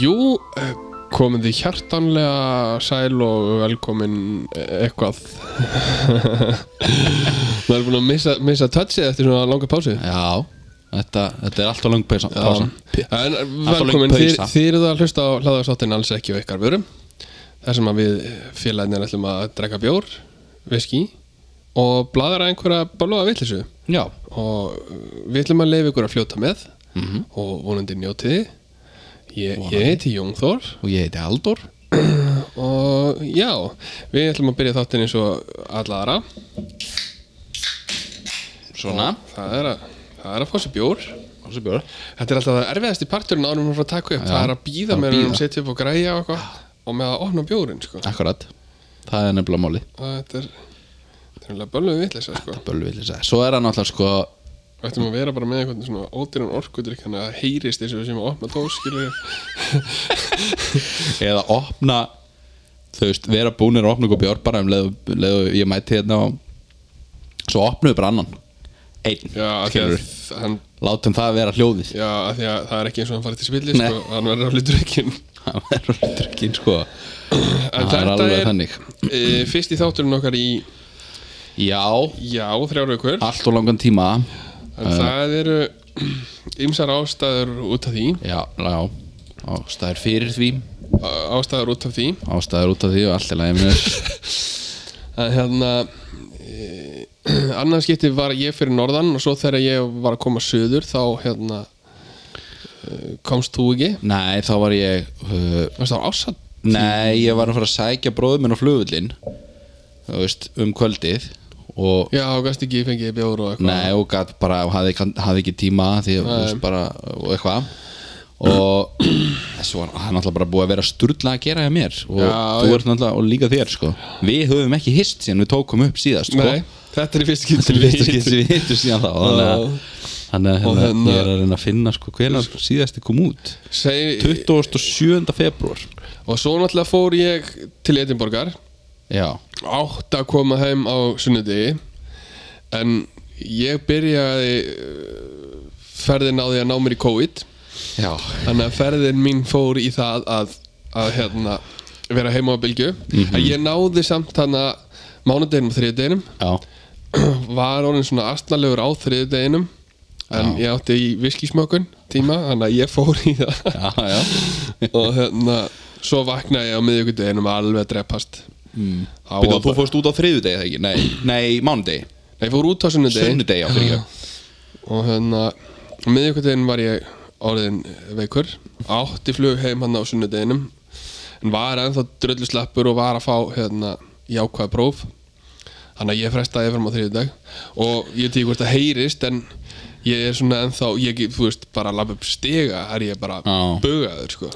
Jú, eh, komið þið hjartanlega sæl og velkomin eh, eitthvað Maður er búin að missa, missa touchið eftir svona langa pásu Já, þetta, þetta er alltaf lang peysa, pása En eh, löng velkomin, þið, pausa. þið eruð að hlusta á hlaðarsáttin alls ekki og ykkar vörum Þar sem að við félagarnir ætlum að drekka bjór, viski og blaðra einhverja bálóða vitleysu Já, og eh, við ætlum að leifa ykkur að fljóta með og vonandi njótið þið. Ég, ég heiti Jón Þór og ég heiti Haldur Og já, við ætlum að byrja þáttinn eins og alla aðra Svona, Það er að, það er að fá sér bjór þessi bjóra Þetta er alltaf það erfiðasti parturinn árum að fara að taka upp Það er að býða það er að með um bíða. að setja upp og græja og eitthvað Og með að opna bjórinn, sko Akkurat, það er nefnilega máli Það þetta er, þetta er alveg bölluð vitleysa, sko Bölvillis að, svo er hann alltaf sko Við ættum að vera bara með einhvern svona ódýran orkudrykk Þannig að það heyrist eins og við séum að opna dós, skilur Eða opna, þú veist, vera búnir að opna ykkur bjór bara um leðu, leðu ég mæti hérna og Svo opnum við bara annan Einn, Já, af því að skilur hann, Látum það vera hljóðið já, af því að það er ekki eins og hann farið til spilli, Nei. sko Hann verður alveg drykkin Það verður drukkin sko En Það er þetta alveg er, þannig. eh, fyrsti þátturinn okkar í, Já, já, þrjár vikur allt og langan tíma En það eru ymsar ástæður út af því Já, já, ástæður fyrir því á- ástæður út af því Ástæður út af því og allt er lægum að hérna e, annars skipti var ég fyrir norðan og svo þegar ég var að koma söður þá hérna e, komst þú ekki Nei, þá var ég uh, Varst það ásat? Nei, ég var að fara að sækja bróður minn á flugullin Þú veist, um kvöldið Og, Já, og gæst ekki fengið bjóður og eitthvað nei, og gat bara og hafði, kann- hafði ekki tíma Því, þú veist, bara, og eitthvað Og þessu var hann alltaf bara búið að vera sturla að gera hjá mér Og Já, þú já. ert náttúrulega, og líka þér, sko Við höfum ekki hist síðan við tókum upp síðast, sko Nei, þetta er í fyrst skipti Þetta er fyrsta skipti sem við hittum síðan þá Þannig að, þannig að Og hérna, hérna- ég er að reyna að finna sko hvenær síðasti kom út Seg, 27. februar Og svo náttúrulega fór ég til Edinborgar Já, átt að koma heim á sunnudegi en ég byrjaði uh, ferðin á því að ná mér í COVID já þannig að ferðin mín fór í það að, að hérna, vera heima á bylgju Mhm. en ég náði samt þannig að mánudeginum og þriðudeginum Já, var orðin svona astnalegur á þriðudeginum en ég átti í viskismökun tíma þannig að ég fór í það já, já og hérna svo vaknaði ég á miðvikudeginum alveg að dreppast mm. Býtum, þú fórst út á þriðudegi eða ekki? Nei, nei mánudegi, Nei, ég fór út á sunnudegi sunnudegi á fyrir ekki og hérna miðjökudegin var ég orðin veikur átti flug heim hann á sunnudeginum en var ennþá dröllu sleppur og var að fá hérna jákvæða próf þannig að ég frestaði fram á þriðjudag og ég veit ekki hvort það heyrist en ég er svona ennþá ég, get, þú veist, bara að labba upp stiga er ég bara Já. bugaður sko.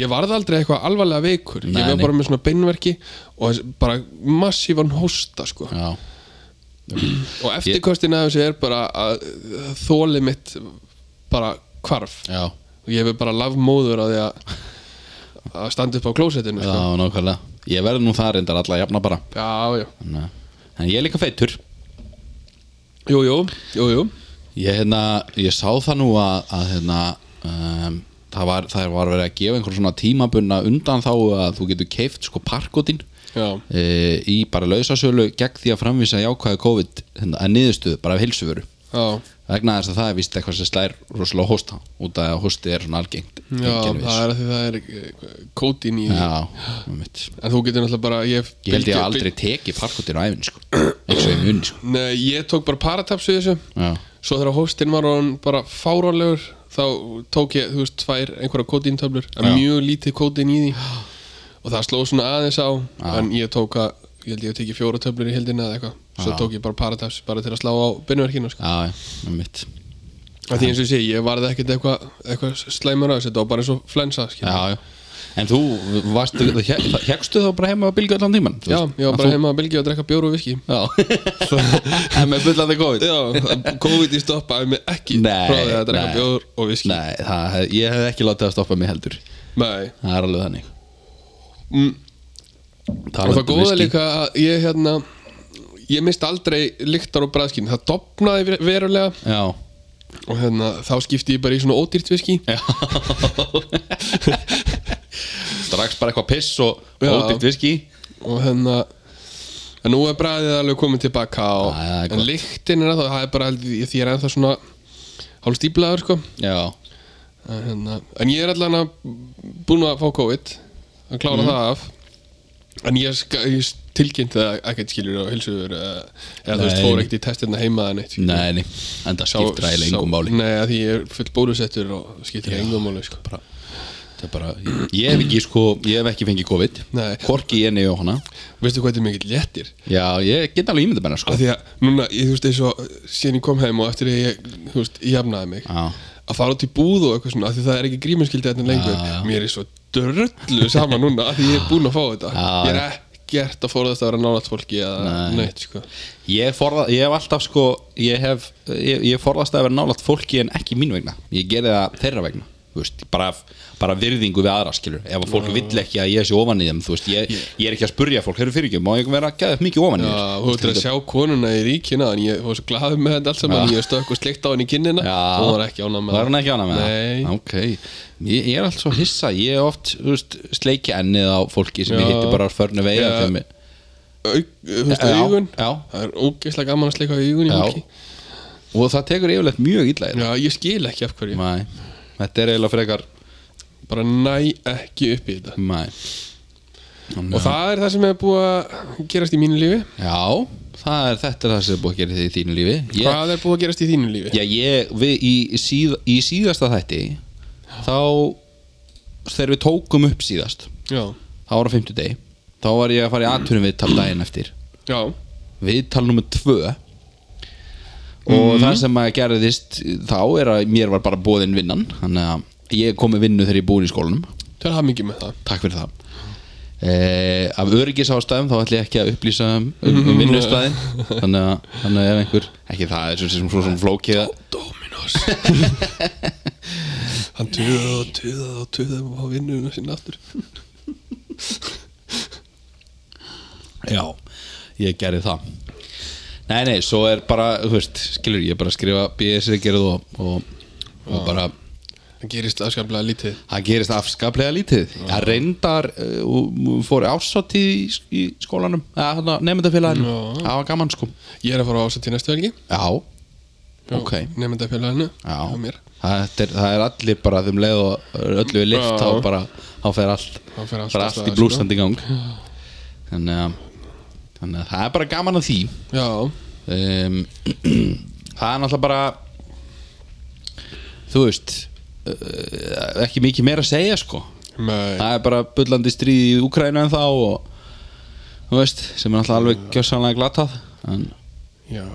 ég varð aldrei eitthvað alvarlega veikur Nei, ég var nei. bara með svona beinverki og þess- bara massífan hósta sko. Já, Og eftirkostin af þessu er bara að þóli mitt bara hvarf já, og ég hef bara lafmóður að því að að standa upp á klósettinu já, sko. nákvæmlega Ég verði nú það reyndar alla jafna bara Já, já, En, eh, en ég er líka feitur jú, jú, jú, jú Ég, hérna, ég sá það nú að, að hérna, um, það, var, það var verið að gefa einhver svona tímabunna undan þá að þú getur keift sko parkotin Já, e, í bara lausasölu gegn því að framvísa jákvæði COVID hérna, að niðurstöðu bara af heilsuföru já, vegna þess að það er víst eitthvað sem slær rosalega hósta út af að hósti er svona algengt já einkenni það við. er að því það er eh, kótin í því já, einmitt. En þú getur náttúrulega bara Ég, ég held ég bylgju- að aldrei teki parkotin á æfin sko. eins og ég muni sko. byl- Nei, ég tók bara parataps við þessu já, Svo þegar hóstinn var orðinn bara fáránlegur Þá tók ég, þú veist, tvær einhverja kótintöflur En Já. mjög lítið kótin í því Og það sló svona aðeins á En ég tók að, ég held ég að tekið fjóra töflur í heldina eða eitthvað Svo tók ég bara parataps bara til að slá á beinverkinu sko. já, með mitt Af Því eins og ég segi, ég varði ekkert eitthvað eitthva slæmur á þessu Þetta var bara eins og flensa skilur. já, já. en þú varst hegstu þá bara heima á bylgu allan tíman Já, ég var bara heima að bylgja og drekka bjóru og viski já, en með bullandi COVID Já, COVID í stoppaði mig ekki Nei, frá því að drekka nei. bjór og viski nei, það, hef- ég hef ekki látið að stoppa mig heldur Nei. það er alveg þannig Mm. og Talandi það um góða whisky. líka að ég hérna ég misti aldrei lyktar og bræðskinn það dopnaði verulega já, og hérna, þá skipti ég bara í svona ódýrt viski strax bara eitthvað piss og Já. ódýrt viski og hérna en nú er bragðið alveg komið tilbaka og, Já, já, það er en gott. lyktin er að það er bara held ég- því ég er ennþá svona hálf stíplaður sko já, en, hérna, en ég er allan að búin að fá COVID að Mhm. klára það af en ég, ska- ég tilkynnti það ekkert skilur og hilsuður eh, eða þú veist Nei. fór ekkert í testirna heima eða neitt skilurðu. neini en það skiptir Sá- ægilega sá- engum máli Nei, að því ég er full bólusettur og skiptir engum máli sko. bara, það er bara, ég hef ekki sko ég hef ekki fengið COVID Nei. hvorki ég nefnir hana Veistu hvað þetta er mikill léttir? já, ég get alveg ímyndið bennar sko Af því að núna, ég, þú veist, eins og síðan ég kom heim og eftir að ég, þú veist, ég jafnaði mig Já. að fara út í búð og eitthvað svona af því það er ekki gríminskildi þetta lengur Já, já. mér er svo dröllu sama núna af því ég er búinn að fá þetta Já, ég er ekkert að forðast að vera nálægt fólki eða Nei. neitt, sko Ég, forða, ég hef alltaf sko ég, hef, ég, ég forðast að vera nálægt fólki en ekki mín vegna, ég gerði það þeirra vegna þú veist, bara, af- bara virðingu við aðra skilur, ef að fólk vill ekki að ég sé ofan í þeim þú veist, ég, ég er ekki að spurja fólk heyrðu fyrir ekki, má ég vera að geða upp mikið ofan í Já, þér þú ættir að sjá konuna í ríkina en ég var svo glaður með þetta allt saman Já. ég stökk og sleikt á henni í kinnina Já. hún var ekki ánað með Var hún ekki ánað með Nei. það? Ok, ég, ég er allt svo hissa Ég er oft þú veist, sleiki ennið á fólki sem Já. ég hitti bara á förnu vegi Já. yeah. aug, þú veist, Já, augun já. það er ógeðslega gaman að sleika augun í Já. fólki Og það tekur yfirleitt mjög illa í já, ég skil ekki af hverju það Þetta er eiginlega frekar bara næ ekki upp í þetta Mæ. Þannig og að- það er það sem er búið að gerast í mínu lífi Já, það er þetta er það sem er búið að gera í þínu lífi ég, hvað er búið að gerast í þínu lífi? Já, ég, við, í, síð, í síðasta þætti þá þegar við tókum upp síðast já, þá var á fimmtudegi þá var ég að fara í atvinnum viðtal daginn eftir já, viðtal nummer tvö og það sem að gerðist þá er að mér var bara bóðin vinnan þannig að ég kom með vinnu þegar ég er búin í skólanum það er hafmyggjum með það Takk fyrir það eh, Af öryggisástæðum þá ætlum ég ekki að upplýsa um, um, um vinnustæðin þannig, að- þannig að ef einhver ekki það er svo sem svona flókið að- Dominos hann tuðaði og tuðaði og tuðaði á vinnuna sinna aftur Já, ég gerði það Nei, nei, svo er bara, þú veist, skilur ég er bara að skrifa BS er gerð og, og, og bara það gerist afskaplega lítið það gerist afskaplega lítið það reyndar uh, og fór ásatíð í, í skólanum eða nefndafélaginu, Já. það var gaman sko ég er að fara á ásætt í næstu helgi Já, ok nefnda félaginu Já, á mér það er, það er allir bara þeim leið og öllu við lift Já. þá bara, þá fer allt Þá fer allt fer af stað, allt sko. í blúsandi gang þannig að, þannig að það er bara gaman að því já, um, það er náttúrulega bara þú veist uh, ekki mikið meira að segja sko með það er bara bullandi stríð í Úkræna en þá og þú veist, sem er náttúrulega alveg gjössanlega glatað en já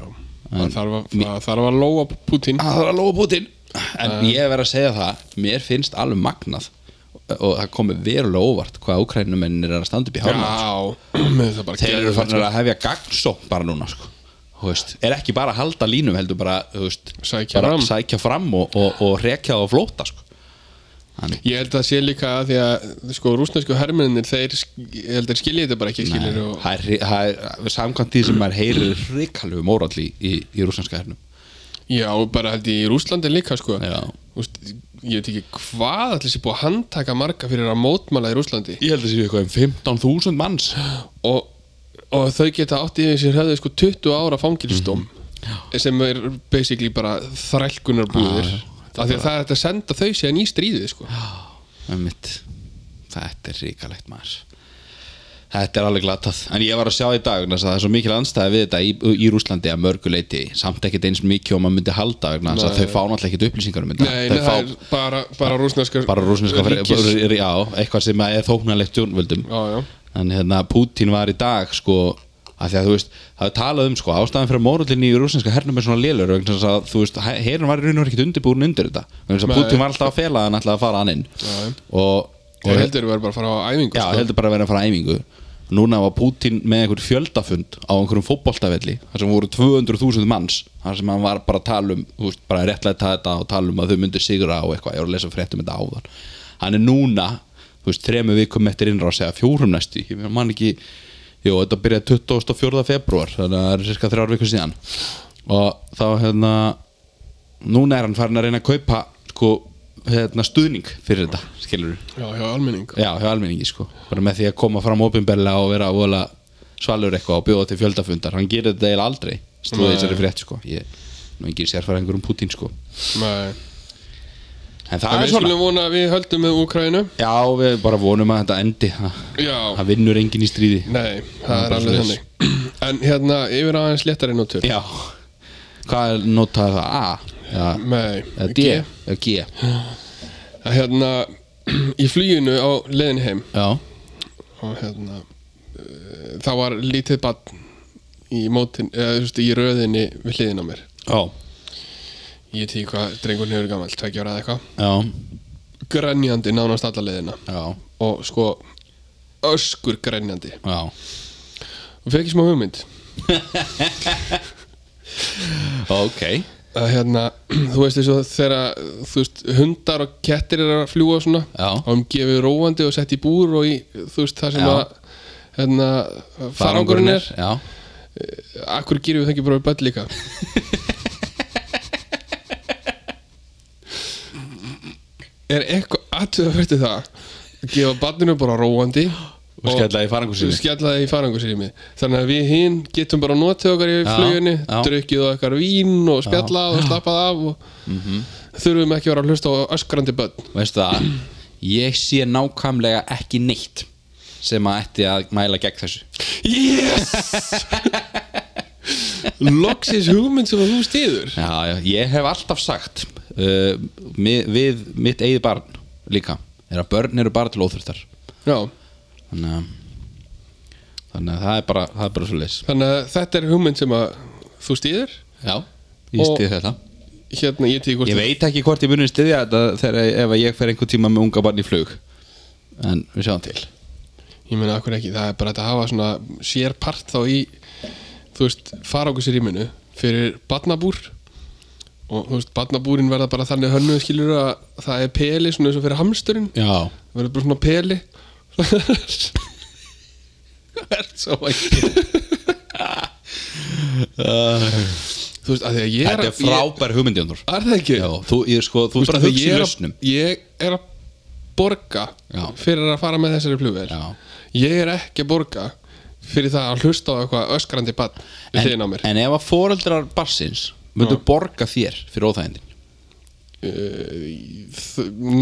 það þarf að, það þarf að lóa Putin að það er að lófa Putin en ég verð að segja það mér finnst alveg magnað og það komið verulega óvart hvað úkrænumennir er að standa upp í hálfum Já, með það bara þeir eru geðveikt, sko. fannir að hefja gagnsókn bara núna sko. Þú veist, er ekki bara að halda línum heldur bara, þú veist, Sækja bara fram. sækja fram og, og, og rekja það á flóta sko. sko. Ég held að sé líka að því að sko, rúsnesku hermennir, þeir sk- ég held að skilja þetta bara ekki skilur og það er, hri- það er samkvæmt því sem maður heyrir hrikalegu mórall í, í, í rúslandska hernum Já, og bara held ég í Rúslandi líka sko Já. Úst, Ég veit ekki hvað allir sé búið að handtaka marga fyrir að mótmæla í Rúslandi ég held að séu eitthvað um 15.000 manns og, og þau geta átt í sér höfðu sko 20 ára fangilsdóm Mhm. sem er basically bara þrælkunarbúðir Já, af því að það er hægt að senda þau séðan í stríðið sko Einmitt. Þetta er ríkalegt maður Þetta er alveg glatað En ég var að sjá í dag vegna þess að það er svo mikil anstæði við þetta í, í Rúslandi að mörguleiti samt ekkit eins mikið og maður myndi halda vegna þess að Nei. þau fá náttúrulega ekkit upplýsingar um þetta Nei, Þau nei, það er bara, bara rúsneska bara rúsneska fyrir, Já, eitthvað sem er þóknarlegt stjórnvöldum Já, já. En hérna, Putin var í dag sko að því að þú veist, það er talað um sko ástæðan fyrir mórullinni í rúsneska hernum er svona lélur vegna þess að þú veist, herin var í raun og veru ekkit undirbúin undir þetta, vegna þess að Nei. Putin var alltaf að fela að hann alltaf að fara hann inn Já, já. og, og Ég heldur við erum bara að fara á æfingu Já, sko. heldur bara að vera að fara að æfingu Núna var Putin með einhver fjöldafund á einhverjum fótboltavelli þar sem voru 200.000 manns þar sem hann var bara að tala um þú veist, bara réttlega þetta og tala um að þau myndu sigra og eitthvað, ég var að lesa frétt um þetta áðan Hann er núna, þú veist, þremur vikum eftir innra að segja fjórum næstu ég man ekki, jú, þetta byrjaði 24. februar þannig að það er cirka þrjár vikur síðan og þá hérna núna er hann farin að reyna að kaupa sko, hérna, stuðning fyrir þetta, skilur Já, já, almenning já, hjá almenningi sko, bara með því að koma fram opinberlega og vera voðalega svalur eitthvað og bjóða til fjöldafundar, hann gerir þetta eiginlega aldrei stóði Nei. þessari frétt sko ég, nú engin sérfæringur um Putin sko en Nei En það er við svona skulum vona að við höldum með Úkrænu já, við bara vonum að þetta endi það Já. það vinnur engin í stríði Nei, Það það er er bara alveg svoleiðis. þannig En hérna, yfir aðeins léttari nótur já, hvað er notað það? A? Já, Nei, eða D? G. Eða G? Að Hérna, í fluginu á leiðin heim já, og hérna uh, það var lítið bann í mótin, eða þú veist, í röðinni við hliðin á mér já, Ég tíu hvað drengurinn hefur gamall, tveggja ára eða eitthvað já, Grenjandi nánast alla leiðina já, og sko öskur grenjandi já. og fekk ég smá hugmynd ok að hérna, þú veist eins og þegar þú veist, hundar og kettir er að fljúa og svona, Já. og um gefið róandi og sett í búr og í, þú veist, það sem Já. að hérna, farangurinn er já, akkur gerum við það ekki bara við börn líka er eitthvað aðtöða fyrir það að gefa barninu bara róandi Og skella í farangursrými. skella í farangursými þannig að við hinn getum bara notið okkar í Já, flugunni já. drukkið og okkar vín og spjallað og slappað af og þurfum ekki að vera að hlusta á öskrandi börn veistu það ég sé nákvæmlega ekki neitt sem að ætti að mæla gegn þessu yes loksins hugmynd sem að þú stýður já, já, ég hef alltaf sagt uh, mið, við mitt eigið barn líka, er að börn eru bara til óþurftar já þannig að þannig að það er bara, það er bara svo leis Þannig að þetta er hugmynd sem að þú stýðir já, ég Og- stið þetta Hérna ég tíði hvort ég veit ekki hvort ég munið stiðja þetta þegar ef að ég fer einhver tíma með unga barn í flug en við sjáum til Ég meina akkur ekki, það er bara hægt að hafa svona sér part þá í Þú veist, farangusrýminu Fyrir barnabúr Og þú veist, barnabúrin verða bara þannig hönnuð skilur að það er peli svona eins og fyrir hamsturinn já, Það verður bara svona peli svo ekki Þú veist, að því að ég þetta er frábær hugmyndjónur ég, Er það ekki? Já, þú, ég, sko, Þú þú, þú veist, bara að því hugsa í ég er að- lausnum Ég er að borga Já. fyrir að fara með þessari flugvél Já. Ég er ekki að borga fyrir það að hlusta á eitthvað öskrandi bann við en, hliðin á mér en ef að foreldrar barsins myndu borga þér fyrir óþægindin uh,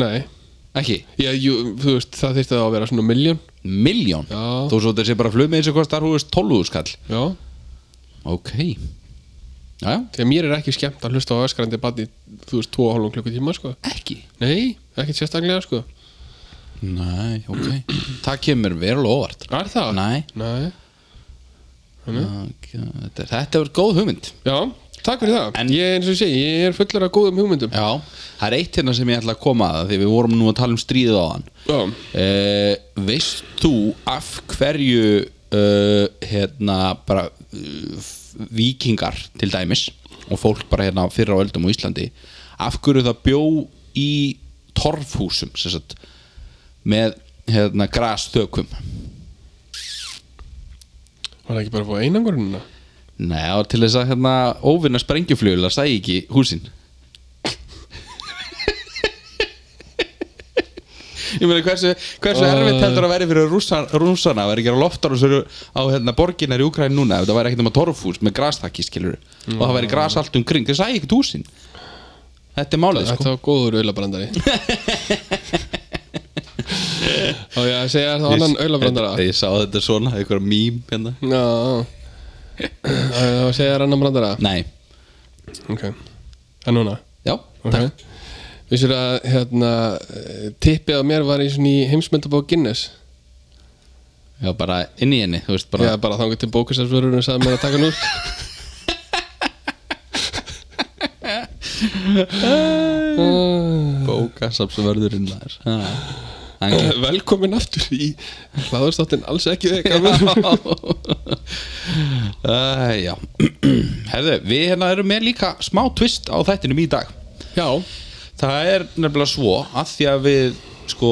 Nei ekki, Já, jú, þú veist, það þyrfti þá að vera svona miljón miljón Já. þú svo þetta sé bara flugmiðin sem kostar húfist 12 skall Já, ok já, þegar mér er ekki skemmt að hlusta á öskrandi bann í, þú veist, 2,5 klukkutíma, sko ekki Nei, ekkert sérstaklega, sko nei, ok, það kemur verulega óvart Er það? Nei. Nei Ok, þetta þetta er góð hugmynd Já, takk fyrir það En- Ég, eins og ég segi, ég er fullur af góðum hugmyndum já, það er eitt hérna sem ég ætla að koma að því við vorum nú að tala um stríðið á hann Já. Uh, veist þú af hverju uh, hérna bara uh, f- vikingar til dæmis og fólk bara hérna fyrir á öldum á Íslandi af hverju það bjó í torfhúsum sem sagt, með hérna grastökum Var það ekki bara að fá einangurinn? Nei, og til þess að hérna óvinna sprengjuflugula sæði ekki húsin Ég meina hversu, hversu Æ. erfitt heldur að veri fyrir rússan, rússana að vera ekki að loftar og svo á hérna, borginar í Ukræn núna ef það væri ekkert um að torfhús með grastakki skilur og það Mm. væri gras allt umkring, það sæði ekkert húsin Þetta er málið sko Þetta var góður auðlabrandari Og ég að segja það var annan auðlabrandara Ég, ég sá þetta svona, einhver mím hérna Já Það segja það annan brandara Nei, Ok En núna já, okay. Vissur að hérna eh, tippið á mér var í svona í heimsmyndabók Guinness já, bara inn í henni, þú veist bara Já, bara þangur til bókastafsvörurinn sagði mér að taka nú bókasapsvörðurinn þar hann Velkomin aftur í hlaðurstáttin alls ekki veika uh, já herðu, við hérna erum með líka smá twist á þættinum í dag Já það er nefnilega svo að því að við sko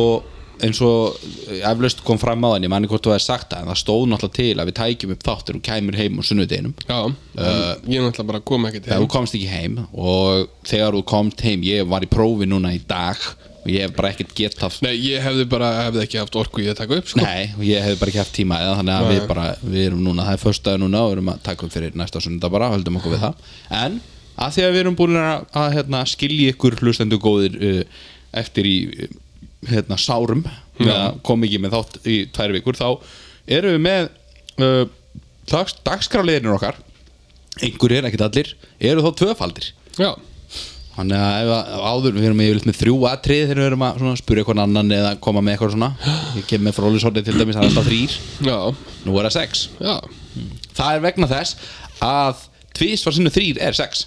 eins og eflaust kom fram á þannig, manni hvort þú hefði sagt það en það stóð náttúrulega til að við tækjum upp þáttir og kæmur heim á sunnudeginum Já, ég er náttúrulega bara að koma ekkert þegar heim þú komst ekki heim og þegar þú komst heim, ég var í prófi núna í dag og ég hef bara ekkert getað Nei, ég hefði bara, hefði ekki haft orku í að taka upp sko. Nei, og ég hef bara ekki haft tíma eða þannig að við bara, við erum núna, það er förstaði núna og við erum að taka upp fyrir næsta sunda bara, höldum okkur við það en að því að við erum búin að, að hérna, skilja ykkur hlustendur góðir uh, eftir í uh, hérna, sárum með að koma ekki með þátt í tvær vikur þá erum við með uh, dags, dagskráliðinir okkar einhverjir, er ekkert allir, eru þá tvöfaldir Já, Þannig að ef að áður við erum yfirleitt með þrjú atrið þegar við erum að svona, spyrja eitthvað annan eða koma með eitthvað svona Ég kem með frólisorni til dæmis, það er alltaf þrýr já, Nú er það sex já Það er vegna þess að tvís var sinni þrýr er sex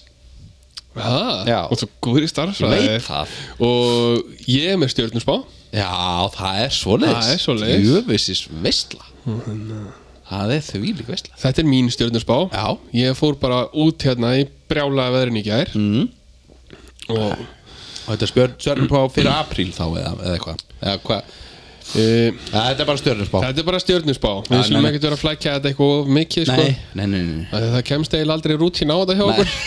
Það, Já. og þú góður í starffræði Ég veit það. Og ég er með stjórnusbá Já, það er svoleiðis Það er svoleiðis. Jöfisins veistla Það er þvílík veistla Þetta er mín stjórnusbá Já. Ég fór bara út hérna í brjálaða veðrin í gær mm. Mm. Og Og þetta er spjörn, stjörnupá fyrir apríl þá eða, eða eitthvað eða, hva, e, Þetta er bara stjörnupá þetta er bara stjórnusbá Við Já, skulum nei, nei. ekkert vera að flækja þetta eitthvað of mikið sko. nei, nei, nei, nei. Af því að Það kemst eiginlega aldrei rútín á þetta hjá okkur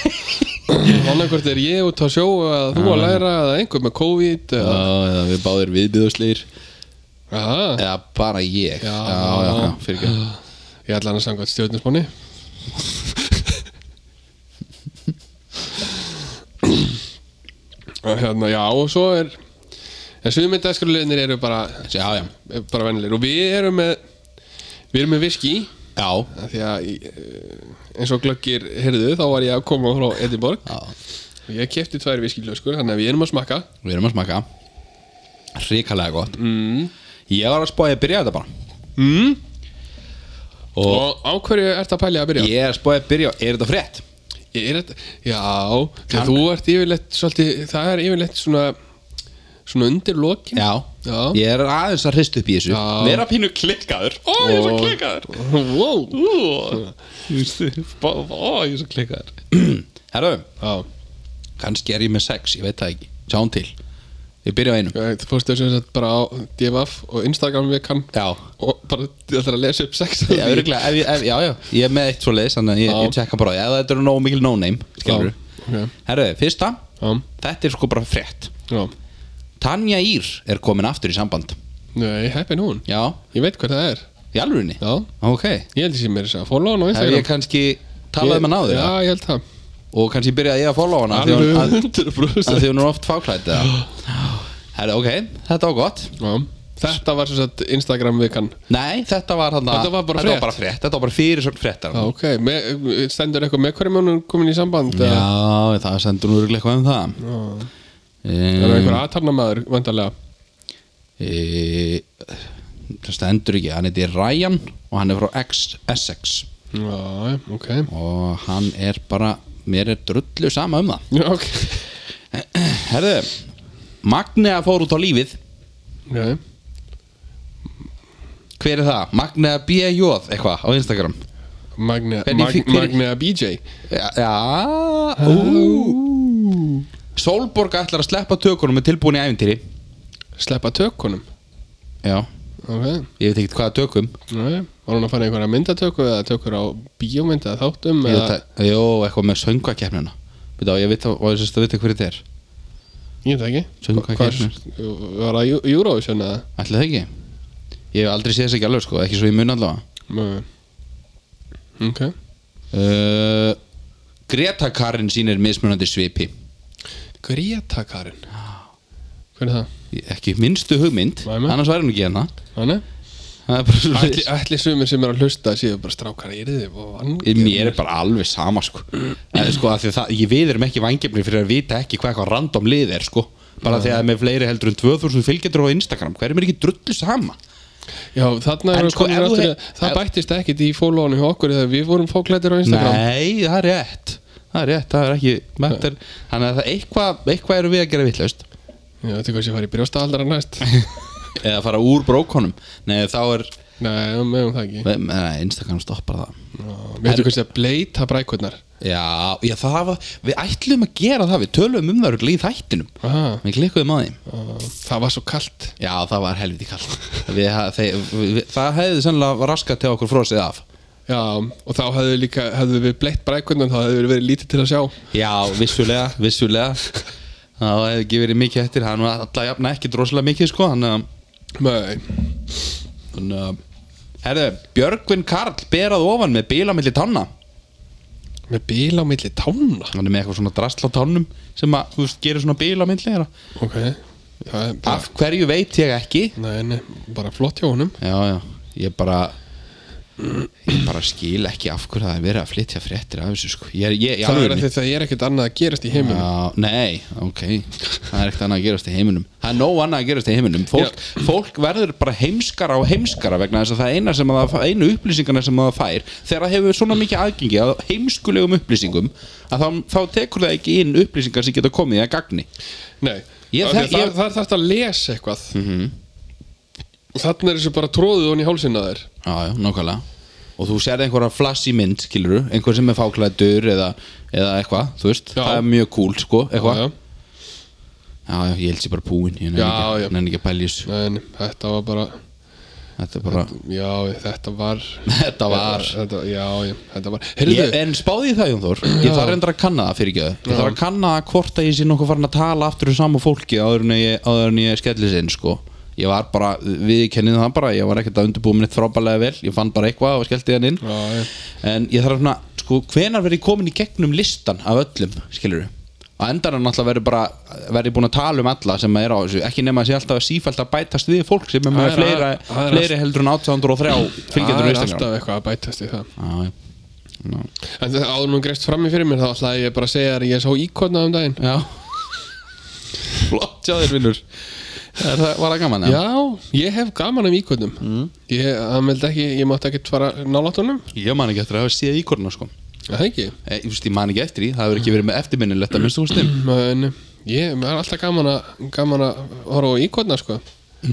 Annarkvort er ég út að sjó eða þú að læra eða einhver með COVID Já, eða... eða við báðir viðbyðuslegir Aha. Eða bara ég Já. já, já, já fyrir ekki Ég ætla hann að sanga stjórnusbáni Og hérna, já, og svo er En suðmyndaskruleginir eru bara Já, já, bara vennilegir og við erum með við erum með viski já, af því að í- eh, eins og glöggir heyrðu þá var ég að koma frá Edinborg já og ég kefti tvær viskilöskur þannig að við erum að smakka Við erum að smaka Ríkalega gott mm. Ég var að spáði að byrja þetta bara mm. Og, og á hverju ert að pælja að byrja? ég er að spáði að byrja Er þetta frétt? Ég er þetta, já, þegar þú ert yfirleitt svolítið, það er yfirleitt svona svona undir lokin Já. já, Ég er aðeins að hrista upp í þessu Já. Vera pínu klikkaður Ó, ég er svo Ó. klikkaður wow. Ó, ó, ég er svo klikkaður Herðu, já. kannski er ég með sex, ég veit það ekki Sjáum til Ég byrja á einum það fórstu þess að bara á DFF og Instagram við kann Já og bara ég ætlar að lesa upp sex Já, örugglega, ef, ég- ef, já, já, ég er með eitt svo leiðis Þannig að ég, Já. ég tjekka bara á því. Ef þetta eru nógu mikil no-name Skilur Já, ok. Herðu, fyrsta já, Þetta er sko bara frétt já. Tanja Ír er komin aftur í samband Nei, heppin hún Já, Ég veit hvað það er í alvörinni Já, Ok, ég held ég sem er þess að follow hana á hef Instagram ég kannski talað um hann áður Já, ja. ég held það og kannski byrjaði ég að follow hana af því hún- Alveg að- 100% af því hún er oft fáklætt Herra, ok, þetta var gott Já, þetta var sem sagt Instagram við kann Nei, þetta var hann Þetta var bara þetta frétt. var bara frétt Þetta var bara fyrir svona fréttar Já, ok, Me, stendur eitthvað með hverjum hún er komin í samband Já, eða? það sendur nú örugglega eitthvað um það Mm. Það er um, einhver aðtarnamaður, vantarlega e, Það stendur ekki, hann heiti Ryan og hann er frá X, Essex Já, ok og hann er bara mér er drullu sama um það Já, ok Herðu, Magnea fór út á lífið Já, Hver er það? Magnea B.J. eitthvað á Instagram Magnea, Hvernig Mag, fi- hvernig- Magnea BJ Já, já ú. Sólborg ætlar að sleppa tökunum með tilbúin í æfintýri Sleppa tökunum Já, Ok, ég veit ekkert hvaða tökum Nei, var hún að fara í einhverja myndatöku eða tökur á bíómynd eða þáttum Ég eða... veit að- Jó, eitthvað með söngvakefnina Veit á, ég veit að, og ég sérst að veit hverju þetta er Ég veit ekki Söngvakeppnir. Hvar- Var það Euro- Eurovision eða? Ætli það ekki? Ég hef aldrei séð þess ekki alveg sko, ekki svo ég mun allavega Nei. Ok Eh. uh, Greta Karin sýnir mismunandi svipi Greta Karin Hver er það? Ekki minnstu hugmynd, Nei, nei. annars væri hún ekki hérna Hanna? Það er bara svo Ætli, ætli sumir sem er að hlusta séu bara strákar í yfir og vann Ég- Mér er bara alveg sama sko Eða, sko, af því að það, Ég við erum ekki vangefni fyrir að vita ekki hvað eitthvað random lið er sko Bara því að með fleiri heldur en 2000 fylgjendur á Instagram Hverjum er ekki drullu sama? Já, þarna En erum við sko, komin ef þú aftur í- hef- Það ef- bættist ekkit í fólónu hjá okkur þegar við vorum fóklættir á Instagram Nei, það er rétt Það er rétt, það er ekki mentur, Þannig að það eitthvað, eitthvað eru við að gera vitlaust Já, þetta er hvað sem fari í brjóstahaldara næst Eða fara úr brókonum Nei, þá er Nei, við meðum það ekki Nei, nei, Instagram stoppar það Við hefum kannski að bleita brækurnar Já, já það var, við ætlum að gera það, við töluðum um það örugglega í þættinum Aha. Við klikkuðum að þeim Það var svo kalt Já, það var helviti kallt við, þeir, við, Það hefði sennilega raskat til okkur frosið af Já, og þá hefðu líka, hefðu við bleitt brækurnar þá hefðu verið lítið til að sjá Já, vissulega, vissulega Það hefði ekki verið mikið eftir, hann var alltaf jafna ekki droslega mikið sko Hann, Nei, hann ehm, herðu, Björgvin Karl berað ofan með bíla milli tanna með bíl á milli tána Hann er með eitthvað svona drasl á tannum sem að, þú veist, gerir svona bíla milli þeirra Ok, það er bara, Af hverju veit ég ekki nei, nei, bara flott hjá honum Já, já, ég bara ég bara skil ekki af hverju það er verið að flytja fréttir af þessu sko ég, er- ég, Það er alveg, að því það er ekkert annað að gerast í heiminum Já, nei, ok það er ekkert annað að gerast í heiminum það er nóg annað að gerast í heiminum fólk, fólk verður bara heimskara og heimskara vegna þess að það eina sem það, einu upplýsingarna sem það fær þegar það hefur svona mikið aðgengi að heimskulegum upplýsingum að þá, þá tekur það ekki inn upplýsingar sem geta komið að gagni Nei, Ég af því þekk- að þar, ég- þar þarf að lesa eitthvað Og þannig er þessu bara tróðið hon í hálsinn að þér Já, já, nákvæmlega Og þú sér einhverja flassi mynd, skilur einhver sem er fáklæður eða, eða eitthvað, þú veist, Já. það er mjög cool, sko, eitthvað Já, Já, já. já, ég held sér bara búinn, ég nenni Já, ekki, já. nenni ekki að pæla í þessu Nei, nei, þetta var bara Þetta er bara, Já, þetta var þetta var þetta, Já, já, þetta var ég, Heyrðu, En spáði ég það, Jón Þór, ég þarf reyndar að kanna það fyrir ekki þau Ég þarf að kanna hvort að ég sé nokkuð farin að tala aftur um saman fólki áður en ég, áður en ég skellis inn, sko Ég var bara, við kennið það bara, ég var ekkert að undirbúa minnið frábælega vel, ég fann bara eitthvað og skellti hann inn já, já, En ég þarf svona, sko, hvenar verið komin í gegnum listan af öllum, skilur við? Á endanum náttúrulega verið bara, verið búin að tala um alla sem er á þessu, ekki nema að sé alltaf sífælt að bætast við fólk sem er Það með er- fleira, það er fleiri heldur en 803 það fylgjendur er á Instagram. alltaf eitthvað að bætast í það Já, já. Ná. En það áður nú greist fram í fyrir mér þá ætlaði ég bara að segja þér að ég sá íkotna um daginn Já. Flott hjá þér, vinnur. Er það, var það gaman, Já, ég hef gaman um íkotnum mm. Ég, hann vildi ekki, ég mátti ekkert fara nálátt honum Ég man ekki eftir að hafa séð íkorna, sko. Er Það ekki Eh, Ég, veist, ég man ekki eftir því, það hefur ekki verið með eftirminnilegt að minnstu hústum. En ég, mér er alltaf gaman að, gaman að horfa á íkotna sko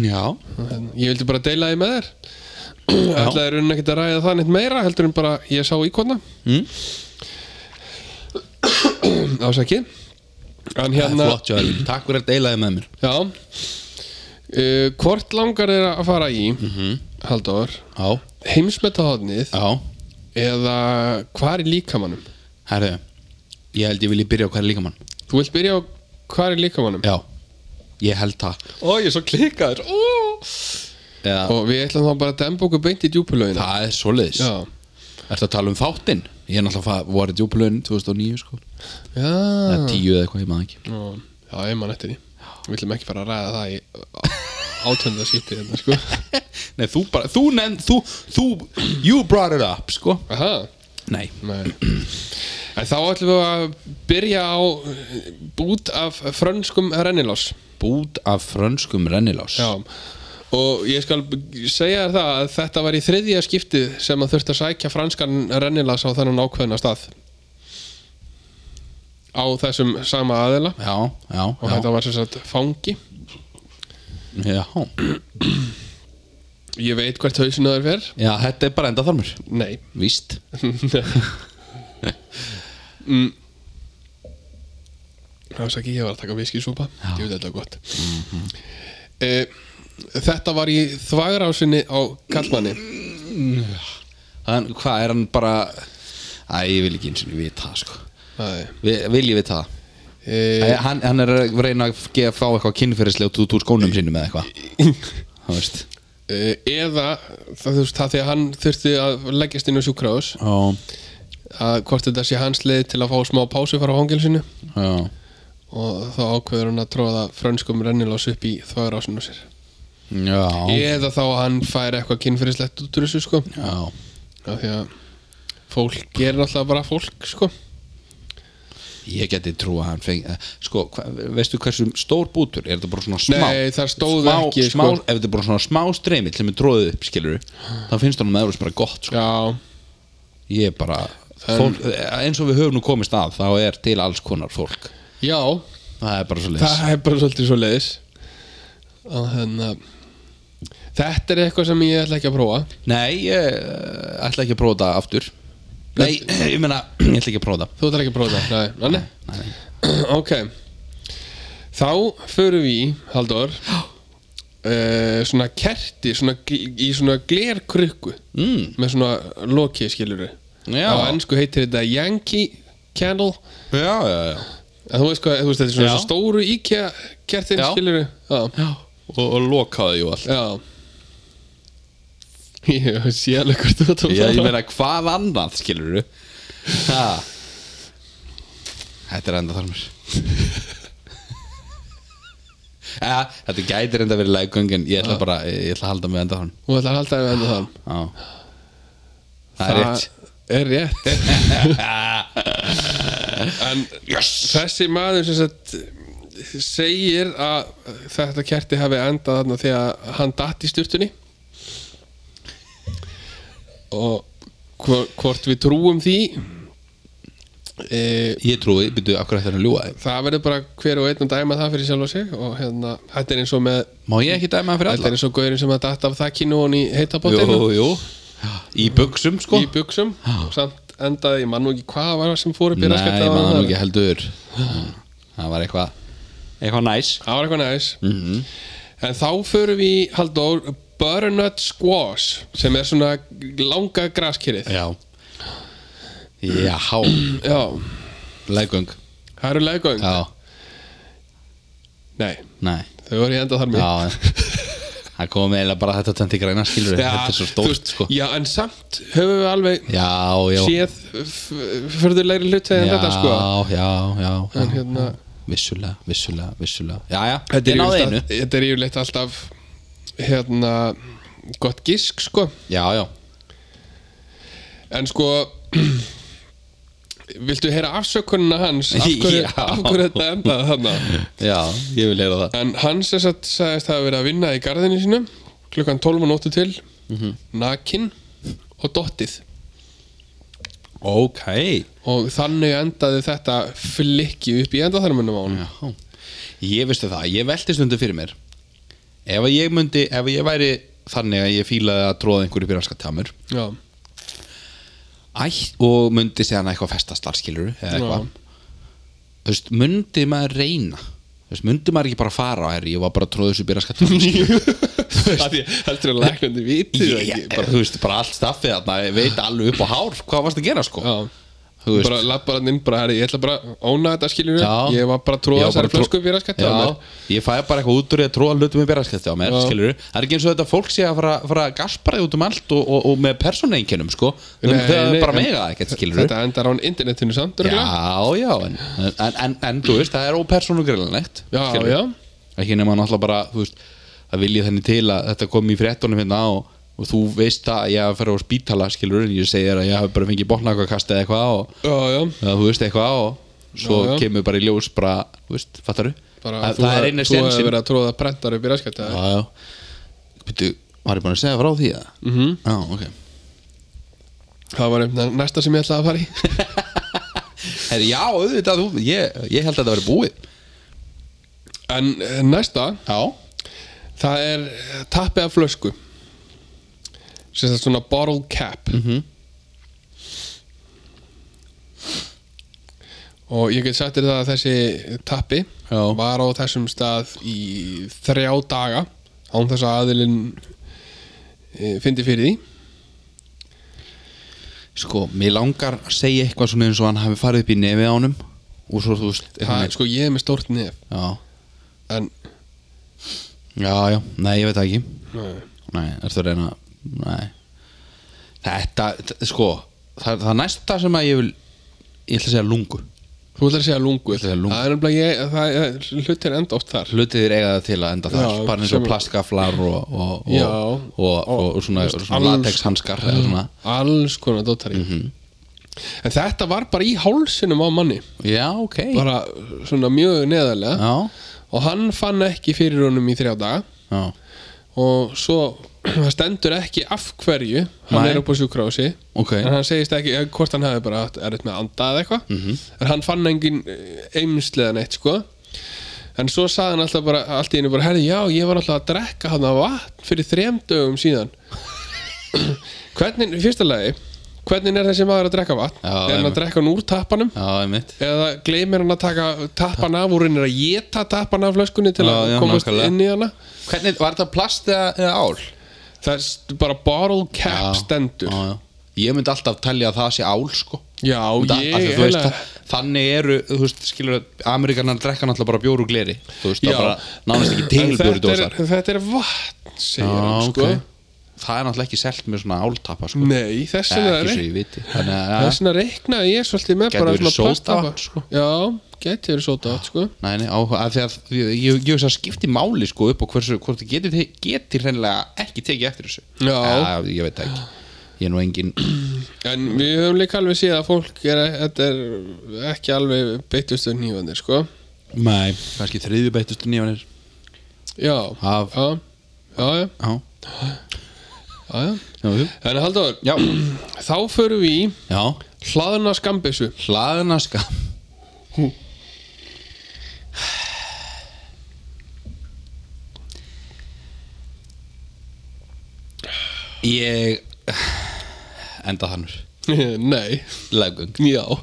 Já. En Ég vildi bara deila því með þér Ætlaði er unn ekkert að ræða það neitt meira heldur en bara ég sá íkotna Mm. Ásæki En Það er hérna, flott hjá þér, vinur. Takk fyrir að deilaði með mér. já uh, Hvort langar er að fara í mm Mhm. -hmm. Halldór Já. Heimsmetahotnið Já. eða hvað er líkamannum Herðu, ég held ég vilji byrja á hverja líkamann þú vilt byrja á hvað er líkamannum Já Ég held það ó ég er svo klikkaður ó. Eða, og við ætlum þá bara að demba okkur beint í djúpulögina Það er svoleiðis já. Ertu að tala um þáttinn? Ég er náttúrulega að voru djúplun 2009 sko Já. Eða 10 eða eitthvað, ég maður ekki já já ég man eftir því við ætlum ekki fara að ræða það í átönda skipti hérna sko Nei, þú bara, þú nefnd, þú, þú, you brought it up sko aha Nei Nei. en þá ætlum við að byrja á bút af frönskum rennilás Bút af frönskum rennilás já og ég skal b- segja þér það að þetta var í þriðja skiptið sem að þurfti að sækja franskan rennilás á þennan ákveðna stað á þessum sama aðila Já, já, og já, þetta var sem sagt fangi já. ég veit hvert hausinu þær fer já þetta er bara enda þarmur nei Víst Mm. það var ekki ég var að taka viskisúpa ég veit þetta er gott mm þetta var í þvægrásinni á kallmanni Þann, Hvað er hann bara Æ, ég vil ekki eins og við það sko nei Vi, Vil ég við það? e, Æ, hann, hann er að reyna að ge- fá eitthvað kynferðislegt út úr skónum sínum eða eitthvað Það veist Eh, eða það, þú veist, það því að hann þurfti að leggjast inn á sjúkrahús Já, að hvort þetta sé hans leið til að fá smá pásu frá fangilsinu já og þá ákveður hann að tróða frönskum rennilás upp í þvægrásinu sér Já, eða þá að hann fær eitthvað kynfyrirslegt út úr þessu sko já. af því að fólk gerir alltaf bara fólk sko Ég geti trú að hann fengi eh, Sko, hva, veistu hversu stór bútur? Er þetta bara svona smá? Nei, það stóð smá, ekki, smá, sko. Ef þetta er bara svona smá streymill sem er tróðið upp, skilur þá finnst honum það eflaust bara gott sko. já, Ég er bara fólk, eh, eins og við höfum nú komist að þá er til alls konar fólk já Það er bara svo það er bara svolítið svo leiðis að hérna Þetta er eitthvað sem ég ætla ekki að prófa Nei, ég eh, ætla ekki að prófa þetta aftur Nei, ég meina, ég ætla ekki að prófa þetta Þú ætlar ekki að prófa þetta Nei, nei, nei Ok Þá förum við í, Halldór uh, Svona kerti svona, gl- Í svona glerkrukku mm. Með svona lokið skilur Já. Á ennsku heitir þetta Yankee Candle Já, já, já En þú veist hvað, þú veist þetta er svona Já. þessi stóru IKEA kertin Já. skilur Já Já, og, og lokaði jú allt Já Ég sé alveg hvort þú ert að Já, ég fara. meina, hvað annað, skilur du? Þetta er enda þarmur ja, Þetta gætir enda verið lægöngin Ég ætla bara, ég ætla að halda með enda þarmur Þú ætlar að halda að við enda það Já Það er rétt er rétt En þessi maður sem sagt segir að þetta kerti hafi endað þarna þegar hann datt í styrtunni og hvo- hvort við trúum því e, Ég trúi, byrju, af hverju ætti hann að ljúga þig? það verður bara hver og einn að dæma það fyrir sjálf og sig og hérna, þetta er eins og með Má ég ekki dæma hann fyrir þetta alla? er eins og gaurinn sem að datt af þakkinu og hann í heitabóttinu Jú, jú Í buksum, sko í buksum og samt endaði, ég man nú ekki hvað var það sem fór upp í Nei, rassgatið á maður hann. nú ekki heldur Það var eitthvað Mhm. Eitthvað næs það var eitthvað næs en þá förum við í, Halldór butternut squash sem er svona langa graskýrið Já Já, já, lægöng það eru leggöng Já, nei, nei þau voru í enda þar með Já, það kom eiginlega bara þetta tvendt í græna skilur Þetta er þú svo stórt veist, sko já, en samt höfum við alveg Já, já séð förðurlegri hluti en þetta sko Já, já, já, en já. hérna Vissulega, vissulega, vissulega Já, já, þetta er, ég náði yfirleitt einu all- þetta er yfirleitt alltaf hérna gott gisk sko Já, já, En sko Viltu heyra afsökunina hans Af hverju, Já. af hverju þetta endaði þarna já, ég vil heyra það En hans þess að sagðist hafa verið að vinna í garðinu sínu Klukkan 12 og nóttu til Mhm. Nakin og dottið Ok Og þannig endaði þetta flikki upp í endaþarmunum á hann Já, ég veistu það, ég velti stundu fyrir mér Ef að ég myndi, ef að ég væri þannig að ég fílaði að tróða einhverju byrjanska tjámur Já, Ætt og myndi segja hann eitthvað festastar skilur eða eitthvað Þú veist, myndi maður reyna Þú veist, myndi maður ekki bara fara á herri ég var bara að tróða þessu byrjanska Það því heldur að læknandi viti það ekki tjámur Þú veist, bara allt staffið þarna ég veit alveg upp á hár, hvað varst að gera sko Já, Þú veist, bara lappar hann inn bara herri, Ég ætla bara að óna þetta skiljur Já. Ég var bara að tróða Ég var þessari bara að tró- flösku upp í raskatti á Já, mér ég fæ bara eitthvað út úr því að tróða hlutum í byrjanskætti á mér, Já. skilur Það er ekki eins og þetta fólk sé að fara, fara að gasparaði út um allt og, og, og með persónuengjunum, sko nei, Nei, nei, Það er bara en- mega ekkert, skilur Þetta endar á internetinu samt Já, örugglega. já, en, en, en, en þú veist, það er ópersónugrillanlegt Já, skilurðu. já. Ekki nema náttúrulega bara, þú veist að vilja þenni til að þetta kom í fréttunum hérna og, og þú veist að ég hafi að fara á spítala skilur en ég segi þér að ég hafi bara fengið botnakakast eða eitthvað og já, já, eða þú veist eitthvað og svo Já, já. kemur bara í ljós bara, þú veist, fattaru bara það, þú það hef- er eina þú hefur sensin verið að tróða brentar upp í raskætti Já, já Býttu, var ég búin að segja frá því eða? Mm -hmm. Já, ok Mhm. það var einhvern veginn næsta sem ég ætlaði að fara í Heri, Já, auðvitað, þú, ég, ég held að þetta verið búið en eh, næsta, Já það er eh, tappi af flösku sem það svona bottle cap Mhm. og ég get sagt þér það að þessi tappi Já. var á þessum stað í þrjá daga án þess að aðilinn e, fyndi fyrir því Sko, mér langar að segja eitthvað svona eins og hann hafi farið upp í nefið á honum og svo þú veist það, eitthvað- sko ég er með stórt nef Já, en já, já, nei, ég veit það ekki Nei. Nei, ertu að reyna Nei Þetta, þ- sko, það, það næsta sem að ég vil Ég ætla að segja lungu Þú ætlar að segja lungu, ætla að segja lungu. Það er nefnilega ég, það er, hlutin enda oft þar Hlutið er eiga það til að enda það Já, Bara eins sem- og plastgaflar og, og, og, Já. og, og, og, svona, Þú veist, svona alls- Mhm. latexhanskar eða svona. Mhm. Alls konar dóttari En þetta var bara í hálsinum á manni Já, ok Mm. Bara svona mjög neðarlega Já, Og hann fann ekki fyrir honum í þrjá daga já, Og svo það stendur ekki af hverju Hann Nei. er upp á sjúkrási ok En hann segist ekki eh, hvort hann hafi Mhm. bara haft erfitt með að anda eða eitthvað En hann fann engin eimsliðan eitt eh, sko en svo sagði hann alltaf bara allt í einu bara, herri já, ég var alltaf að drekka hann að vatn fyrir þrem dögum síðan hvernig, í fyrsta lagi hvernig er þessi maður að drekka vatn Já, er hann einmitt. að drekka hann úr tappanum Já, einmitt eða gleymir hann að taka tappan af úr hann er að geta tappan af flöskunni til Já, að já, komast nákvæmlega. inn í hana Hvernig, var þetta plast eða, eða ál? það er st- bara bottle cap stendur já, já. Ég myndi alltaf telja að það sé ál sko já, Myndi ég all- af því, þú veist, eiginlega- það, þannig eru, þú veist, skilur Amerikanar drekka náttúrulega bara bjóru og gleri Þú veist, það Já. er bara nánast ekki En til bjóru þetta er, þetta er vatn segir hann sko Það er náttúrulega ekki selt með svona áltappa sko nei, þess Eh, vegna Ekki svo er ég viti Þannig að, þess vegna reiknaði ég svolítið með Gæti bara verið svona sódavatn, sko. plastapa. já, geti verið sótavat sko Nei, nei, áhuga, að því að ég, ég, ég hugsa að skipti máli sko upp og hversu, hvort þið getur geti hreinlega ekki tekið eftir þessu Já. ja, Ég veit það ekki Ég er nú engin en við höfum líka alveg séð að fólk er, þetta er ekki alveg beittustu nývandir sko Nei Kanski þriðju beittustu nýjanir já, Af- já, já, já, Já, já, já. já, þú? en Halldór, já, þá förum við í já. hlaðna skambissu Hlaðuna skam Ég Enda þannur nei, Legung já Ó,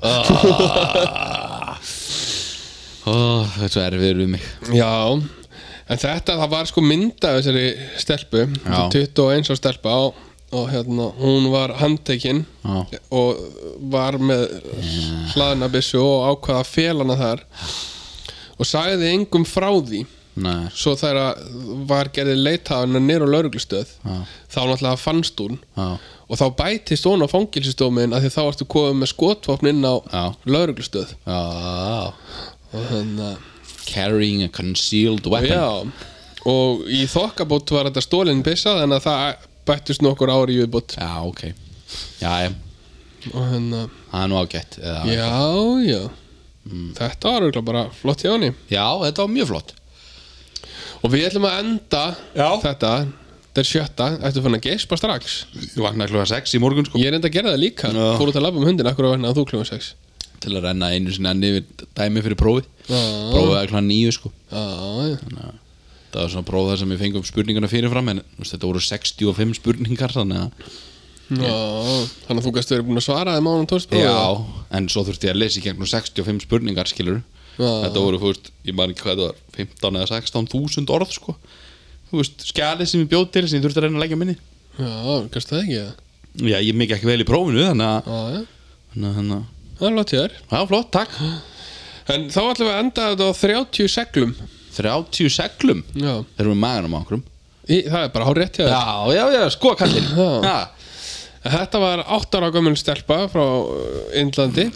þetta er svo erfiður við mig Já, en þetta það var sko mynd af þessari stelpu Já. 21 á stelpa og, og hérna, hún var handtekinn Já. og var með hlaðnabissu og ákvaða félana þar og sagði engum frá því Nei, svo þegar var gerðið leitaðan nýr á lauruglustöð Já. þá náttúrulega fannst hún já, og þá bætist hún á fangilsistómin að því þá varstu komið með skotvopn inn á Já. lauruglustöð já og hérna, þannig að Carrying a concealed weapon Já, og í þokkabót var þetta stólinn byssa þannig að það bættist nokkur ári í viðbót Já, ok Já, já, og hérna, það Mm. er nú ágætt eða- já, já þetta var auðvitað bara flott hjá henni já, þetta var mjög flott og við ætlum að enda Já. þetta þetta er sjötta, ertu fann að geispa strax Ég vaknaði klukka 6 í morgun sko ég er enda að gera það líka, Já. fór út að labba um hundin akkur að verna að þú kljóma sex Til að renna einu sinni enni yfir dæmi fyrir prófið Já. Prófið að klukka 9 sko já, já, Það var svona próf þar sem við fengum spurningana fyrirfram En þú veist, þetta voru 65 spurningar Þannig að já þannig að þú gæst verið búin að svara þeim ánum tóðst Já, en svo þurfti ég að leysa í gegnum 65 spurningar skilur Já. Þetta voru, þú veist, ég man ekki hvað þetta var 15 eða 16 þúsund orð sko Þú veist, skjalið sem ég bjóð til sem ég þurfti að reyna að leggja minni já, gæst það ekki já, Já, ég mikið ekki vel í prófinu þannig að já, þannig að- þannig að- það er látt hér Já, flott, takk en þá ætlum við að enda þetta á 30 seglum 30 seglum já Þeir eru með maganum á okkurum Í, það er bara hár rétt hjá þér Já, já, já, sko kallinn Já. Já, Þetta var áttara gömul stelpa frá uh, Indlandi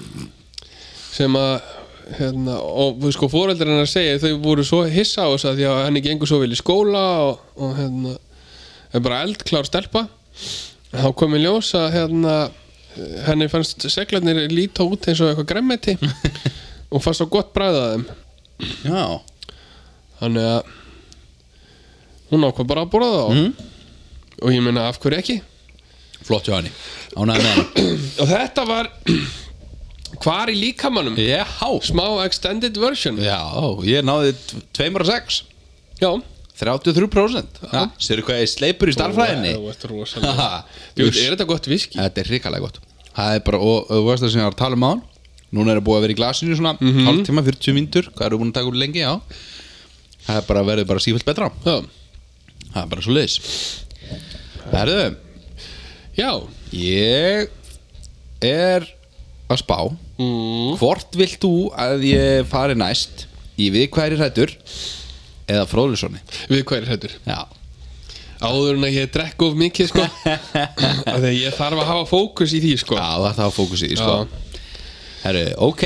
sem að hérna, og við sko fóreldrar hennar segja þau voru svo hissa á þess að því að henni gengur svo vel í skóla og, og hérna er bara eldklár stelpa þá komið ljós að hérna henni fannst seglarnir líta út eins og eitthvað gremmeti og fannst svo gott bræða þeim já þannig að hún ákvað bara að borða það Mhm. og ég meina af hverju ekki Flott hjá henni Ánægði með henni og þetta var hvar í líkamannum Já, smá extended version já, ég náði 2,6 já 33% Já. Sér hvað ég sleipur í starfræðinni Ó, þetta er Ha, rosalega. ha. Jú, er þetta gott viski? Þetta er hrikalega gott Það er bara, og og þú veist það sem ég var að tala um á hann Núna er það búið að vera í glasinu svona mm Mhm. -hmm. Hálftíma, 40 mínútur, hvað eru búin að taka úr lengi, já Það er bara verður bara sífælt betra Já. Það er bara svo leiðis Herðu, já ég er að spá mm. Hvort vilt þú að ég fari næst Í við hverju hrættur Eða fróðlisonni við hverjir hættur Já, áður en að ég drekk of mikið sko af því að ég þarf að hafa fókus í því sko já það er það að fókusi í sko Herru, ok,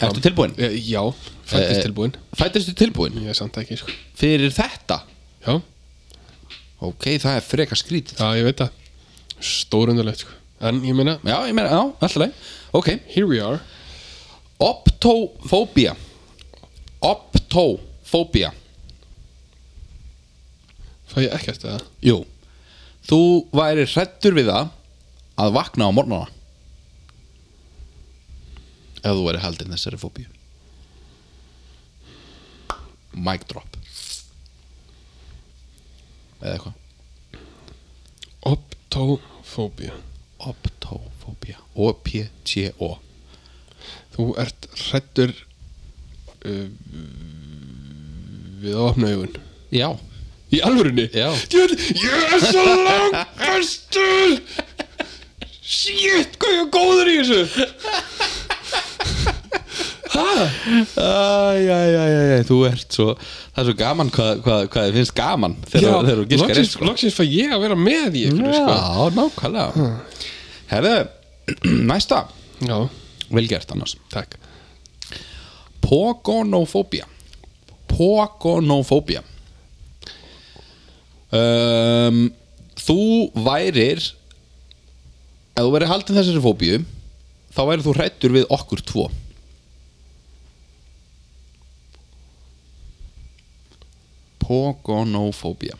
ertu tilbúin? Eh, já fættist Eh, tilbúin Fættistu tilbúin? ég er samt ekki sko Fyrir þetta? já Ok, það er freka skrítið já ég veit það stórundulegt sko en ég meina Já, ég meina, já, alltaf leið Ok, here we are optofóbía Optofóbía fæ ég ekkert eða Jú Þú væri hrættur við það að vakna á morgnana Ef þú væri haldinn þessari fóbíu mic drop eða eitthvað Optofóbía Optofóbía O-P-T-O Þú ert hrættur uh, við að opna augun Já, Í alvörunni? Já. Djöfull, Ég er svo langbestur Shit, hvað ég er góður í þessu Æ, æ, æ, æ, æ, þú ert svo Það er svo gaman hvað, hvað, hvað þið finnst gaman þegar þegar þú giskar sko. loksins, eins loksins fæ ég að vera með í ykkur sko. Já, nákvæmlega Herðu, næsta Já, Vel gert annars takk Pogonofóbía Pogonofóbía um, Þú værir ef þú værir haldin þessari fóbíu þá værir þú hrættur við okkur tvo Pogonofóbía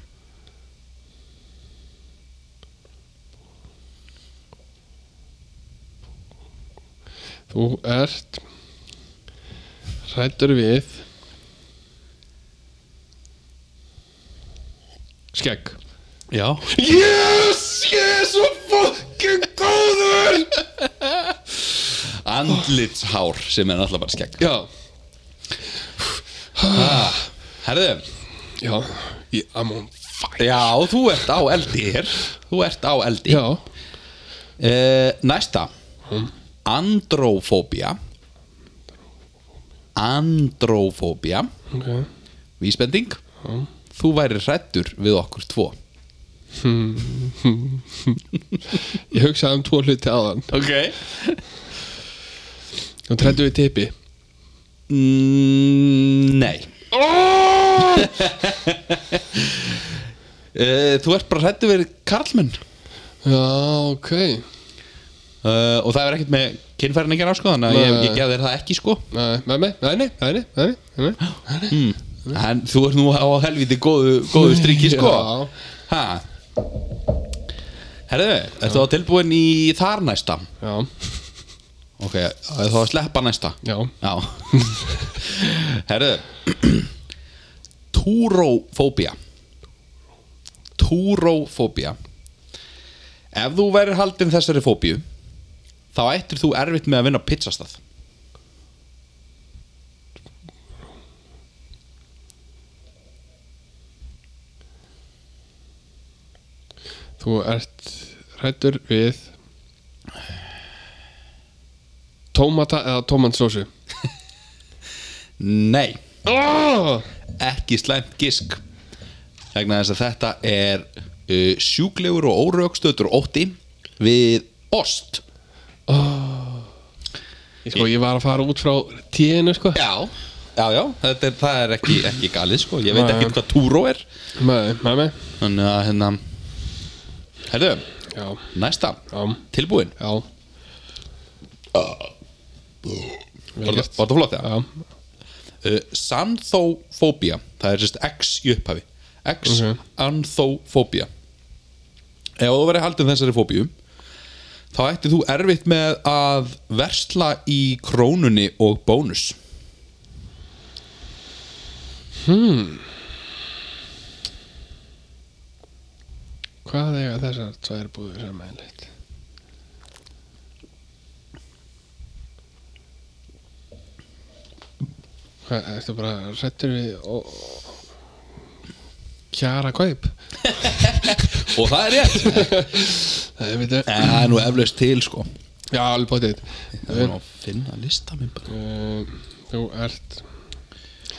Þú ert hrættur við Skegg Já Yes, ég er svo fucking góður Andlitshár sem er náttúrulega bara skegg Já, ah, Herðu já, ég, I'm on fire Já, þú ert á eldir Þú ert á eldi Já, Eh, næsta Andrófóbía Andrófóbía ok Vísbending Þú væri hrættur við okkur tvo Ég hugsaði um tvo hluti aðan Ok Þú trættu við tippi mm, Nei oh! uh, Þú ert bara hrættur við karlmenn Já, ok uh, Og það er ekkert með kynfærinningar á sko Þannig að ég, Nei. ég gef þér það ekki sko Nei, nei, nei, nei, nei, nei, nei, nei. mm. Hmm. En þú ert nú á helviti góðu, góðu striki sko Já. Ha Herðu, ertu þá tilbúin í þar næsta? Já, Ok, á ég þá að sleppa næsta já Já Herðu Túrófóbía Túrófóbía Ef þú værir haldin þessari fóbíu þá ættir þú erfitt með að vinna á pizzastað Þú ert hrættur við Tómata eða tómansósu Nei, oh! ekki slæmt gisk vegna þess að þetta er uh, sjúklegur og óraugstöður ótti við ost Sko, ég var að fara út frá tíðinu, sko Já Já, já, þetta er, það er ekki, ekki galið sko Ég veit Nei. ekki hvað túró er Nei, nei, nei Þannig að hérna Herðu, Já, næsta já, Tilbúin já Vel Var gert. það var það flott það? Já, Uh, Santhófóbía Það er sérst X í upphafi X Ok. anthófóbía Ef þú verið haldin þessari fóbíu Þá ættir þú erfitt með að versla í krónunni og bónus hvað eiga þessar tvær búður samanleitt? Hvað, ertu bara hrættur við og... kjara kaup? Og það er rétt Nei, við þetta En það er nú eflaust til sko Já, alveg bóttið Það er nú að finna lista minn bara Þú ert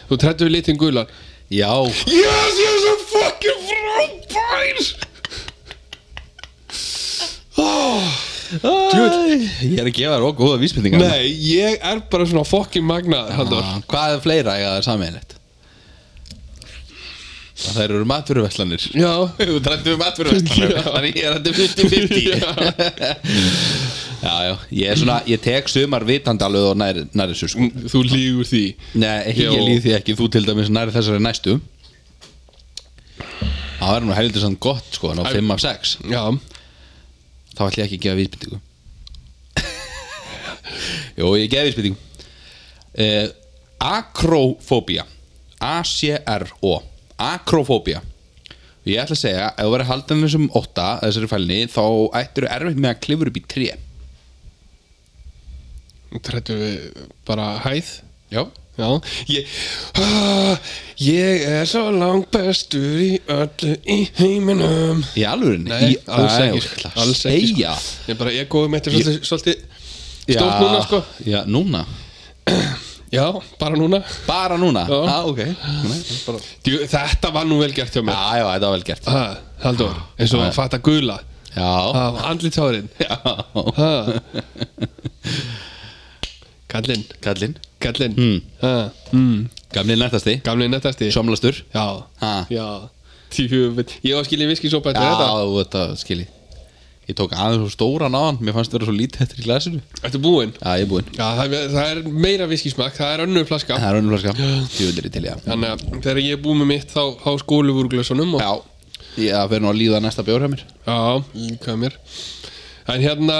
Þú trættu við litin gular Já, Yes, ég er svo fucking frábær Æ, Ég er að gefa þér okkur góða vísbendingar Nei, ég er bara svona fucking magnað Halldór ah, Hvað er fleira að það er sammeðinlegt? Það eru matfyrirveslanir Já Þú drættu við matfyrirveslanir Já. Þannig ég er þetta 50-50 Já, já, ég er svona Ég tek sumar vitandi alveg og næri, næri sér sko Þú lígur því Nei, ekki, Mm. Jó. ég líð því ekki Þú til dæmis næri þessari næstu Það verður nú heldur sann gott sko Ná 5 af 6 Já Þá ætlum ég ekki að gefa vísbendingu Jó, ég gefa vísbendingu eh, Akrófóbía A-C-R-O Akrofóbía Ég ætla að segja, ef þú verður haldin þessum ótta þessari fælni, þá ættir þú erfitt með að klifur upp í tré Trættu við bara hæð Já Já, ég, ah, ég er svo langt bestur í öllu í heiminum Í alvörinni? Nei, í, alls Æ, ekki, ég ætla að alls ekki sko. segja. Ég bara, ég góði mitt er svolítið, svolítið stórt Já, núna sko Já, núna Já, bara núna Bara núna? Já. ah, ok Nei, bara... Djú, Þetta var nú vel gert hjá Já, mér já, þetta var vel gert ha, Haldur, eins og Já. að fatta gula Já, af andlitárinn já. Ha. Kallinn, Kallinn kallinn Hmm. ha, mm. Gamli nættasti Gamli nettasti Somlastur Já, Ha. já Tjú, Ég var skiljið viskisópa Já, eftir þetta þetta skilji Ég tók aðeins svo stóran á hann Mér fannst þetta svo lítið eftir í glasinu Ertu búinn? Já, ég er búinn Já, það er, það er meira viskismak, það er önnur flaska Það er önnum flaska Tjóðlir í til, já Þannig að þegar ég er búið með mitt þá, þá skólu úr glössunum og, Já, ég það fer nú að líða næsta bjór hjá mér Já, líka mér En hérna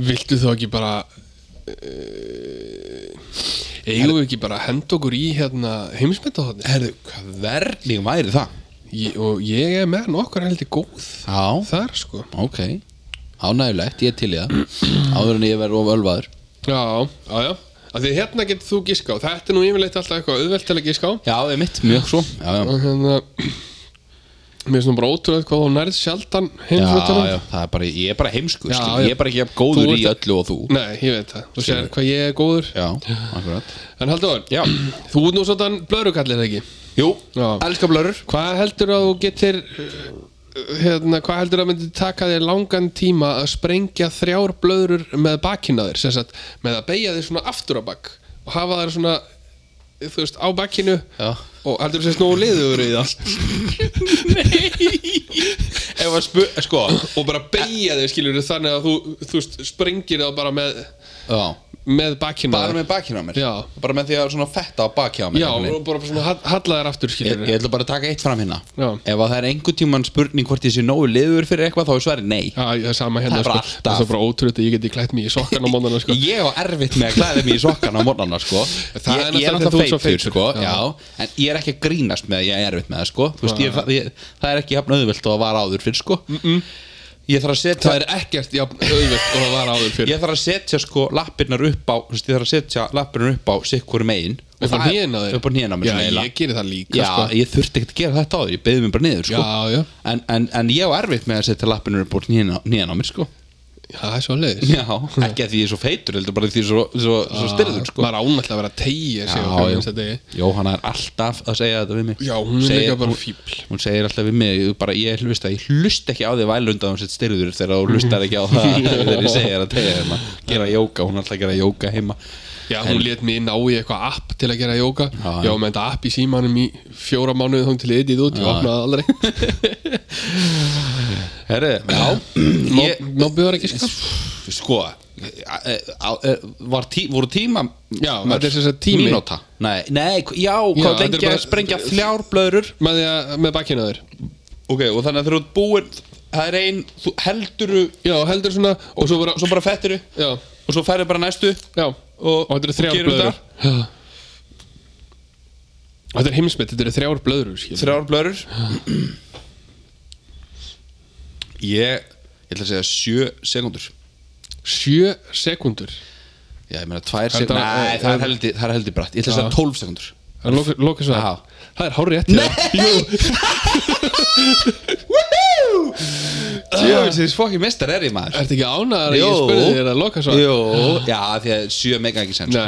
Viltu þá ekki bara uh, Eigum við ekki bara að henda okkur í hérna heimsmyndahotni Herðu, hvernig væri það? Og ég er með nokkur heldur góð Já, Þar sko ok Ánægilegt, ég er til í það Áður en ég verð of ölvaður Já, já, já Af Því hérna getur þú gíska á Þetta er nú yfirleitt alltaf eitthvað auðvelt til að gíska á Já, það er mitt, mjög svo Já, já, Og hérna Mér er svona bara ótrúlega hvað þú nærð sjaldan já, heimsmyndahotni já það er bara, Ég er bara heimskur, Já, skilji. já. ég er bara ekki jafn góður Þú í ert- öllu og þú Nei, ég veit það, þú sér hvað ég er góður Já, akkurat En Halldór, Já. þú ert nú svona blörukallir ekki Jú, Já. elska blörur Hvað heldur að þú getur uh, hérna, hvað heldur að myndi taka þér langan tíma að sprengja þrjár blöðrur með bakina þér, sem sagt með að beigja þér svona aftur á bakk og hafa þær svona, þú veist, á bakkinu Já. og heldur þess nú liður í það Ef að spu, sko og bara beigja þér skilur þannig að þú, þú veist, sprengir það bara með, Já með bakina Bara með bakinu á mér Já. Bara með því að svona fetta á bakinu á mér Já, einhvern og veginn. bara svona hall- halla þér aftur ég, skilur ég ætla bara að taka eitt fram hérna Já. Ef að það er einhver tíman spurning hvort ég sé nógu liður fyrir eitthvað þá er svarið nei Já, það er sama hérna Það er bara sko. alltaf. Það er bara ótrúið að ég geti klætt mig í sokkan á mónana sko. Ég á erfitt með að klæða mig í sokkana á mornana sko Það er ég, ég er náttúrulega þú ert náttúrulega svo feitur feitur, sko já. já. En ég er ekki að grínast með að ég er erfitt með það sko Þú veist, ég, það, ég, það er ekki jafn auðvelt og að vara áður fyrir sko mm -mm. Ég þarf að setja Það er ekkert jafn auðvöld og það var áður fyrir Ég þarf að setja sko lappirnar upp á þú veist, Ég þarf að setja lappirnar upp á sikkur megin Og Upp á það er- hnén á þér Upp á hnén á mér Já, svona eiginlega. ég geri það líka Já, sko. ég þurfti ekkert að gera þetta á því, ég beðið mér bara niður sko. Já, já. En, en, en ég á erfitt með að setja lappinu upp úr nýjan á hnén á mér sko. Já, það er svo leiðis Já, ekki að því ég er svo feitur heldur bara því ég er svo, svo, svo styrður sko. Ah, Maður ánættilega að vera að tegja sig á hverjum þess að degi Jóhanna er alltaf að segja þetta við mig Já, hún er segir, líka bara hún- fíbl. Hún segir alltaf við mig, ég bara, ég hlust að ég hlust ekki á því vælund að hún sett styrður þegar hún hlustar ekki á það þegar ég segir að tegja hérna gera jóka, hún er alltaf að gera jóka heima Já, hún lét mig ná í eitthvað app til að gera jóka Já, Já, með þetta app í símanum í fjóra mánuði þá til eitið út, ég opnaði aldrei Herri, já, Má- ég, Má bjóður ekki skap sko á- á- eh, var tí, voru tíma Já, þetta er sem sagt tími. mínúta nei, nei, hv- já, Já, hvað þetta er lengi bara- að sprengja þrjár blöðrur Með, því að- með bakkinu á þér ok, og þannig að þegar þú ert búinn það er ein, þú helduru Já, heldur svona og svo bara svo bara fetturu Já, og svo færðu bara næstu já og, Og þetta eru þrjár gerum blöður Þetta er heimsmynd, þetta eru þrjár blöður þetta. þrjár blöðrur ég, ég ætla að segja sjö sekundur Sjö sekundur já, ég meina tvær Þetta- sekundur nei, það er heldur, það er heldur brætt ég ætla að Já. segja tólf sekundur Það er loka- lokið svo Já. Það er hárið rétt Nei Jöfisins fokkin mestar er ég maður Ertu ekki ánæðar að ég spurði þér að loka svo Jú, já, því að 7 mega ekki sko. Eh, sens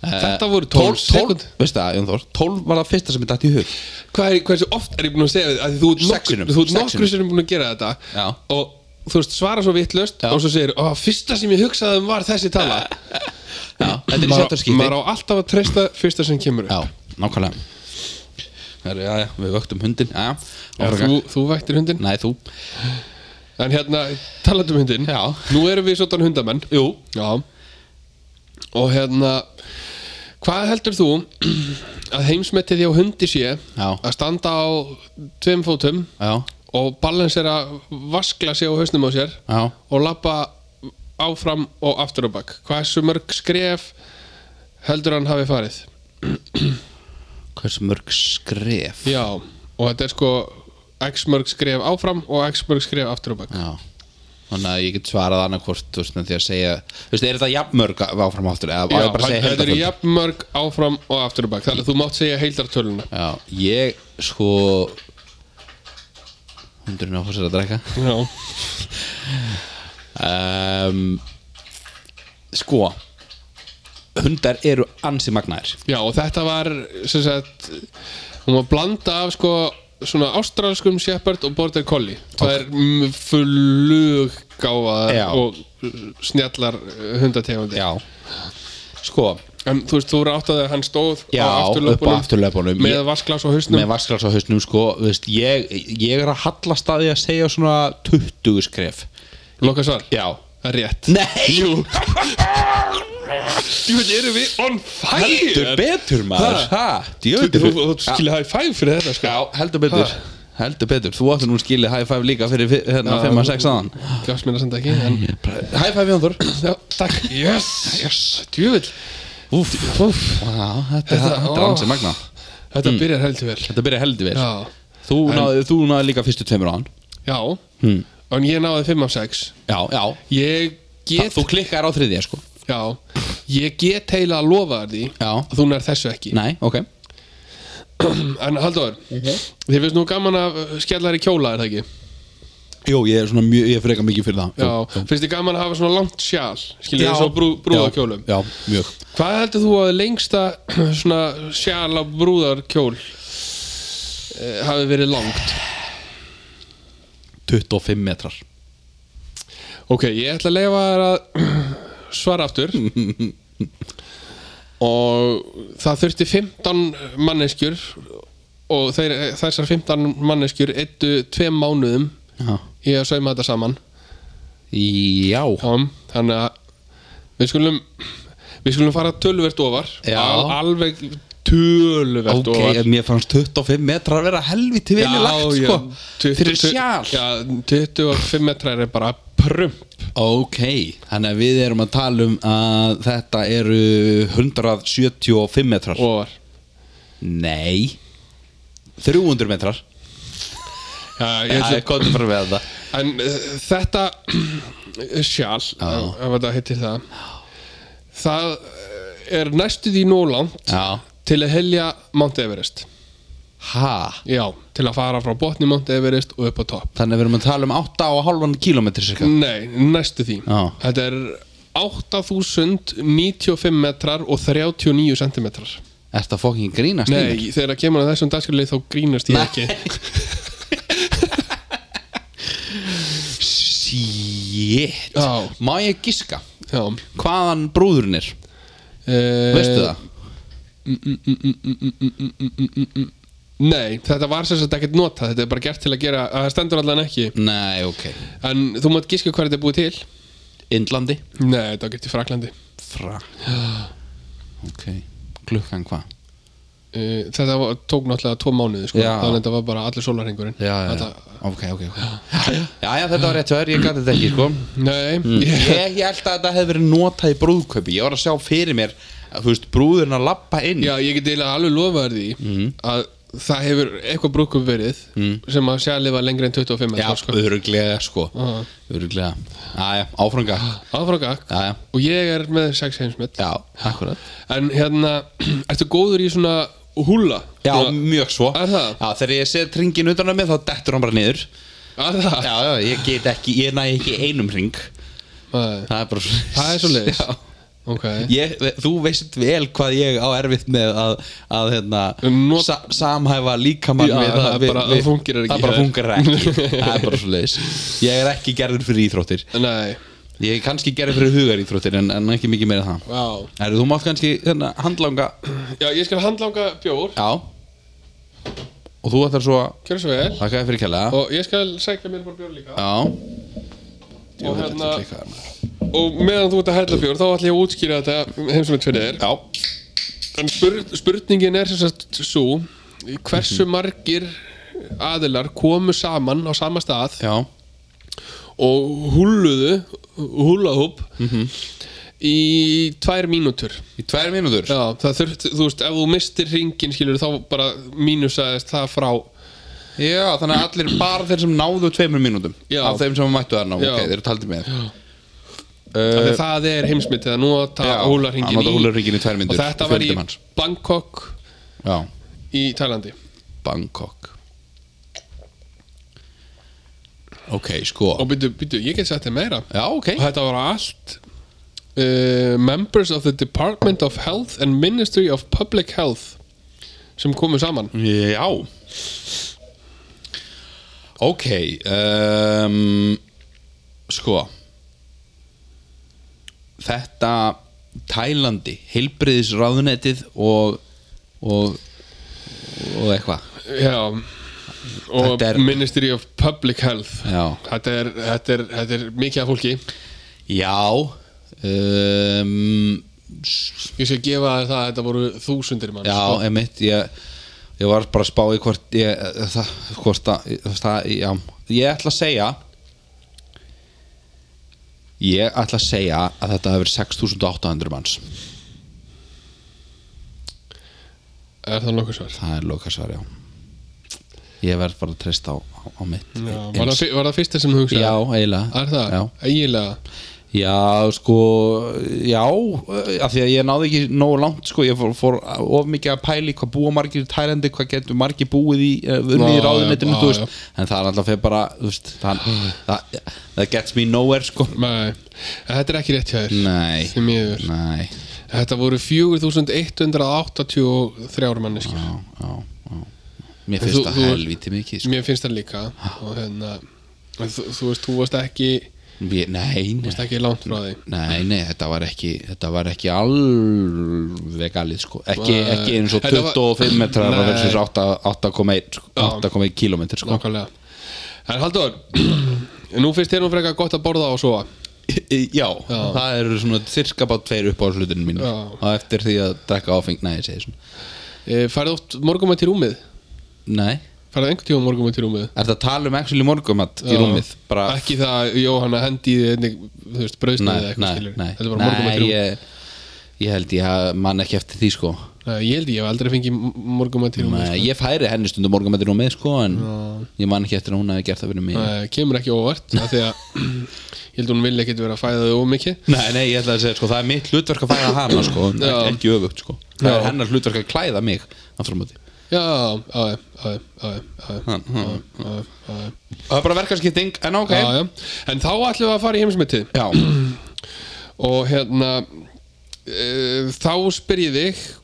Nei Þetta voru 12 sekund Veist það, Jón Þór, 12 var það fyrsta sem ég dætt í hug Hvað er, hversu oft er ég búin að segja þið að því þú ert Sex nokkur- sinnum. Þú ert Sex nokkru sinnum. sinni búin að gera þetta Já. Og þú veist svara svo vittlust Já. Og svo segir, ó, fyrsta sem ég hugsaði um var þessi tala Já, þetta er í Maður á- sjáttarskipti maður á alltaf að treysta fyrsta sem kemur upp Já, nákvæmlega Heru, Já, já, við vöktum hundin Já, já Já, þú, þú vættir hundin Nei, þú En hérna, talandi um hundin Já. Nú erum við svona hundamenn Jú Já Og hérna Hvað heldur þú að heimsmetið hjá hundi sé Já. að standa á tveim fótum Já, og balansera vaskla sig á hausnum á sér já og lappa áfram og aftur á bakk Hversu mörg skref heldur hann hafi farið? hversu mörg skref Já, og þetta er sko X mörg skref áfram og X mörg skref aftur og bak Já. þannig að ég get svarað annarkvort þú veist, með því að segja, þú veist, er þetta jafnmörg áfram áttur, eða á Já, ég bara að segja þetta er heildarfund? jafn mörg áfram og aftur og bak Þannig að þú mátt segja heildartöluna Já, ég, sko hundurinn á húsir að drekka Já, um, sko hundar eru ansi magnaðir Já og þetta var sem sagt, hún var blanda af sko svona ástralskum shepherd og border collie það er mm, Já. fluggáfaðar og snjallar uh, hundategundi já sko, en þú veist, þú eru átt að hann stóð Já, á upp á afturlöpunum. afturlöpunum með Ég- vasklas á hausnum með vasklas á hausnum sko, þú veist, ég, ég er að hallast að því að segja svona 20 skref Loka svar, já það er rétt Nei, Jú, Jú, þetta eru við on fire heldur betur maður Ha? Þú, djöfull er þú, fyrir- þú skilja high five fyrir þetta sko Já, heldur betur Ha? Heldur betur, þú áttu nú skilið high five líka fyrir fi- hérna 5 að 6 aðan Gafst mér að senda ekki en... High five Jón Þór Já, takk Yes, yes, djúvill Úf, úf, á, þetta, þetta, Þetta- þetta ó. er ansið magna Mm. Þetta byrjar heldur vel Þetta byrja heldur vel Já, Þú náði, þú náði líka fyrstu tveimur á hann já hmm. En ég náði 5 af 6 Já, já Ég Get. get Þú klikkar á þriðja sko Já Ég get heila að lofa þér því Já. að Þú nær þessu ekki Nei, ok En Halldór Þið finnst nú gaman að skella þér í kjóla er það ekki Jú, ég er svona mjög, ég er freka mikið fyrir það Já, finnst þið gaman að hafa svona langt sjál Skiljið þið svo brú, brúðarkjólum Já, já, mjög Hvað heldur þú að lengsta svona sjál á brúðarkjól eh, hafi verið langt? 25 metrar Ok, ég ætla að leifa þér að svara aftur og það þurfti 15 manneskjur og þeir, þessar 15 manneskjur eittu tveim mánuðum Já í að sauma þetta saman Já Já, þannig að við skulum við skulum fara töluvert ofar Já. alveg töluvert Ok, ofar en mér fannst 25 metrar að vera helviti vel í lagt já, sko 20 Fyrir sjál Já, 25 metrar er bara prump Ok, þannig að við erum að tala um að þetta eru 175 metrar ofar Nei 300 metrar Já, ég Það ætla er komið frá með þetta En uh, þetta sjál, ef ef þetta heitir það það uh, er næstu því nólangt Já til að helja Mount Everest Ha Já, til að fara frá botni Mount Everest og upp á topp Þannig að við erum að tala um 8,5 km cirka Nei, næstu því Já. Þetta er 8095 metrar og 39 centimetrar Er þetta fokkin grínast? Einar? Nei, þegar það kemur að þessum dagskriflið þá grínast ég ekki Shit Já. Má ég giska? Já, Hvaðan brúðurinn er? e Veistu það? Nei, þetta var sem sagt ekkert notað Þetta er bara gert til að gera, að það stendur allan ekki Nei, ok En þú mátt gíska hvað þetta er búið til Indlandi? Nei, þetta var gert í Fraklandi Fra Ok Klukkan hvað? uh, Þetta var, tók náttúrulega tvo mánuði sko. Já. Þannig að þetta var bara allir sólarhingurinn þetta, Ok, ok, ok Já, já, þetta var rétt hjá þér, ég gæti þetta ekki, sko Nei, Ég, ég, ég held að þetta hefði verið notað í brúðkaupi Ég var að sjá fyrir mér að, Þú veist, brúðurinn að lappa inn já, ég get eiginlega alveg lofaður því Mm. Að það hefur eitthvað brúkum verið Sem að sjálf var lengri en 25 já metrar, sko. öruglega, sko Já. Öruglega Æja, áfranga Áfram gakk Æja, Og ég er með 6 heimsmet já, akkurat En hérna, ertu góður í svona húla? Já, Svona- mjög svo Er það? Já, þegar ég set ringin utan að mig þá dettur hann bara niður Er það? Já, já, ég get ekki, ég næ ekki einum ring Nei. Það er bara Það er svoleiðis. Já. Ok ég, þú veist vel hvað ég á erfitt með að, að hérna, Um, Not- sa, samhæfa líkamann Já, við það er við- bara- við- það fungerar ekki það bara hjá þér. fungerar ekki það er bara svo leiðis ég er ekki gerður fyrir íþróttir Nei, ég er kannski gerður fyrir hugar íþróttir en, en ekki mikið meira en það já Heru, þú mátt kannski hérna, handlanga Já, ég skal handlanga bjór já og þú ætlar svo að Gjör svo vel þakka þér fyrir kjærlega Og ég skal sækja mér bara bjór líka já Og hérna Þetta klikkar. Og meðan þú ert að hella bjór Þá ætla ég að útskýra þetta heimsumlega fyrir þér já En spur, spurningin er sem sagt svo Hversu Mhm. margir aðilar komu saman á sama stað já Mhm. og húluðu húlahúp mm í tvær mínútur Í tvær mínútur? Já, það þurft, þú veist, ef þú mistir ringin skilur þá bara mínusaðist það frá Já, þannig að allir bara þeir sem náðu tveimur mínútum Já. Af þeim sem mættu þarna, Já. ok, þeir eru taldið með af því uh, að það er heimsmynd eða nota Já, að hólarringin nota húlarhringinn í tvær og mínútur, þetta var í fjöldi manns. Bangkok Já, í Tælandi Bangkok Ok, sko og býtu, býtu, ég get sett þér meira Já, ok og þetta var allt uh, members of the Department of Health and Ministry of Public Health sem komu saman Já Ok um, Sko Þetta Tælandi, heilbriðisráðunetið og og, og eitthvað já og Þetta er- Ministry of Public Health Já. þetta er, þetta er, þetta er mikið af fólki Já um, s- ég skal gefa þér það að þetta voru þúsundir manns Já, sko. emitt ég, ég var bara að spá í hvort ég, það, hvort að það, já, ég ætla að segja ég ætla að segja að þetta hefur 6800 manns er það nokkuð svar það er lokasvar, já ég verð bara að treysta á, á, á mitt Já, Eins- var, það, fi- var það fyrsta sem þú hugsaði? já, eiginlega Er það? Já. Eiginlega Já, sko, já, af því að ég náði ekki nógu langt, sko, ég fór, fór of mikið að pæli hvað búa margir í Tælandi, hvað getur margir búið í, eh, unnið í Já, ráðunetinu, já, þú já. veist, en það er alltaf fyrir bara, þú veist, það, það, það gets me nowhere, sko. Nei, en þetta er ekki rétt hjá þér Nei, Því miður. nei, Þetta voru 4183 manneski já, já, já, mér Þú- finnst það þú- helvítið mikið, sko, Mér finnst það líka og hérna en þú, þú veist, þú varst ekki mér, nei, nei. varst ekki langt frá því Nei, nei, þetta var ekki þetta var ekki alveg galið sko. ekki, Nei. ekki eins og Þetta var- 25 metrar Nei. versus 8 8,1 sko. Já. 8,1 km sko. Nákvæmlega En Halldór, nú finnst þér nú frekar gott að borða og sofa Já, Já. það eru svona cirka bát tveir upp á hlutinu mínu Já. og eftir því að drekka áfeng nei, ég segi svona e, Færðu oft morgumætt í rúmið? Nei, Færðu einhvern tíma morgumætt í rúmið? er það að tala um actually morgumat í Já. rúmið bara, Ekki það, Jóhanna, hendi í þig einnig, þú veist, brauðsnið nei, eða eitthvað nei, skilur nei, Þetta er bara nei morgumætt í rúmið ég, ég held ég að mann ekki eftir því sko Nei, ég held ég hef aldrei fengið morgumætt í rúmið sko. Nei, ég færi henni stundum morgumat í rúmið sko en ég man ekki eftir að hún hafi gert það fyrir mig Nei, Eh, kemur ekki óvart af því að ég held hún vilja ekkert vera að fæða þau ómikið Nei, nei, ég ætla að segja, sko, það er mitt hlutverk að fæða hana, sko, en Já. ekki, ekki öfugt, sko Það Já. er hennar hlutverk að klæða mig, aftur á móti já, aðe, aðe, aðe, aðe, Ha, ha. aðe, aðe. Það er bara verkarskipting, en ok Já, já. en þá ætlum við að fara í heimsmetið já. og hérna e, þá spyr ég þig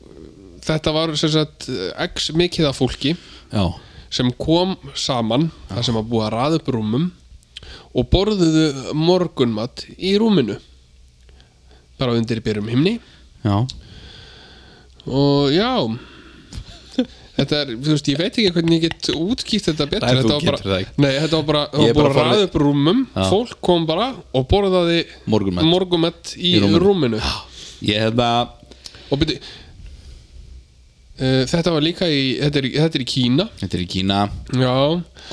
þetta var sem sagt e, x mikið af fólki já, sem kom saman þar sem að búa að raða upp rúmum og borðuðu morgunmat í rúminu bara undir byrjum himni já og já þetta er, þú veist, ég veit ekki hvernig ég get útskýrt þetta betur Nei, þú þetta var getur það bara, ekki. nei, þetta var bara, það Ég er var bara bara farið- ræði upp rúmum Já. fólk kom bara og borðaði Morgunmat. morgunmat í, Í rúminu. rúminu, Ég hefða, og byrju uh, þetta var líka í þetta er, þetta er í Kína þetta er í Kína já,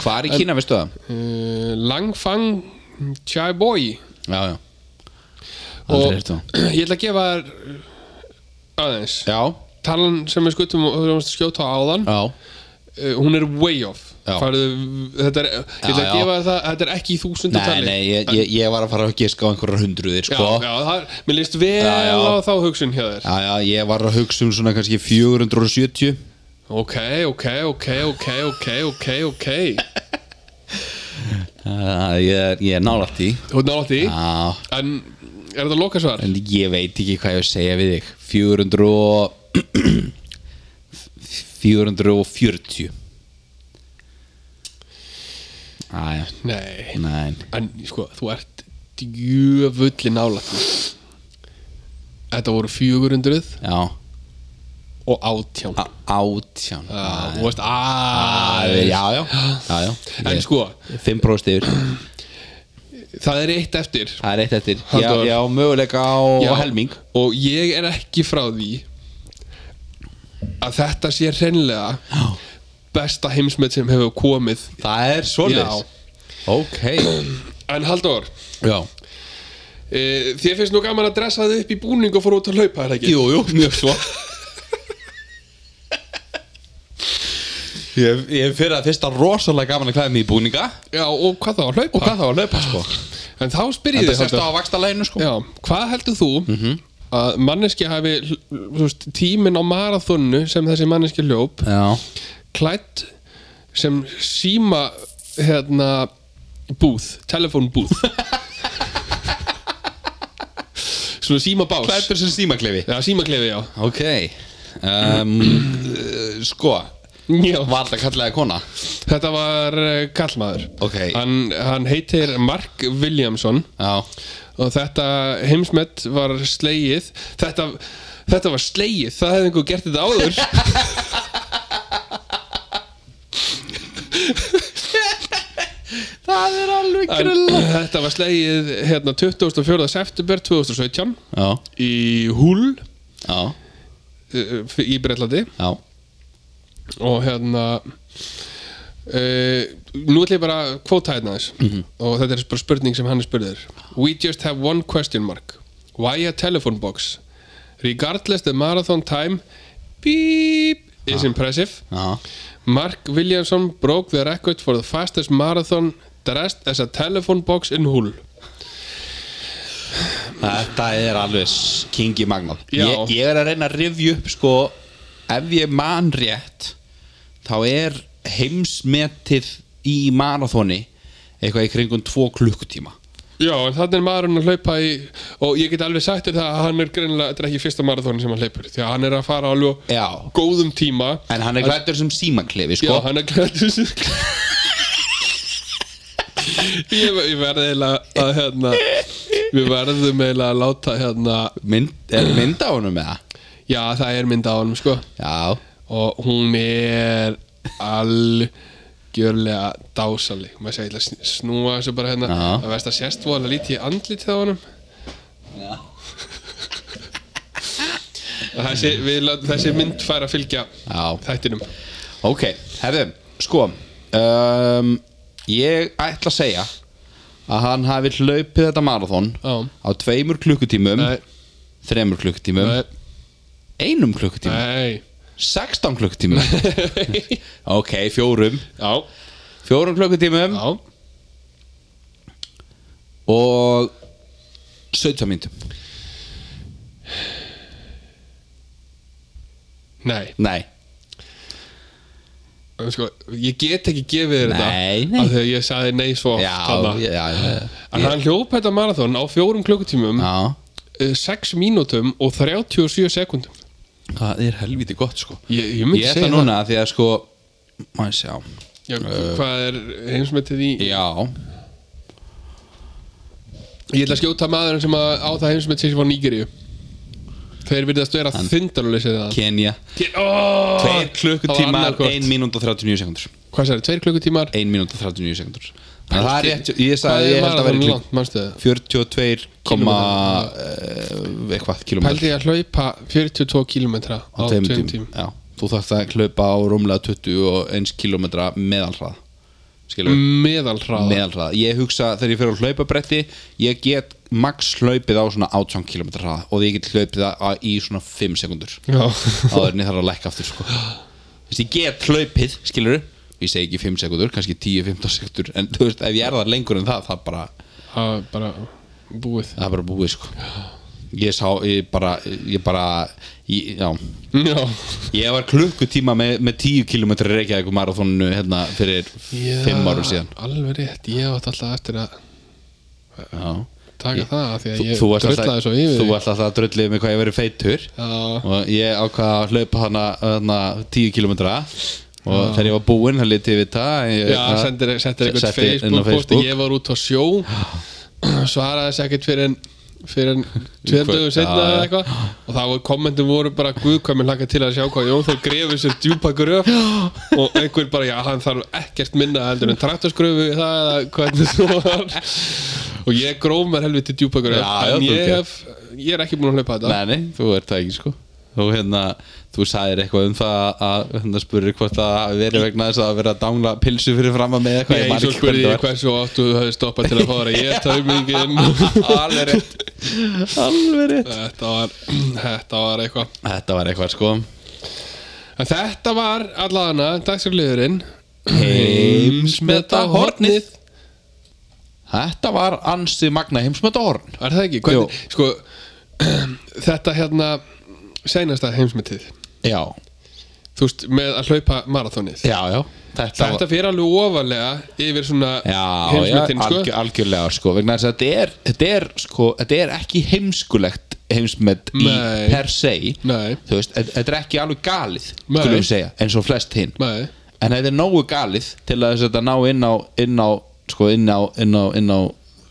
Hvað er í Kína, veistu það? uh, Langfang Chai Boy Já, já og Aldrei um. eftir það ég ætla að gefa þær aðeins Já, talan sem við skutum og höfum að skjóta á áðan já, uh, hún er way off Já. Farðu, þetta er, ég ætla Já, að já. gefa það þetta er ekki í þúsundu nei, tali nei, ég, ég, ég var að fara að giska á einhverjar hundruðir, já, sko já, það, mér líst vel Já, já. á þá hugsun hjá þér já, ég var að hugsa um svona kannski 470 ok, ok, ok, ok, ok, ok, ok uh, Ég er, ég er nálægt í þú er nátt í Já, en er þetta lokasvar? En ég veit ekki hvað ég að segja við þig 400 og 440 Æja, nei, nein en sko, þú ert djöfulli nálætt því. þetta voru 400 Já, og 18 á- átján Ah, þú veist, aðeins Ah. Já, já, já, já en Ég- sko, Fimm bróðst yfir það er eitt eftir Það er eitt eftir Já, Halldór. já möguleika á Já. á helming og ég er ekki frá því að þetta sé hreinlega Já. besta heimsmet sem hefur komið Það er svoleiðis Ok en Halldór Já, Eh, Þér finnst nú gaman að dressa þið upp í búning og fór út að laupa, er það ekki? Jú, jú, mjög svo Ég, ég fyrir að fyrsta rosalega gaman að klæða mig í búninga Já, og hvað þá að laupa? og hvað þá að laupa sko En þá spyr ég Þetta þig, sérst Halldór. á vaksta læginu sko Já, hvað heldur þú að manneski hafi hl- þú veist, tíminn á marathonnu sem þessi manneski hljóp Já, klætt sem síma hérna búð, telefónbúð Svona síma bás klæður sem símaklefi Já, símaklefi, já Ok um, uh, Sko, Já, var þetta kallega kona? þetta var eh, kallmaður Ok. hann, hann heitir Mark Williamson Já og þetta heimsmet var slegið þetta, þetta var slegið, það hefði einhver gert þetta áður Það er alveg en, þetta var slegið hérna 24. september 2017 Já, í Hull já, eh, í Breitlandi já og hérna Uh, nú ætlum ég bara að kvóta hérna þess og þetta er bara spurning sem hann er spurður We just have one question mark Why a telephone box? Regardless the marathon time Beep Is impressive Já, Mark Williamson broke the record for the fastest marathon dressed as a telephone box in Hull þetta er alveg s- kingi magnað Já. ég, ég er að reyna að rifja upp sko Ef ég man rétt Þá er heimsmetið í marathoni Eitthvað í kringum tvo klukkutíma Já, en þannig er maðurinn að hlaupa í og ég get alveg sagt þér það að hann er greinilega þetta er ekki fyrsta marathon sem hann hleypur því að hann er að fara alveg Já góðum tíma En hann er glættur sem símaklefi Já, sko hann er glæður ég, ég verði eiginlega að hérna við verðum eiginlega að láta hérna mynd, Er mynd á honum með það? já, það er mynd á honum sko Já og hún er algjörlega dásaleg maður segir að snúa þessu bara hérna Já. að veist að sérst vola lítið í andlitið á honum þessi, við, látum þessi mynd fær að fylgja Já. þættinum Ok, herðu, sko um, Ég ætla að segja að hann hafi hlaupið þetta marathon Já. á tveimur klukkutímum Nei. þremur klukkutímum Nei. einum klukkutímum, Nei 16 klukkutímum ok, fjórum Já, fjórum klukkutímum já og 17 myndum Nei, nei, En sko, ég get ekki gefið þér þetta Nei, nei. af því að ég sagði nei svo oft já, þarna. já, já, En hann hljóp þetta marathon á fjórum klukkutímum já 6 Eh, mínútum og 37 sekundum það er helviti gott sko Ég, ég myndi ég ætla segja núna Eh. að því að sko maður sjá, það Já, Hvað er heimsmetið í já Ég ætla að skjóta maðurinn sem að á það heimsmetið sem var Nígeríu Þeir virðast vera þindarleysið það Kenya oh, Tveir klukkutímar, 1 mínúnd og 39 sekundur Hvað sagði, tveir klukkutímar 1 mínúnd og 39 sekundur Þannig að það er rétt, ég Hvað sagði er ég held að marathon vera klukk langt, manstu það? 42, komma, eh, eitthvað, kilómetrar Pældi ég að hlaupa 42 km á á tveim tveim tím tímum Já, þú þarft að hlaupa á rúmlega 21 kilometra meðalhrað Skilur, Meðalhraða meðalhrað Ég hugsa þegar ég fer á hlaupabretti ég get max hlaupið á svona 18 kilometra hrað og ég get hlaupið á, í svona 5 sekundur Já, áður en ég þarf að lækka aftur sko. Þess, ég get hlaupið, skilur ég segi ekki 5 sekundur, kannski 10-15 sekundur en þú veist, ef ég er það lengur en það það er bara, það er bara búið það er bara búið sko. ég sá, ég bara ég bara, ég, já Já ég var klukkutíma með, með 10 km reykjaðið marathoninu hérna fyrir 5 árum síðan Alveg rétt, ég átt alltaf eftir að já. taka Ég- það af því að Þú- ég þú varst drullaði alltaf, svo yfir þú þig. varst alltaf að drullið með hvað ég verið feitur Já, og ég ákvaða að hlaupa hana, hana 10 km og þegar ég var búinn þá litið við það ég, já það- sendir, sendir setti eitthvað inn á Facebook posti Ég var út á sjó Svaraði þess ekkert fyrir en fyrir en tveim Kvöld, dögum setna já, eða já. eitthvað og þá var kommentum voru bara guðkvæmin langa til að sjá hvað Jón Þór grefur sér djúpa gröf og einhver bara, já, hann þarf ekkert minna heldur en traktorsgröfu í það eða hvernig svo var og ég gróf mér helviti djúpa gröf Já, já, en þú ég, gerir. hef, ég er ekki búin að hlaupa þetta Nei, nei, þú ert það ekki sko og hérna, þú sagðir eitthvað um það að hérna, spurir hvort það hafi verið vegna þess að vera að dangla pilsu fyrir fram að með eitthvað Ég man eins og ekki spurði hvernig ég hversu oft þú hefði stoppað til að fá þér að geta um yngin það var. alveg rétt alveg rétt Þetta var, þetta var eitthvað þetta var eitthvað sko En þetta var allavega dagskrifliðurinn heimsmeta hornið þetta var ansið magna heimsmeta horn Er það ekki? Hvernig, sko, þetta hérna seinasta heimsmetið já, Þú veist, með að hlaupa marathónið já, já þetta, Þetta fyrir alveg ofalega yfir svona Já, já heimsmetin sko. algjör, algjörlega sko vegna þess að þetta er, þetta er, sko, þetta er ekki heimskulegt heimsmet í Nei. per se Nei. þú veist, þetta þetta er ekki alveg galið Nei. skulum við segja, eins og flest hinn Nei. en þetta er nógu galið til að þess að þetta ná inn á inn á, sko, inn á, inn á, inn á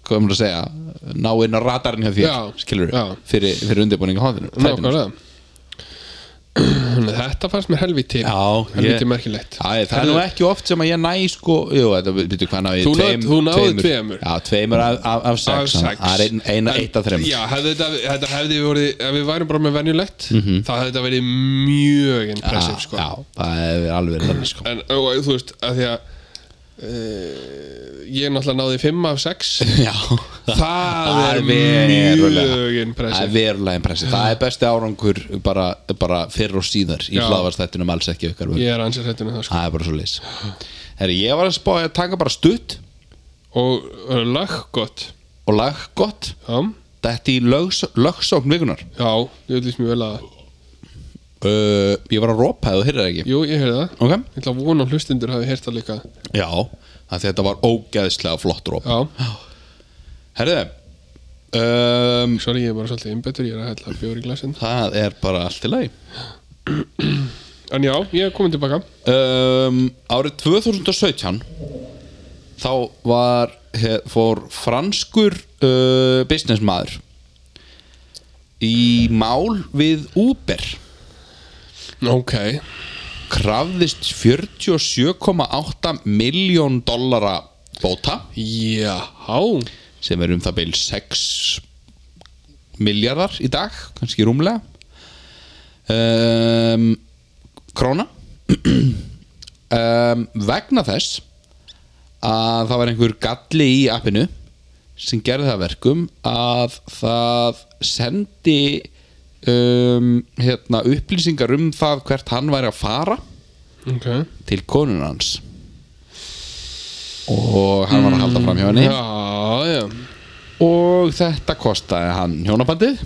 hvað er maður að segja, ná inn á radarinn hjá þér, Já. skilur Já. fyrir, fyrir undirbúninga hóðinu Nákvæmlega Þannig að Þetta fannst mér helviti Já, Helviti merkilegt Æ, það er nú ekki oft sem að ég næ sko Jú, þetta byrju hvað náði ég? Þú náð- Tveim- þú náði tveimur- tveimur. Já, tveimur af, af, af sex, Af sex. Það er ein, eina, En- eitt af þreim Já, hefði þetta, þetta hefði voru, ef við værum bara með venjulegt mm -hmm. það hefði þetta verið mjög impressive sko. Mhm. Já, það er alveg verið þannig sko en og, þú veist, að því að uh, ég náttúrulega náði 5 af 6 Já það er mjög verulega- Það er impressive verulega impressive Það er besti árangur bara, bara fyrir og síðar í Já. hlaðvarstættinum alls ekki ykkar vegna. ég er ansið hættur með það sko. Það er bara svo leys Herri, ég var að spá að taka bara stutt og uh, laggott og lag gott já, Þetta í lögs, lögsókn vikunar já, ég lýst mjög vel að það. uh, Ég var að ropa eða þú heyrðir ekki jú, ég heyrði það Ok ég ætla að vona að hlustundur hafi heyrt það líka Já, af því þetta var ógeðslega flott róp já, Herðu um, sorry, ég er bara svolítið einbetur ég er að hella bjóri glasin Það er bara allt í lagi en já, ég er komin tilbaka um, Árið 2017 Þá var he, fór franskur uh, businessmaður í mál við Uber ok, krafðist 47,8 miljón dollara bóta já, sem er um það bil 6 miljardar í dag, kannski rúmlega um, króna um, vegna þess að það var einhver galli í appinu sem gerði það að verkum að það sendi um, hérna, upplýsingar um það hvert hann væri að fara ok til konun hans og hann var að halda fram hjá henni Mm, Já, já og þetta kostaði hann hjónabandið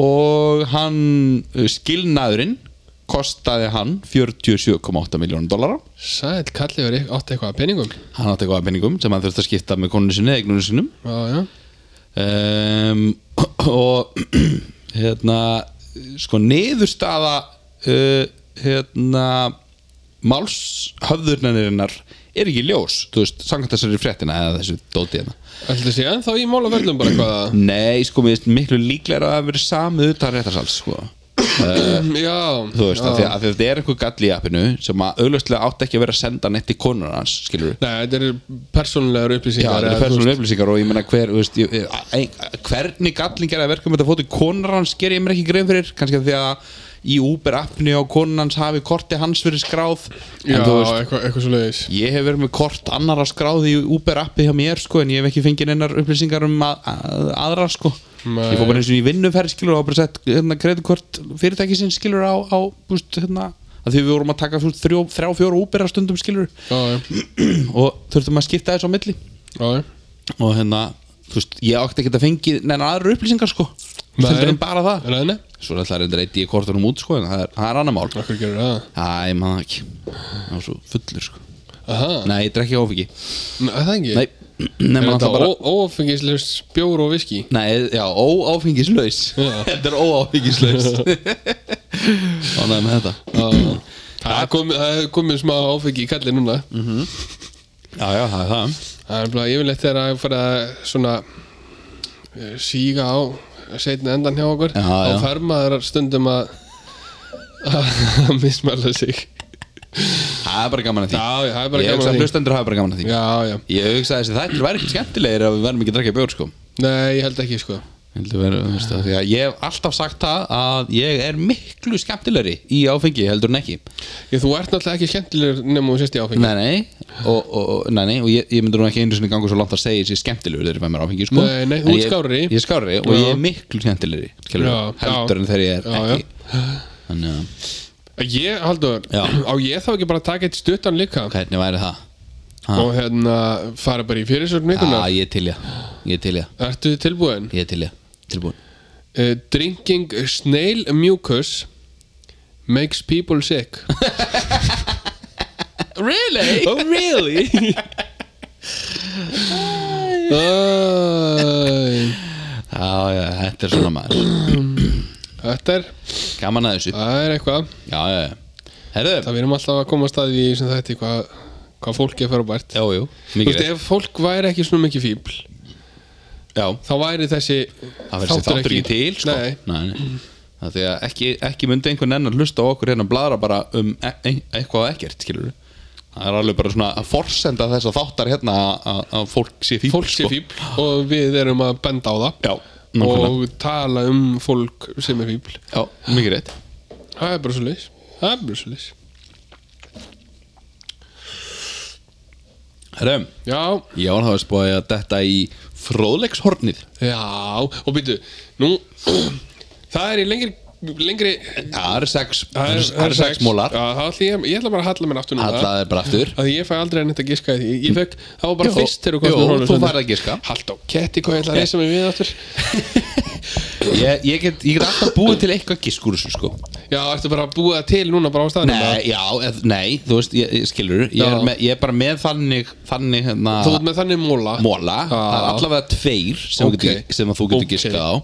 og hann uh, skilnaðurinn kostaði hann 47,8 miljónum dollara Sæl, kallið var átti eitthvað að peningum hann átti eitthvað af penningum sem hann þurfti að skipta með konunni sinni, eignunni sinum Já, já um, og hérna sko niðurstaða uh, hérna málshöfðurnarinnar er ekki ljós, þú veist, samkvæmt þessari fréttina eða þessu dóti hérna Ætli það sé ennþá í málaferlum bara eitthvað Nei, sko, mér finnst miklu líklega að það hafi verið samið utan réttarsals, sko að- Já, Þú veist, já. af því að, af því að þetta er einhver gall í appinu sem að auðvitað átti ekki að vera að senda neitt í konur hans, skilur við Nei, þetta eru persónulegar Já, upplýsingar þetta eða, er persónulega upplýsingar og ég meina hver, þú veist, ég, ég- ein- hvernig gallin gerði að verka með þetta fótið konur hans ger ég mér ekki grein fyrir, kannski af því að í Uber appinu á konur hans hafi korti hans verið skráð Já, en þú veist, eitthvað, eitthvað svo leiðis Ég hef verið með kort annara skráði í Uber appi hjá mér sko en ég hef ekki fengið neinar upplýsingar um að, að, aðra sko Nei. Ég fór bara eins og í vinnuferð skilur og bara sett hérna kreditkort fyrirtækisinn skilur á, á búst, hérna, að því við vorum að taka þú veist, þrjó, þrjá, fjóra Uber á stundum skilur Já, já, og þurftum að skipta þessu á milli já, já. og hérna, þú veist, ég átti ekki að fengið neinar aðra upplýsingar sko Nei. heldur en bara það Er það henni? Svo er alltaf reyndar eitt í kortunum út sko en það er, það er annar mál Æ, Akkur gerur það ég maður það ekki Það var svo fullur sko Aha, Nei, ég drekki áfengi Nei, það ekki Nei, Er nema þetta alltaf bara bara... ófengislegs bjór og viski? Nei, já, óáfengislaus Já. Þetta er óáfengislaus Ánægði með þetta Já Það er komið, það er komið smá áfengi í kalli núna Já, já, það er það Það er bara yfirleitt þegar að fara að svona eh, síga á setna endan hjá okkur Já, já. þá fer maður stundum að að mismæla sig Það er bara gaman að því Já, já, það er bara Ég gaman hugsa að að því. hlustendur hafa bara gaman að því Já, já, Ég hugsa að þessi þættir væri ekki skemmtilegir ef við verðum ekki að drekja bjór sko nei, ég held ekki sko Heldur verið, þú veist, af því að ég hef alltaf sagt það að ég er miklu skemmtilegri í áfengi heldur en ekki Ég, þú ert náttúrulega ekki skemmtilegur nema þú sést í áfengi Nei, nei, og, og, og, nei, nei, og ég, ég myndur nú ekki einu sinni gangu svo langt að segja þessi skemmtilegur þegar ég fæ mér áfengi sko. Nei, nei, þú En ert ég- skárri. Ég er skárri og Já. ég er miklu skemmtilegri skilur, Já, já. heldur en þegar ég er Já, ekki Þannig að, Ég, Haldur, Já. á ég þá ekki bara að taka eitt stuttan líka hvernig væri það? Ha, og hérna fara bara í fyrirsögn að, vikunar ég er til ég, ég er til ég, Ertu tilbúin? ég er til ég, tilbúin Uh, drinking snail mucus makes people sick Really? Oh really? Æ, já, já, þetta er svona maður Þetta er, Gaman að þessu Já, það er eitthvað já, já Herðu, Það við erum alltaf að koma að staði í sem þetta hvað, hvað fólk er frábært jú, jú, Þú mikið veist, rétt ef fólk væri ekki svona mikið fíbl Já, þá væri þessi það verður sér þáttur ekki til sko. Nei, Nei, nei. Það því að ekki, ekki myndi einhvern enn að hlusta á okkur hérna bladra bara um e e eitthvað og ekkert, skilur Það er alveg bara svona að forsenda þess að þáttar hérna að- að að fólk sé sko. fíbl fólk sé fíbl og við erum að benda á það Já, nákvæmlega og tala um fólk sem er fíbl Já, mikið rétt það er bara svo leys það er bara svo leys Herðum, já, ég var það að spóið að detta í fróðleikshornið já, og býtu nú, það er í lengri lengri Það eru sex, það eru- það eru sex mólar já, það ætla ég, ég ætla bara að halla mér aftur núna Hallaði bara aftur að ég fæ aldrei neitt að giska því ég fekk, það var bara Jó, fyrst þegar þú komst jó, með Rolling þú Stones. færð að giska. Hald á ketti hvað ég ætla að reysa mig við aftur ég, ég, get, ég get alltaf búið til eitthvað gísk úr þessu sko já, ertu bara að búa það til núna bara á staðnum eða? Nei, já, eð, nei, þú veist, ég, ég skilur ég er, Já. með, ég er bara með þannig, þannig hérna, þú ert með þannig móla móla, það er allavega tveir sem, Ok. okay. getur, sem að þú getur Ok, okay. giskað á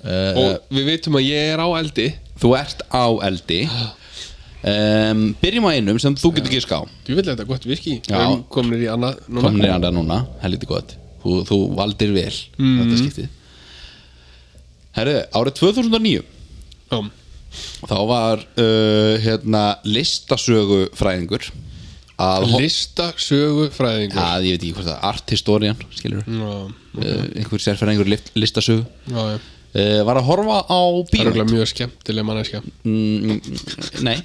Eh, ok og við veitum að ég er á eldi Þú ert á eldi um, Byrjum á einum sem þú getur giskað á þú vil þetta gott virki Já. við erum kominir í annað núna Komnir í andan núna, helviti gott Þú, þú valdir vel Mm. þetta skiptið Herru, árið 2009 Já. þá var uh, hérna listasögufræðingur að, ho- lista sögu fræðingur að ég veit ekki hvort það, art historian skilur, mm. já, uh, einhver sérfræðingur lift- listasögu já, já. uh, var að horfa á það er bíómynd örugglega mjög skemmtileg manneskja mm, mm, nei,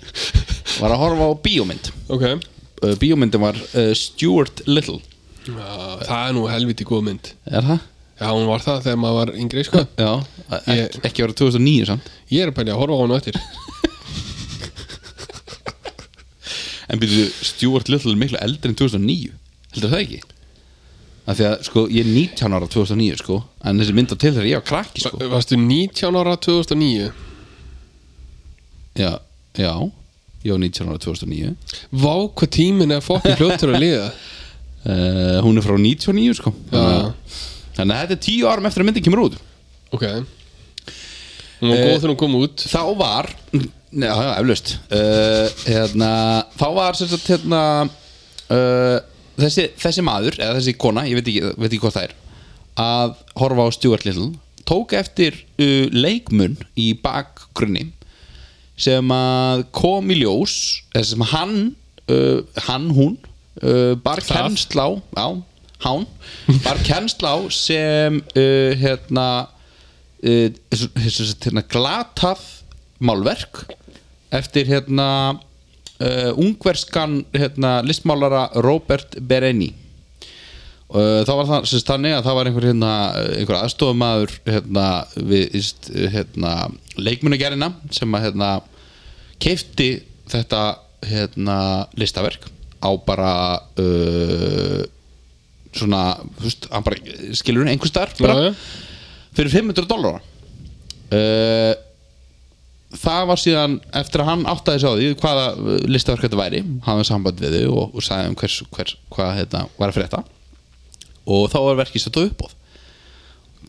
var að horfa á bíómynd ok já, uh, bíómyndin var uh, Stuart Little það er nú helviti góð mynd er það? já, hún var það þegar maður var yngri sko Já, Ég- ekki, ekki var 2009 samt ég er að pæli að horfa á hún öttir En byrju, Stuart Little er miklu eldri en 2009 Heldur það ekki? Af því að, sko, ég er 19 ára 2009, sko En þessi mynd á til þegar ég var krakki, sko varstu 19 ára 2009 Já, já Ég var 19 ára 2009 vá hvað tíminn er fokkin fljóttur að liða uh, Hún er frá 99, sko Þannig að- Þannig að þetta er 10 árum eftir að myndin kemur út ok hún var Eh, góð þegar hún kom út Þá var Nei, já, já, eflaust uh, hérna, Þá var sem sagt hérna uh, þessi, þessi maður Eða þessi kona, ég veit ekki, veit ekki hvað það er Að horfa á Stuart Little Tók eftir uh, leikmun Í bakgrunni Sem að kom í ljós Eða sem hann uh, Hann, hún uh, Bar Það. kennsla á Já, hán Bar kennsla á sem uh, Hérna uh, þessu- þessu- þessu- hérna, glatað málverk eftir hérna uh, ungverskan hérna, listmálara Robert Bereni uh, þá var það sérst, þannig að það var einhver, hérna, einhver aðstofumæður hérna, við íst, hérna, leikmunagerina sem að hérna, keifti þetta hérna, listaverk á bara uh, svona, þú veist, hann bara skilur einhvers staðar Já, bara, já. fyrir 500 dólar uh, það var síðan eftir að hann áttaði sig á því hvaða uh, listaverk þetta væri hann var samband við þau og, og sagði um hvers, hvers, hvað þetta var að frétta og þá var verkið sett á uppbóð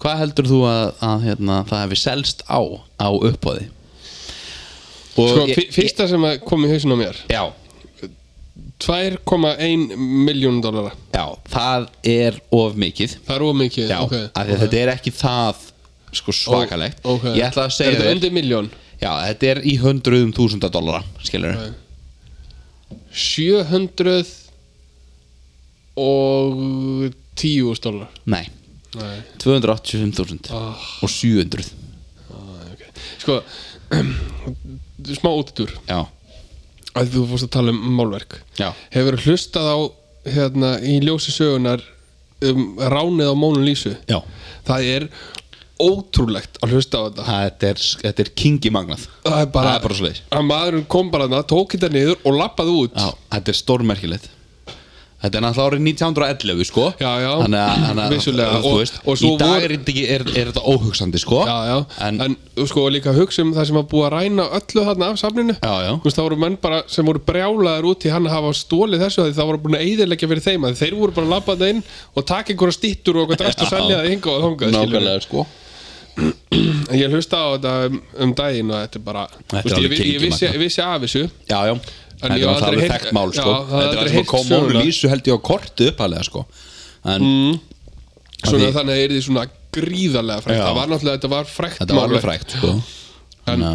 hvað heldur þú að, að hérna, það hefði selst á á uppbóði og Sko, ég- ég, fyrsta sem að kom í hausin á mér ég- já, 2,1 miljón dollara já, það er of mikið Það er of mikið já, ok. okay, af því að þetta er ekki það sko svakalegt Ó, ókei. ég ætla að segja Er þetta þér- undir miljón? Já, þetta er í hundruðum þúsunda dollara skilur 700 og 10 stólar Nei, Nei. 285.000 Ah. og 700 Æ, ok. Sko Smá útidur já, að Þú fórst að tala um málverk Já. Hefur hlustað á hérna, í ljósi sögunar um ránið á Mónu Lísu já Það er ótrúlegt að hlusta á þetta þetta er, þetta er kingi magnað Það er bara, Það er bara svoleiðis. að maðurinn kom bara þarna, tók þetta niður og lappaði út já, þetta er stórmerkilegt þetta er náttúrulega árið 1911 sko Já, já, þannig að, þannig að vissulega. þú Og- veist, og svo í dag vor- er, þetta ekki, er, er þetta óhugsandi sko Já, já, en, en, sko líka hugsa um það sem var búið að ræna öllu þarna af safninu Já, já. Þú veist, það voru menn bara sem voru brjálaðar út í hann að hafa stólið þessu því það voru búin að eyðileggja fyrir þeim að þeir voru bara að labba það inn og taka einhverja stýttur og eitthvað drast og selja það hingað og þangað skilurðu. nákvæmlega sko En ég hlusta á þetta um, um daginn og þetta er bara Þetta er Þú veist, ég, alveg vi- ég, vissi, kynkimagnað. ég vissi af þessu Já, já En ég Þetta er hef alltaf aldrei alveg heyrt- þekkt mál já, sko það hef Þetta er aldrei það sem heyrt kom Mónu söguna. Lísu held ég á korti uppalega sko En Svona Því- þannig að er því svona gríðarlega frækt Já. Það var náttúrulega, þetta var frækt þetta var alveg málverk. frægt sko en,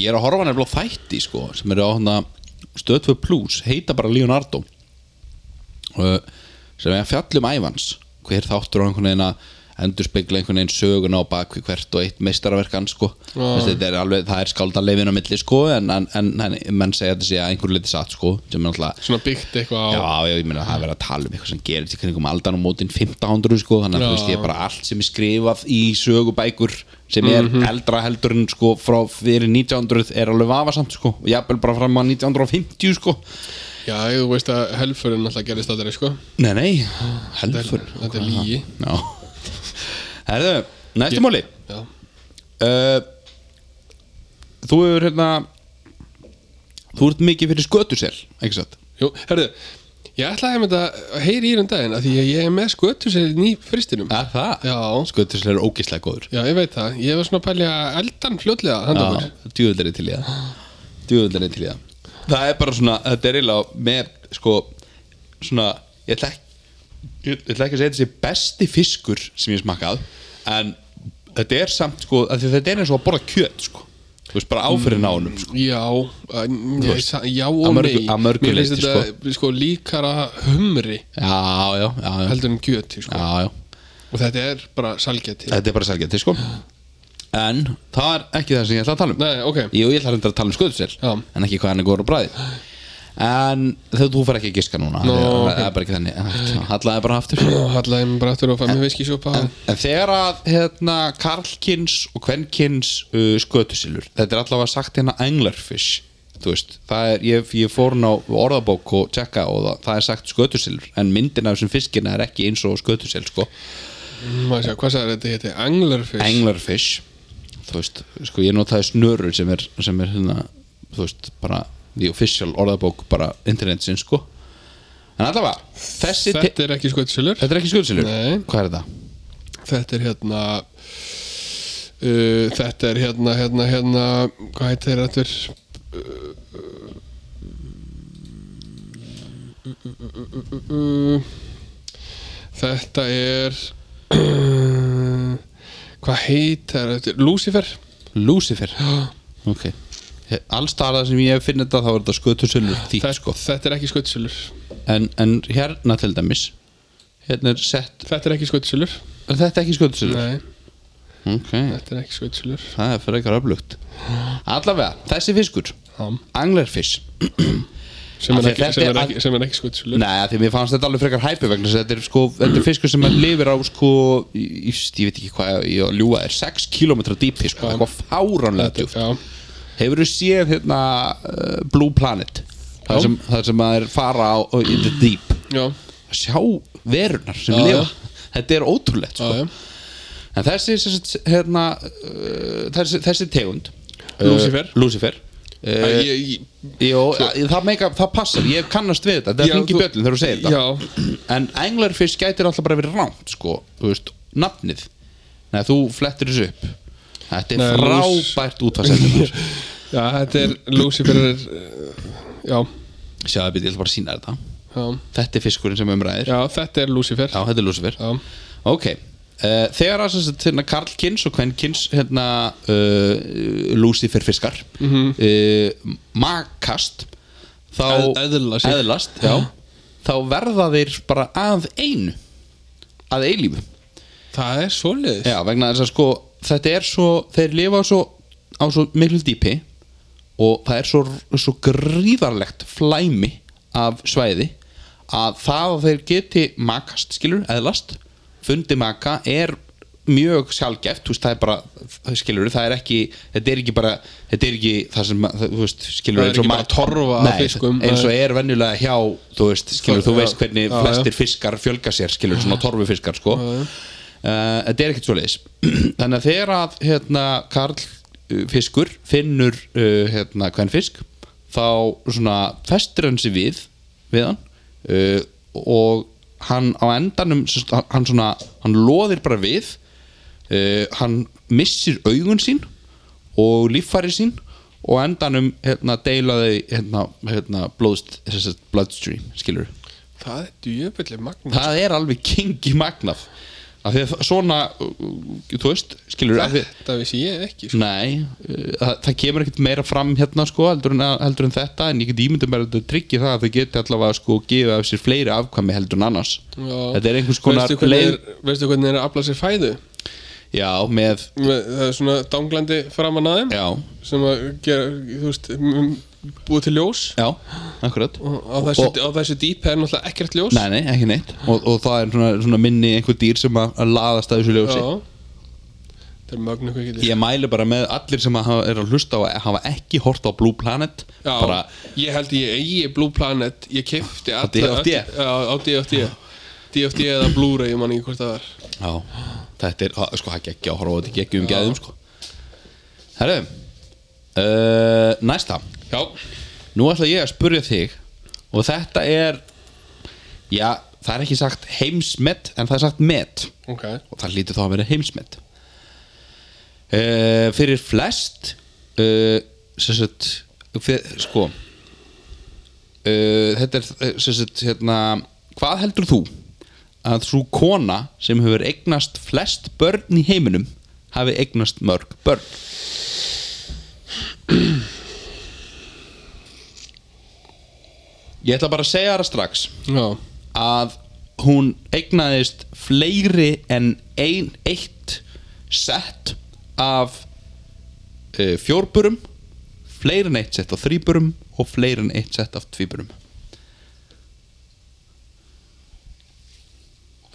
Ég er að horfa nefnilega á þætti sko sem eru á hana stöðtvö plus heita bara Leonardo uh, sem er að fjallum ævans hver þáttur á einhvern veginn að endurspegla einhvern veginn söguna á bakvið hvert og eitt meistarverkan sko Þessi, þetta er alveg, það er skáldanleifin á milli sko en, en, en nei, menn segja þetta sé að einhver leiti satt sko sem er alltaf Svona byggt eitthvað á Já, já, ég meina það er verið að tala um eitthvað sem gerist í kringum aldan og mótin 1500 sko, þannig að þú Já. veist ég er bara allt sem er skrifað í sögubækur sem er Mhm. eldra heldur en sko frá fyrir 1900 er alveg vafasamt sko og jafnvel bara fram að 1950 sko Já, þú veist að helfurinn alltaf gerist þetta sko Nei, nei, heldur Þetta er lígi Já Herðu, næstu máli Já uh, Þú hefur hérna Þú ert mikið fyrir skötusel, ekki satt? Jú, herðu, ég ætlaði að þetta heyri í um daginn að því að ég er með skötu sér í fristinum. Er það? Já, Skötusel er ógislega góður já, ég veit það. Ég var svona að pælja eldan fljótlega handa okkur. djúvöldari til í það djúvöldari til í það það er bara svona, þetta er eiginlega með sko, svona ég ætla ekki, ég ætla ekki að segja þetta sé besti fiskur sem ég hef smakkað en þetta er samt sko, af því þetta er eins og að borða kjöt sko, þú veist bara áfyrir nánum sko. Já, en ég, veist, sa- já að og nei. mörgu- að mörgu Mér finnst leyti, þetta sko. líkara humri já, já, já, já, heldur en gjöti, sko. já, já. Og þetta er bara salgjæti. þetta er bara selgjæti sko en það er ekki það sem ég ætla að tala um Nei, ok. Jú, ég ætla reyndar að tala um sköðusel Já. En ekki hvað hann er góður á bræði En þegar þú fær ekki að giska núna Nó, Það ok. okay. er bara ekki þannig Hallaði bara aftur Og hallaði mér bara aftur og fæði mér viskisjópa. En þegar að hérna, karlkins og kvenkins uh, skötusilur Þetta er allavega sagt hérna anglerfish Þú veist, það er, ég, ég fór hún á orðabók og tjekka og það, það er sagt skötusilur En myndin af þessum fiskina er ekki eins og skötusil sko. Maður sé, hvað sagði þetta hétti? Anglerfish. Anglerfish Þú veist, sko ég notaði snörur sem er, sem er hérna, þú veist, bara the official orðabók bara internetsin, sko En allavega, þessi te- Þetta er ekki skötusilur. Þetta er ekki skjöldsilur Nei. Hvað er það? Þetta er hérna uh, Þetta er hérna, hérna, hérna Hvað heitir þeir aftur? Uh, uh, uh, uh, uh, uh, Þetta er uh, Hvað heitir þetta? Lucifer Lucifer Ok Allstara sem ég finn þetta þá er þetta skötusilur þýtt þetta, sko þetta er ekki skötsulur en, en hérna til dæmis Hérna er sett Þetta er ekki skötsulur Er þetta ekki skjöldsilur? Nei, Ok þetta er ekki skötsulur Það er fyrir eitthvað öflugt Allavega, þessi fiskur Anglerfish sem er Af því ekki, þetta sem er er- ekki, sem er ekki skötsulur Nei, af því mér fannst þetta alveg frekar hæpi vegna þess að þetta er, sko, þetta er fiskur sem lifir á sko, í, í- ég veit ekki hvað ég á að ljúga er 6 km dýpi sko, eitthvað fáránlega djúpt Já, Hefur þú séð hérna uh, Blue Planet Já. þar sem, þar sem að er fara á á- in the deep já, að sjá verunar sem Já, lifa já. Þetta er ótrúlegt já, sko. já. En þessi, sem sagt, hérna, uh, þessi, þessi tegund uh, Lúsífer. Lúsífer uh, Eh, Æ, ég, ég, Jó, Eh, það, meika, það passar, ég kannast við þetta Þetta Já, er hringi þú- bjöllin þegar þú segir þetta Já, En Anglerfish gætir alltaf bara verið rámt sko, þú veist, nafnið Nei, þú flettir þessu upp Þetta er Nei, lús. frábært útvarsendur Já, þetta er Lucifer er, uh, já, Sjáðu býtt, ég ætla bara að sína þetta já, Þetta er fiskurinn sem umræðir Já, já, þetta er Lucifer þetta er Lucifer já, Ok, uh, þegar að sem sagt, hérna, Karlkins og Kvenkins hérna, uh, Lucifer fiskar mm Mhm. makast þá Eð- eðla sig. eðlast já, þá verða þeir bara að einu að eilífu Það það er svoleiðis Já, vegna þess að sko þetta er svo, þeir lifa svo á svo miklu dýpi og það er svo, svo gríðarlegt flæmi af svæði að það að þeir geti makast, skilur, eðlast fundi maka er mjög sjálfgeft, þú veist, það er bara skilur, það er ekki, þetta er ekki bara þetta er ekki það sem, að- þú veist, skilur Það er ekki bara torfa af fiskum, eins og nei. er venjulega hjá, þú veist, skilur, þú Já, veist hvernig já, já. flestir fiskar fjölga sér, skilur, svona torfufiskar sko. uh, þetta er ekkert svoleiðis þannig að þegar að hérna, Karl uh, fiskur finnur uh, hérna, hvern fisk þá svona festir hann sig við við hann uh, og hann á endanum sem sagt, hann- hann svona, hann loðir bara við uh, hann missir augun sín og líffæri sín og á endanum hérna, deila þau hérna, hérna, blóðst, sem sagt, bloodstream skilur það er djöfulli magna það er alveg kingi magnaf af því að það- svona uh, þú veist, skilur af því, þetta vissi ég ekki sko. nei, uh, það, það kemur ekkert meira fram hérna sko heldur en, heldur en þetta en ég get ímyndum bara að þetta tryggi það að þau geti allavega sko gefa af sér fleiri afkvæmi heldur en annars Já. þetta er einhvers konar veistu hvernig, leið er, veistu hvernig er að afla sér fæðu já, með, Með- það er svona danglandi framan að þeim já, sem að gera, þú veist m- búið til ljós já, akkurat og á þessu, Og- á þessu dýpi er náttúrulega ekkert ljós nei, nei, ekki neitt og, og það er svona, svona minni einhver dýr sem að, að laðast að þessu ljósi Já. þetta er mögnu hvað getur Ég mæli bara með allir sem að hafa- eru að hlusta og hafa ekki hort á Blue Planet Já, bara ég held ég eigi Blue Planet ég kefti alla- DFD? öll- Já, á DFD DFD eða Blu-ray, ég man ekki hvort það var Já, þetta er, að- sko, það geggja að horfa á þetta geggjum gæðum, sko Herru, uh, næsta Já, Nú ætla ég að spurja þig og þetta er, já, það er ekki sagt heimsmet, en það er sagt met ok og það lítur þá að vera heimsmet uh, Fyrir flest, uh, sem sagt, fyr, sko, uh, þetta er, eh, sem sagt, hérna, hvað heldur þú að þú kona sem hefur eignast flest börn í heiminum hafi eignast mörg börn? Ég ætla bara að segja það strax Já, að hún eignaðist fleiri en ein, eitt sett af uh, fjórburum fleiri en eitt sett af þrýburum og fleiri en eitt sett af tvíburum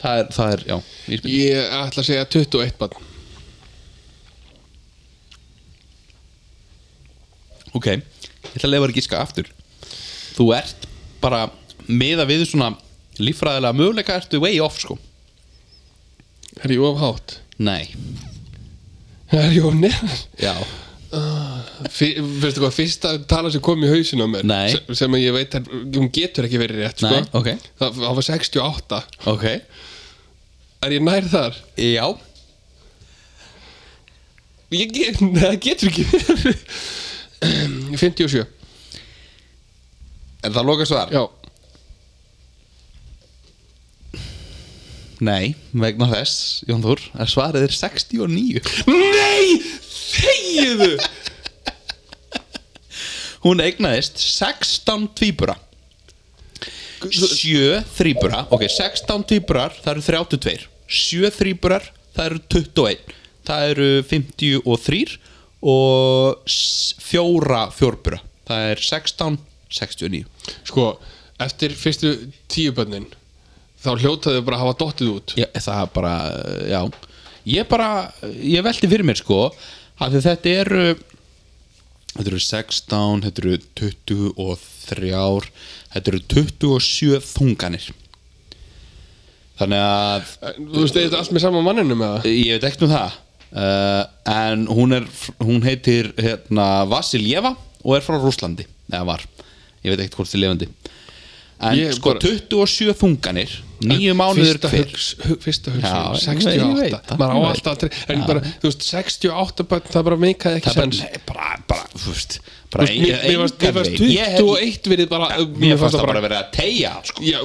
það er, það er, já vísbending. ég ætla að segja 21 barn ok, ég ætla að lefa að gíska aftur þú ert bara meða við svona líffræðilega möguleika ertu way off sko Er ég of hátt? nei, Er ég of neðar? já, Fyrstu hvað, fyrsta tala sem kom í hausinu á mér Nei. sem, sem að ég veit, að hún getur ekki verið rétt Nei, sko. ok. það, það var 68 ok Er ég nær þar? já, Ég, get- nei, það getur ekki verið 57 Er það lokast þar? Já, Nei, vegna þess, Jón Þór, að svarið er 69 Nei, þegiðu Hún eignaðist 16 tvíbura 7 þrýbura Ok, 16 tvíburar, það eru 32 7 þrýburar, það eru 21 Það eru 53 Og 4 fjórbura Það er 16, 69 Sko, eftir fyrstu tíu bönnin þá hljótaðu bara að hafa dottið út Já, það bara, já Ég bara, ég velti fyrir mér sko að þetta eru þetta eru 16, þetta eru 23 þetta eru 27 þunganir Þannig að Eh, Þú veist, er þetta allt með sama manninum með það? ég veit ekkert um það uh, en hún er hún heitir hérna Vasiljeva og er frá Rúslandi eða var, ég veit ekkert hvort þið levandi en Ég sko bara- 27 þunganir nýju mánuður Fyrsta hver hugs- hu- Fyrsta hugsun, Já, ég veit- ég veit 68 það, Maður á ég veit alltaf að tre- En bara, þú veist, 68 bönn, það bara meikaði ekki það er sens bara, nei, bara, bara, þú veist Þú bara veist, Mér mér varst mér varst 21 verið bara mér fannst það bara verið að tegja sko. Já,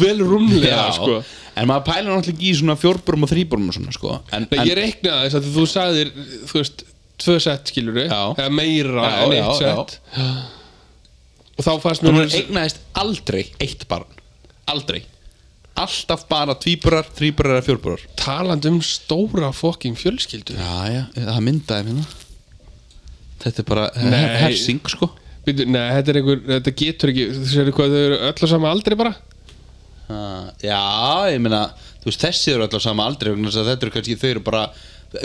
vel rúmlega, sko en maður pælar náttúrulega ekki í svona fjórburum og þrýburum og svona, sko en, Nei, en, ég reiknaði þess að þú sagðir, þú veist, tvö sett skilur Já. eða meira Já, en já, eitt já. sett og þá fannst mér hún er eignaðist aldrei eitt barn aldrei alltaf bara tvíburar, þríburar eða fjórburar Talandi um stóra fokking fjölskyldu Já, já, það myndaði minna Þetta er bara Nei. hersing, sko Býtu, Nei, þetta, er einhver, þetta getur ekki Þú séu hvað þau eru öll á sama aldri bara Ah, Já, ég meina, þú veist, þessi eru alltaf sama aldrei vegna þess að þetta eru kannski, þau eru bara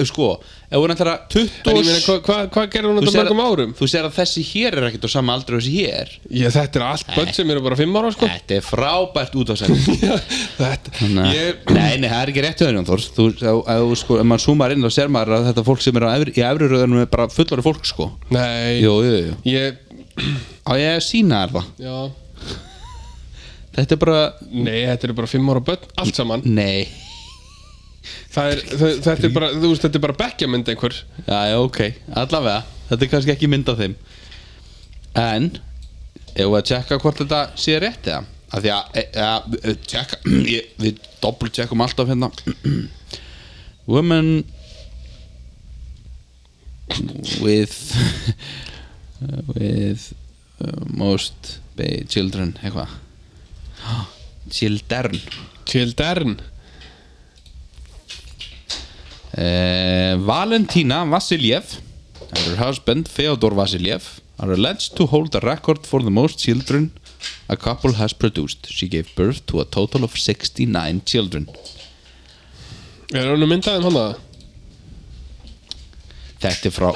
sko, ef hún ætlar að 20 En ég meina, hvað hva, hva gerði hún þú þetta sér mörgum að- árum? Þú sér að þessi hér er ekkert á sama aldrei og þessi hér Ég, þetta er allt börn sem eru bara fimm ára sko Þetta er frábært út á sæmi Þetta, ég, Nei, nei, það er ekki rétt hjá þér, Jón Þór Þú, ef, ef, sko, ef maður súmar inn þá sér maður að þetta fólk sem er á efri, í efri röðunum er bara fullari fólk, sko nei Jú, jú, jú Ég, Á ég að sína þér það já Þetta er bara, Nei, þetta eru bara fimm ára börn, allt saman nei Það er, þau- þetta er bara, þú veist, þetta er bara bekkjamynd einhver Já, já, ok, allavega Þetta er kannski ekki mynd af þeim En Ef við að tjekka hvort þetta sé rétt eða Af því að, e, að, að tjekka, ég, Við dopplu tjekkum alltaf hérna Women With With uh, Most ba- Children Eitthvað Children Childern Uh, Valentina Vasiljev and her husband Feodor Vasiljev are alleged to hold a record for the most children a couple has produced. She gave birth to a total of 69 children. Er hann að mynda þeim hann að? Þetta er frá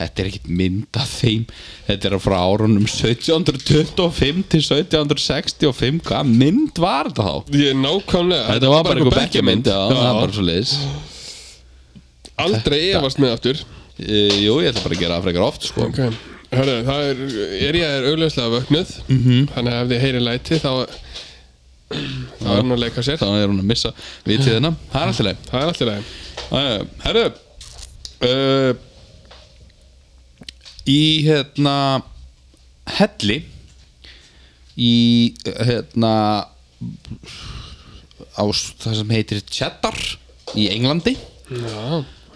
Þetta er ekkit mynd af þeim Þetta er frá árunum 1725 til 1765 Hvað mynd var þetta þá? Ég nákvæmlega Þetta var bara einhver einhver bekkjamynd Já, það var bara svo leiðis Aldrei efast með aftur Eh, Jú, ég ætla bara að gera það frekar oft sko. Ok Hörru, það er, er ég er augljóslega vöknuð -hmm. Mhm. Þannig að ef þið heyri læti þá þá er hann að leika sér Þannig er hún að missa vitiðina Það er alltaf leið Það er alltaf leið Jæja, Herru uh, Í hérna Helli Í hérna á s- það sem heitir Cheddar í Englandi Já,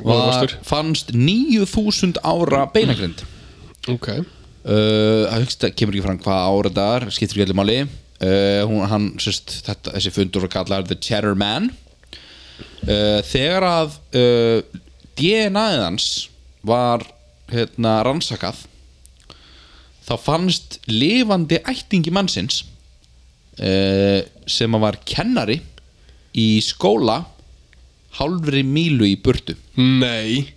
góða var, vastur fannst 9000 ára beinagrind Ok uh, að hugsta kemur ekki fram hvað ára þetta er skiptir ekki allir máli uh, hún, hann, sérst, þetta, þessi fundur var kallar The Cheddar Man uh, þegar að uh, DNA-ið hans var hérna, rannsakað þá fannst lifandi ættingi mannsins uh, sem að var kennari í skóla hálfri mílu í burtu Nei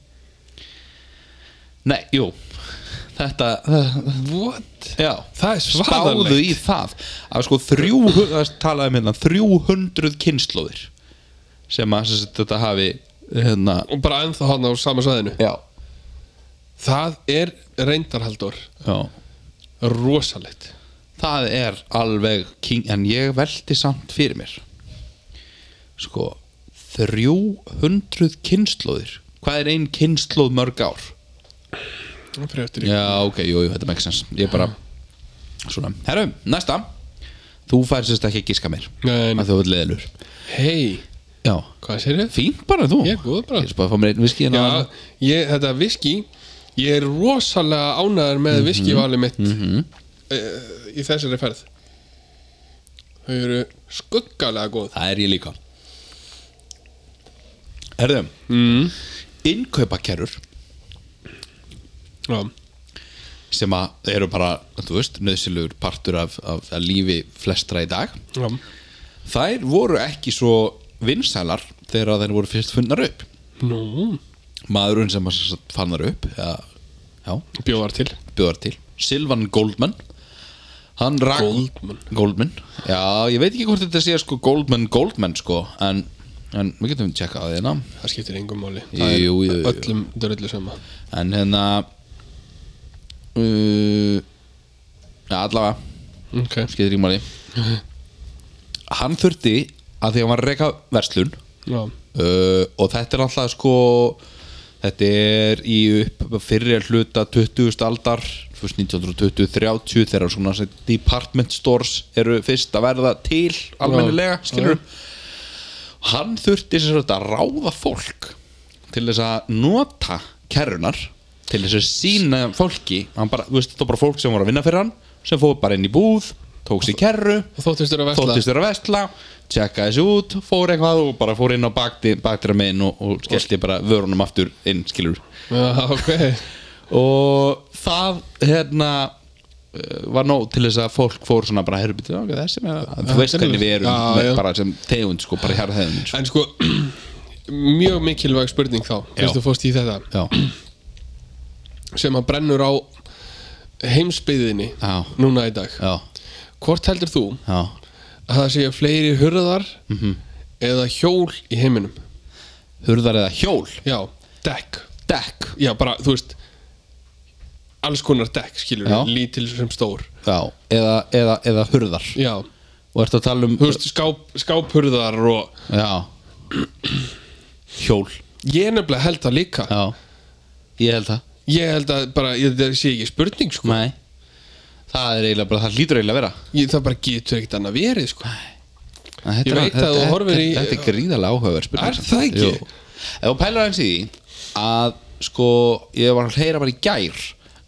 nei, jú þetta, þetta What? Já, Það er svaðalegt. Spáðu í það að sko 300, það talaði um hérna 300 kynnslóðir sem að sem sagt, þetta hafi hérna Og bara ennþá hann á sama svæðinu Já, Það er reyndarhaldur já. Rosalegt Það er alveg king, en ég velti samt fyrir mér sko 300 kynnslóðir Hvað er ein kynnslóð mörg ár? Það fyrir eftir í Já, ok, jú, jú, þetta makes sense Ég bara, svona Herru, næsta Þú fær sérst ekki að gíska mér Nei, nei. að þú vil leðilur Hei, Já, hvað sér þið? Fínt bara þú Ég er góð bara. Ég er bara að fá mér einn viski hérna Já, ég, þetta viski Ég er rosalega ánæður Mhm, með viskivalið mitt eh, Í þessari ferð Þau eru skuggalega góð Það er ég líka Herðu Mhm. mm. Innkaupakerrur Já, sem að eru bara, þú veist, nöðsilugur partur af, af, af lífi flestra í dag já Þær voru ekki svo vinsælar þegar þær voru fyrst fundnar upp Nú, Maðurinn sem að sem sagt fann þær upp ja, Já, bjóðar til bjóðar til Silvan Goldman Hann rak Goldman. Goldman Já, ég veit ekki hvort þetta sé sko Goldman Goldman sko En, en við getum tjekkað það hérna Það skiptir engum máli Það er Jú, jú, jú. öllum dörrullu sama En hérna uh, Já, allavega Ok, Skeitir í máli Hann þurfti að því að hann var að reyka verslun já, uh, Og þetta er alltaf sko Þetta er í upp fyrir hluta 20. aldar þú veist, 1920-30 þegar svona þessi department stores eru fyrst að verða til almennilega, Já, skilur Hann þurfti sem sagt að ráða fólk til þess að nota kerrunar til þess að sína fólki hann bara, þú veist, þetta var bara fólk sem voru að vinna fyrir hann sem fóðu bara inn í búð tók sér kerru Þóttist þér að vesla þóttist þér að vestla tjekka þessu út, fór eitthvað og bara fór inn á bakti, baktir að megin og, og skellti bara vörunum aftur inn, skilur Já, ok og það hérna eh, var nóg til þess að fólk fór svona bara herbiti, ok, þessi með það þú veist þetta er hvernig við erum já, með, já. bara sem tegund sko, bara hér þeim sko. En sko, mjög mikilvæg spurning þá Já. Fyrst þú fórst í þetta já, Sem að brennur á heimsbyðinni Já. Núna í dag já, Hvort heldur þú já að það séu fleiri hurðar Mhm. Eða hjól í heiminum hurðar eða hjól, Já, dekk dekk Já, bara, þú veist Alls konar dekk, skilur Já. við Lítil sem stór já, eða, eða, eða hurðar Já, og ertu að tala um þú veist, skáp, skáphurðar og já hjól, Ég nefnilega held það líka já ég held það Ég held að bara, ég, það sé ekki spurning sko. Nei Það er eiginlega bara, það lítur eiginlega að vera ég, Það bara getur ekkert annað verið sko. En þetta Ég er- veit að þú þetta- horfir í- Þetta er gríðarlega áhugaverð spurning Er samt. það ekki? Jú. Ef þú pælar eins í því að sko, ég var að heyra bara í gær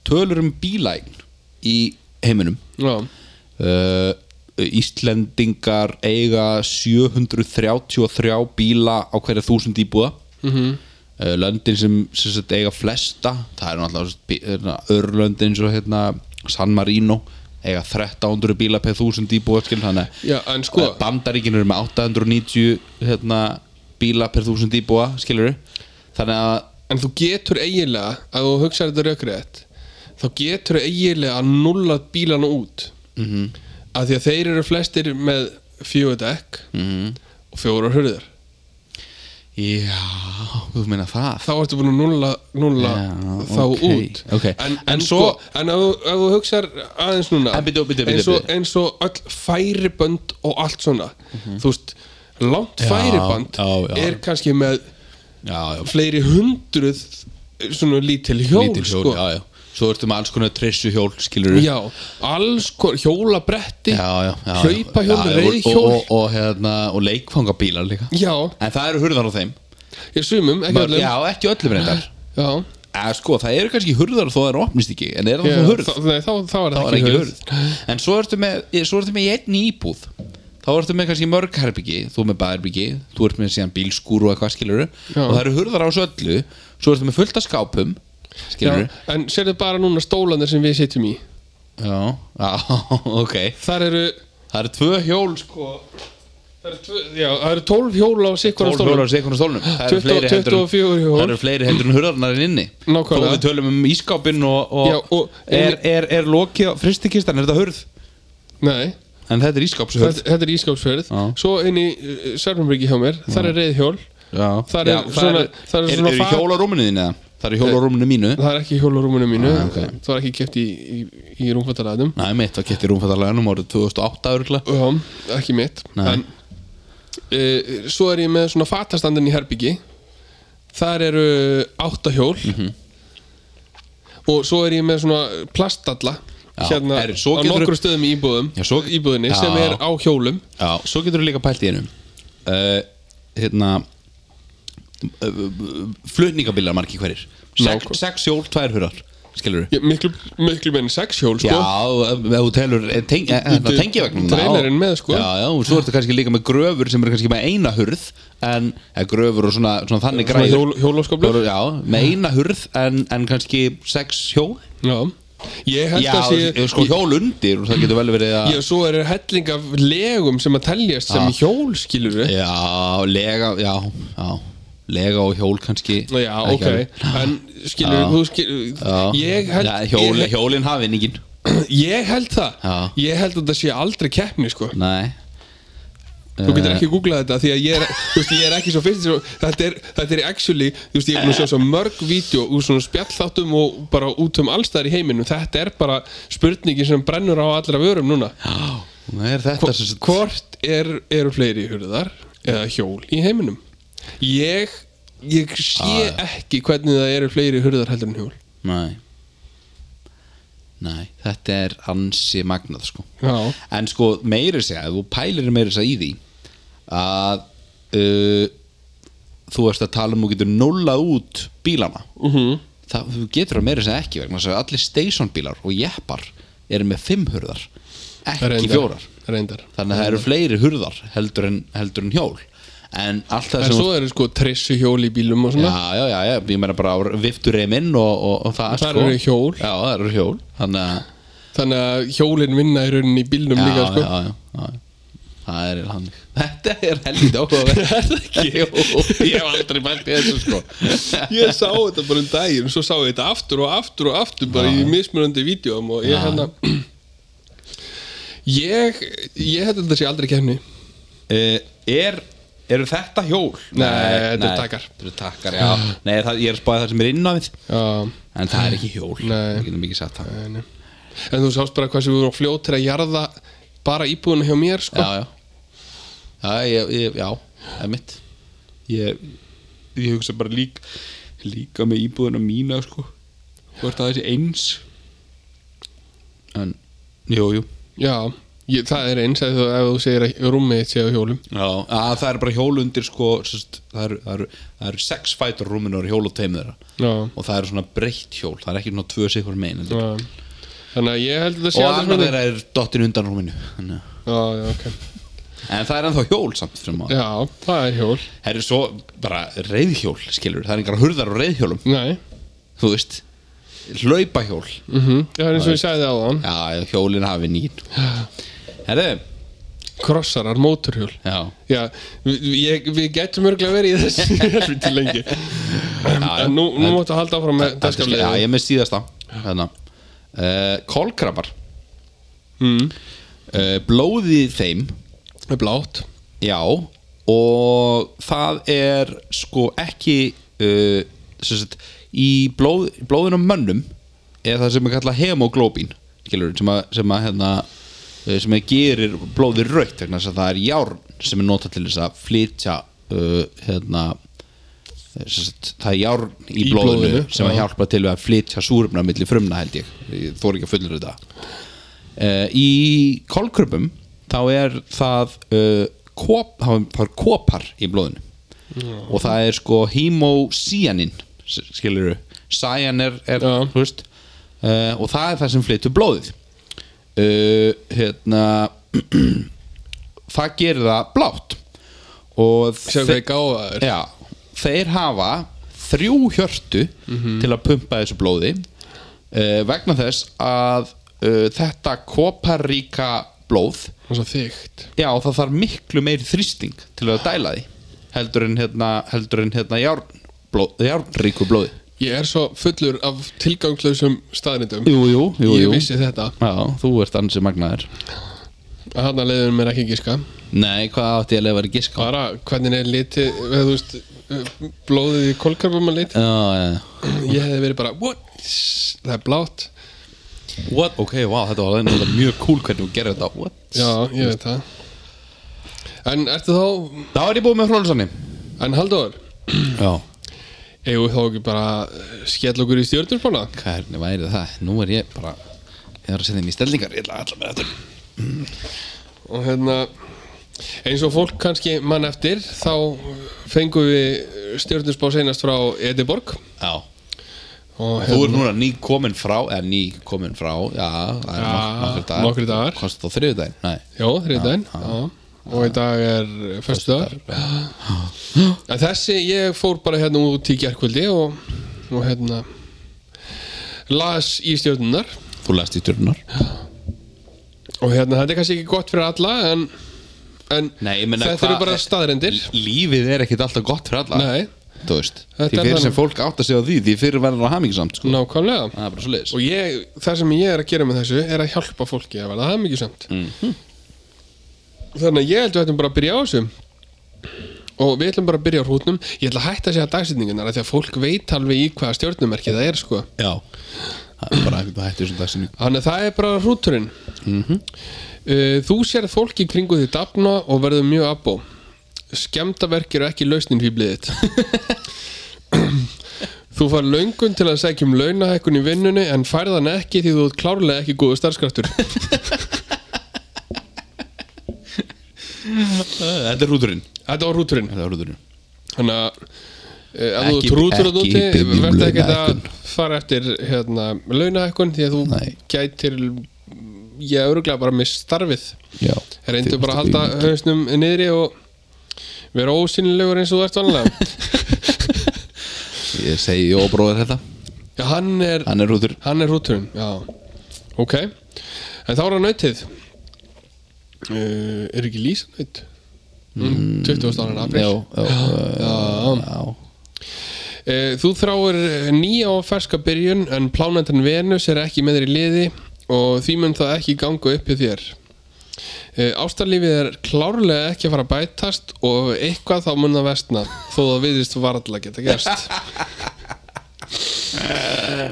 tölur um bílægn í heiminum Já, uh, Íslendingar eiga 733 bíla á hverja þúsund íbúa mm -hmm. Mhm. Löndin sem, sem sagt, eiga flesta það eru náttúrulega sem sagt, bí- hérna, örlöndin svo hérna San Marino eiga 1300 bíla per þúsund íbúa skil, þannig að Já, en sko- Eh, Bandaríkin eru með 890 hérna, bíla per þúsund íbúa skilur þannig að en þú getur eiginlega að þú hugsaði þetta rökrétt þá getur eiginlega að nulla bílana út mm mhm, af því að þeir eru flestir með fjögur dekk mhm. -hmm. og fjórar hurðar já, þú meina það þá ertu búin að nulla, nulla Já, þá ok, út ok. en, en, En sko, svo- en ef, þú- ef þú hugsar aðeins núna En bíddu, bíddu, bíddu, eins, og, bíddu. eins og öll færibönd og allt svona þú veist, langt færibönd Mhm. já, já. er kannski með já, já, fleiri hundruð svona lítil hjól, lítil hjól, sko. já, já svo ertu með alls konar trissu hjól, skilur já, alls kor, hjólabretti já, já, já hlaupahjól, já, já, reiðhjól og, og, og, hérna, og leikfangabílar líka já, en það eru hurðar á þeim ég sumum, ekki Mörg, öllum já, ekki öllum reyndar já. eða sko, það eru kannski hurðar þó það eru opnist ekki en er það Ég, þá hurð þá, nei, þá, þá er það þá er ekki ekki hurð hurð en svo ertu með, svo ertu með í einni íbúð þá ertu með kannski mörg herbyggi þú með baðherbyggi, þú ert með síðan bílskúr og eitthvað skilur Já. og það eru hurðar á þessu öllu svo ertu með fullt af skápum skilur já, en sérðu bara núna stólanir sem við sitjum í já, já, ok þar eru það eru tvö hjól sko Það eru tvö- Já, það eru 12 hjól á sikkur 12 hjólar á sekund og stólnum Það eru 20 fleiri heldur en- 24 hjól. Það eru fleiri heldur en hurðarnar en inni Nákvæmlega. Þó við tölum um ískápinn og, og, Já, og- er, er, er lokið á fristikistan, er þetta hurð? Nei, En þetta er ískápshurð þetta, þetta er ískapsferð Já. Svo inn í Sörnumbryggi hjá mér Þar er reiðhjól Já, það er svona- það er er, svona er, fat- hjólárúminu þín eða? Það er hjólárúminu mínu Það er ekki hjól á rúminu mínu Ah, ok. Það var ekki keft í, í, í rúmfattaræðum Næ, mitt, það getið rúmfattalæðanum árið 2008 örgla Já, ekki mitt Nei. En uh, Svo er ég með svona fatastandin í herbyggi Þar eru átta hjól Mhm. Og svo er ég með svona plastalla Já, Hérna herri, á svo geturðu- nokkrum stöðum í íbúðum Já, svo- Íbúðinni sem Já. er á hjólum Já, svo getur þú líka pælt í einum uh, Hérna uh, Flutningabílar margir hverjir Sex, Nákvæm. sex hjól, tvær hurðar Skilur Já, Miklu, miklu meðin sex hjól sko. Já, ef ef þú telur eh, teng, eh, hérna, Undir tengivagnin trailerinn með, sko. Já, já, og svo ertu kannski líka með gröfur sem eru kannski með eina hurð en eh, gröfur og svona, svona þannig Svona græður hjól- hjólaskóflur. Hjól- Já, með eina hurð en, en kannski sex hjól Já, ég held Já, að sé sko hjól undir og það getur vel verið að Já, svo er helling af legum sem að teljast sem Já. hjól skilur við Já, lega, já, já Lega og hjól kannski Já, ok, Ekki alveg. en skilur Já. þú skilur Já, ég held, já hjól, ég, hjólin hafi vinningin ég held það Já. Ég held að það sé aldrei keppni sko Nei Þú getur Eh. ekki googlað þetta því að ég er, þú veist, ég er ekki svo fyrst svo, þetta, er, þetta er actually, þú veist, ég er búin að sjá svo mörg vídeo úr svona spjallþáttum og bara út um allstæðar í heiminum Þetta er bara spurningin sem brennur á allra vörum núna Já, það er þetta sem sagt- Hvort er, eru fleiri hurðar eða hjól í heiminum? Ég, ég sé Ah. ekki hvernig það eru fleiri hurðar heldur en hjól Nei Nei, þetta er ansi magnað sko Já. En sko meiri segja, ef þú pælir meiri segja í því að uh, þú ert að tala um og getur nullað út bílana uh -huh. það þú getur að meiri segja ekki vegna þess að allir station bílar og jeppar eru með fimm hurðar ekki fjórar Reyndar þannig að það eru fleiri hurðar heldur en, heldur en hjól en allt það En sem svo eru sko trissu hjól í bílum og svona já, já, já, já, ég meina bara vifturreiminn og, og, og það sko. Þar eru hjól. já, það eru hjól þannig að Þannig að hjólinn vinna í rauninni í bílnum líka sko já, já, já, já. Það er hann Þetta er helvítið áhugaverð Jú, Ég hef aldrei bælt í þessu sko Ég sá þetta bara um daginn Svo sá ég þetta aftur og aftur og aftur Bara í mismunandi vídjóum Og ég hérna Ég, ég held að þetta sé aldrei kemni Eh, Er Eru þetta hjól? Nei, þetta eru nei, takkar. Þetta eru takkar, já Nei, það, ég er að spáði það sem er inn á við Já, En það er ekki hjól Nei. Við getum ekki sagt það nei, nei. En þú sást bara hvað sem við vorum fljótt til að jarða Bara íbúðuna hjá mér sko Já, já Já, ég, ég, já, það er mitt Ég, ég hugsa bara lík Líka með íbúðuna mína sko Hvort það þessi eins En, jú, jú Já, ég, það er eins ef þú, ef þú segir að rúmið þitt sé á hjólum Já, að það eru bara hjól undir sko, sest, það, eru, það, eru, það eru sex fætur rúminu og eru hjól og teimur þeirra Já, og það eru svona breytt hjól, það er ekki svona tvö sikur megin heldur. já. Þannig að ég held að þetta sé og aldrei annar svona- þeirra er dottin undan rúminu Þannig að- Já, já, ok en það er ennþá hjól samt sem að, Já, það er hjól það eru svo bara reyðhjól, skilur, það er engar hurðar á reyðhjólum, Nei, þú veist hlaupahjól, mm það er eins og ég sagði á þann já, eða hjólin hafi nýn herðu, Krossarar, móturhjól já Já, við, ég, við getum örglega verið í þessu helviti lengi já. En nú, nú máttu halda áfram með já, ég dagskaplega er með síðasta Hérna. þannig uh, kólkrabbar mm, uh, blóðið í þeim Það er blátt Já og það er sko ekki uh, sem sagt, í blóð, blóðinu á mönnum er það sem er kallað hemoglóbin skilur, sem að, sem að hérna, uh, sem að gerir blóðið raukt vegna þess að það er járn sem er notað til þess að flytja uh, hérna sem sagt, það er járn í, Í blóðinu, blóðinu, sem að já. hjálpa til við að flytja súrumna milli frumna held ég, ég þór ekki að fullur þetta uh, í kólkröpum þá er það uh, kop, þá er- þá er kopar í blóðinu og það er sko hemocyanin skilur du, cyan er, er Já. þú veist uh, og það er það sem flyttur blóðið uh, hérna það gerir það blátt og Sjáðu þe- hvað ég gáða þér Já, þeir hafa þrjú hjörtu til að pumpa þessu blóði uh, vegna þess að uh, þetta koparíka blóð Það er svo þygt já, það þarf miklu meiri þrýsting til að dæla því heldur en hérna, heldur en hérna járn, blóð, járnríku blóði Ég er svo fullur af tilgangslausum staðnindum Jú, jú, jú, Ég jú vissi þetta Já, þú ert ansi magnaður að hann að leiðunum er ekki giska Nei, hvað átti ég að lefa að giska á? bara hvernig er litið eða þú veist, blóðið í kolkarfum að litið, Já, já, Ah, já ég hefði verið bara what, það er blátt What? Ok, wow, þetta var alveg mjög cool hvernig þú gerir þetta What? já, ég veit það en ertu þá, Þá er ég búið með frólusanni en Halldór Já eigum við þá ekki bara eh, skell okkur í stjórnurspána Hvernig væri það? Nú er ég bara Ég er að setja inn í stellingar Ég ætla að alla með þetta og hérna eins og fólk kannski mann eftir þá fengum við stjórnurspá seinast frá Ediborg Já og Þú er hérna, núna ný komin frá Eða ný komin frá Já Það er Já, nok- nokkrir dagar nokkrir dagar. Kost á þriðudaginn Nei já, þriðdæn og í dag er föstudagur En þessi, ég fór bara hérna út í gerkvöldi og, og hérna las í stjórnunar Þú lest í turnar og hérna, þetta er kannski ekki gott fyrir alla en, en Nei, ég meina, þetta eru hvað- bara staðrendir Lífið er ekkit alltaf gott fyrir alla Nei, Þú veist Þetta Því er fyrir þannig. sem fólk átt að segja því Því fyrir verður það hamingisamt sko. nákvæmlega Það er bara svo leiðis og ég, það sem ég er að gera með þessu er að hjálpa fólki að verða það mikið samt Mhm. þannig að ég held við ætlum bara að byrja á þessu og við ætlum bara að byrja á hrútnum ég ætla að hætta að segja dagsetningunar af því að fólk veit alveg í hvaða stjórnumerki það er sko Já Það er bara ekkert að hættu þessum dagsinni Þannig að það er bara hrúturinn Mhm. uh, Þú sérð fólk í kringu því dafna og verður mjög abbó Skemdaverk eru ekki lausnin fýblið þitt Þú far löngun til að segja um launahækkun í vinnunni en færðan ekki því þú ert klárlega ekki góðu starfskraftur Eh, Þetta er rúturinn Þetta var hrúturinn Þetta er rúturinn Þannig að uh, ef þú Ekki- ert hrútur að ekki úti biðja um verður ekki að launahækkun. fara eftir hérna, launahækkun því að þú Nei. gætir ég öruglega bara mist starfið Já reyndu bara að halda hausnum niðri og vera ósynilegur eins og þú ert vanlega Ég segi jó bróðir þetta já, hann er, Hann er húður hann er rúturinn já, ok en þá er hann nautið uh, er ekki Lísa naut? Mm, 20. annan april Já, já, já. já. Eh, Þú þráir eh, nýja og ferska byrjun en plánendan Venus er ekki með þér í liði og því mun það ekki ganga upp í þér. Eh, Ástarlífið er klárlega ekki að fara að bætast og ef eitthvað þá mun það vestna þó það viðist varðla geta gerst. Eh,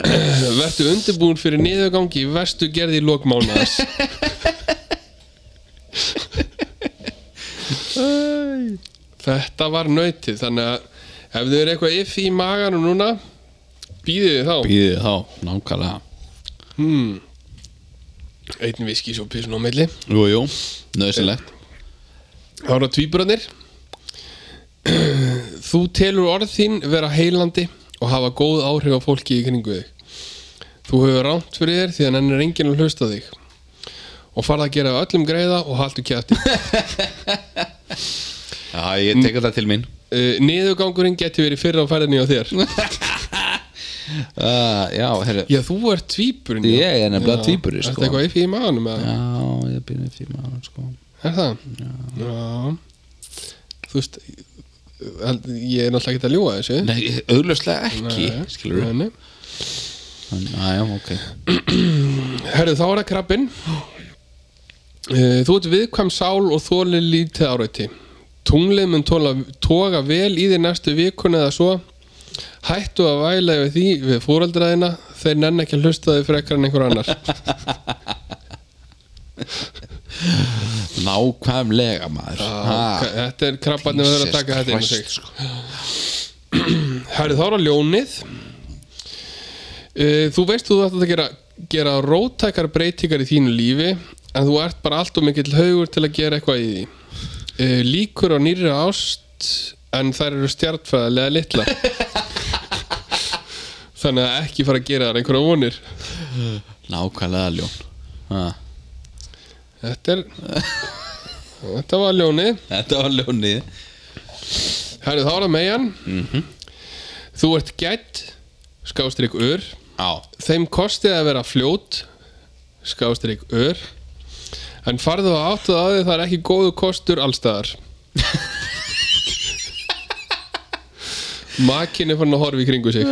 Vertu undirbúin fyrir niðurgangi verstu gerði í lokmánaðas. Þetta var nautið þannig að ef þau eru eitthvað if í maganum núna býðið þið þá. Býðið þá, nákvæmlega Hmm. Einn viski svo pissun á milli Jú, jú, nöðsynlegt Þá eru það tvíburarnir Þú telur orð þín vera heilandi og hafa góð áhrif á fólki í kringu þig Þú hefur rámt fyrir þér því að henn er enginn að hlusta á þig og farða að gera öllum greiða og haltu kjætti Já, ég tek þetta til mín Eh, Niðurgangurinn geti verið fyrra á ferðinni á þér uh, Já, herri Já, þú ert tvíburinn já. Ég er nefnilega Já. tvíburi, Ertu sko eitthvað if í maganum? eða? Já, ég býðið fyrir maður, sko Er það? Já. Þú veist, held- ég er náttúrulega ekki að ljúga þessu. Nei, auðlöfslega ekki, Nei, skilur við nei, nei. Já, ok Herðu, þá er það krabbin. Eh, Þú ert viðkvæm sál og þóli lítið áreiti. Tunglið mun tóla, toga vel í þér næstu vikuna eða svo. Hættu að væla yfir því við fóreldraðina, þeir nenn ekki að hlusta á þig frekar en einhver annar. Nákvæmlega maður Ah, Ha, þetta er krabbarnir að vera að Jesus taka þetta inn í Christ, sko. sig. Herri, þá er að ljónið Eh, Þú veist þú ætti að gera, gera rótækar breytingar í þínu lífi en þú ert bara allt og mikill haugur til að gera eitthvað í því Eh, Líkur á nýri ást en þær eru stjartfæðilega litla Þannig að ekki fara að gera þar einhverja vonir Nákvæmlega ljón ha. Þetta er Þetta var ljónið Þetta var ljónið Herri, þá er það megan Þú ert gætt skástrík ur Á, Þeim kostið að vera fljót skástrík ur En farðu að áttuð á því það er ekki góðu kostur allstaðar Makin er fann að horfa í kringu sig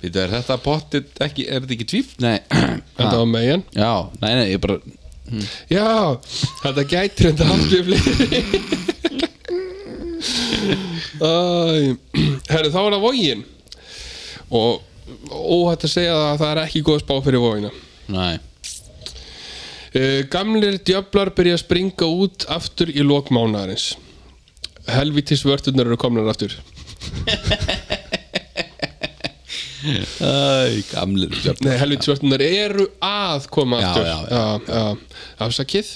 við er þetta pottit ekki, er þetta ekki tvíf? Nei, Þetta Ha. var megan já, nei, nei, ég bara Já, þetta gætir þetta haft við fleiri Æ, Herru, þá er það vógin Og óhætt að segja að það er ekki góð spá fyrir vógina Nei, Uh, gamlir djöflar byrja að springa út aftur í lokmánaðarins Helvítis vörturnar eru komnar aftur Æ, gamlir djöfn Nei, helvítis vörturnar eru að koma Já, aftur já, já, já. Afsakið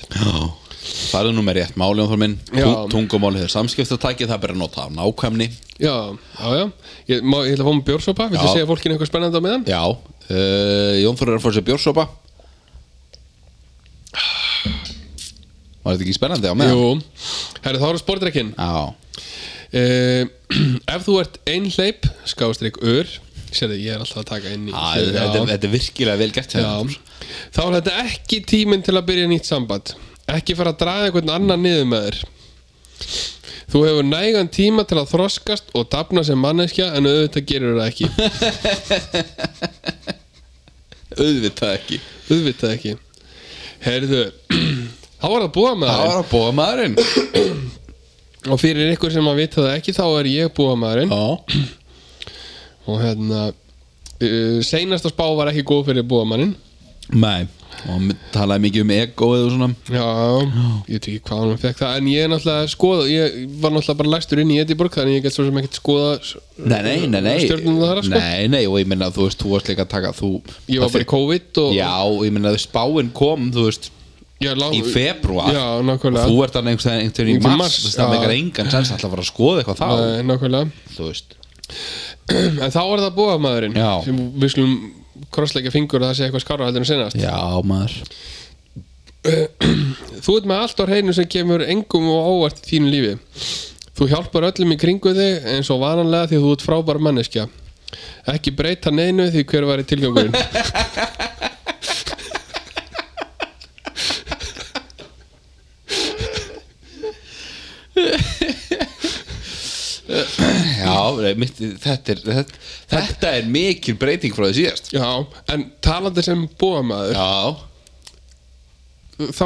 Farðu nú með rétt máli á þór minn Já. Tungumálið er samskiptatæki, það er bara að nota á nákvæmni Já, já, já Ég, má, ég ætla að fá mig bjórsopa, viltu Já. segja fólkinu eitthvað spennandi á meðan? Já, uh, Jón Þór er að fóra sér bjórsopa Var þetta ekki spennandi á meðan? Jú, herru þá eru sportrekkin Já, uh, Ef þú ert einhleip, skástrík ör Sérðu, ég er alltaf að taka inn í Æ, þetta, Já. þetta er virkilega vel gert hjá þér, Jón Þór. Já, þá er þetta ekki tíminn til að byrja nýtt samband ekki fara að draga einhvern annan niður með þér þú hefur nægan tíma til að þroskast og dafna sem manneskja en auðvitað gerur það ekki Auðvitað ekki auðvitað ekki heyrðu, þá var það búa með Það var að búa maðurinn og fyrir ykkur sem að vita það ekki þá er ég búa maðurinn Já og hérna uh, seinasta spá var ekki góð fyrir búa maðurinn Nei Og hann talaði mikið um egoið og svona Já, ég veit ekki hvað hann fekk það En ég er náttúrulega að skoða Ég var náttúrulega bara læstur inn í Ediborg Þannig ég get svo sem ekkert skoða Nei, nei, nei, nei Stjórnum það sko Nei, nei, og ég minna þú veist, þú varst líka að taka þú Ég var bara í COVID og Já, og ég minna spáin kom, þú veist ég lá, Í februar Já, nákvæmlega Þú ert hann einhvern veginn- einhvern Í veginn í mars, mars þú veist, Það já. megar engan sens alltaf að fara að skoða eitthvað þá Nei, nákvæmlega Þú veist En þá er það bóðamaðurinn Já. Sem við skulum krossleikja fingur að það sé eitthvað skára heldur en senast Já, maður Þú ert með allt á hreinu sem kemur engum og óvart í þínu lífi. Þú hjálpar öllum í kringu þig eins og vananlega því þú ert frábær manneskja. Ekki breyta neinu því hver var í tilgangurinn. Já, nei, mitt, þetta, er, þetta, þetta er mikil breyting frá því síðast Já, en talandi sem búamæður, Já, þá,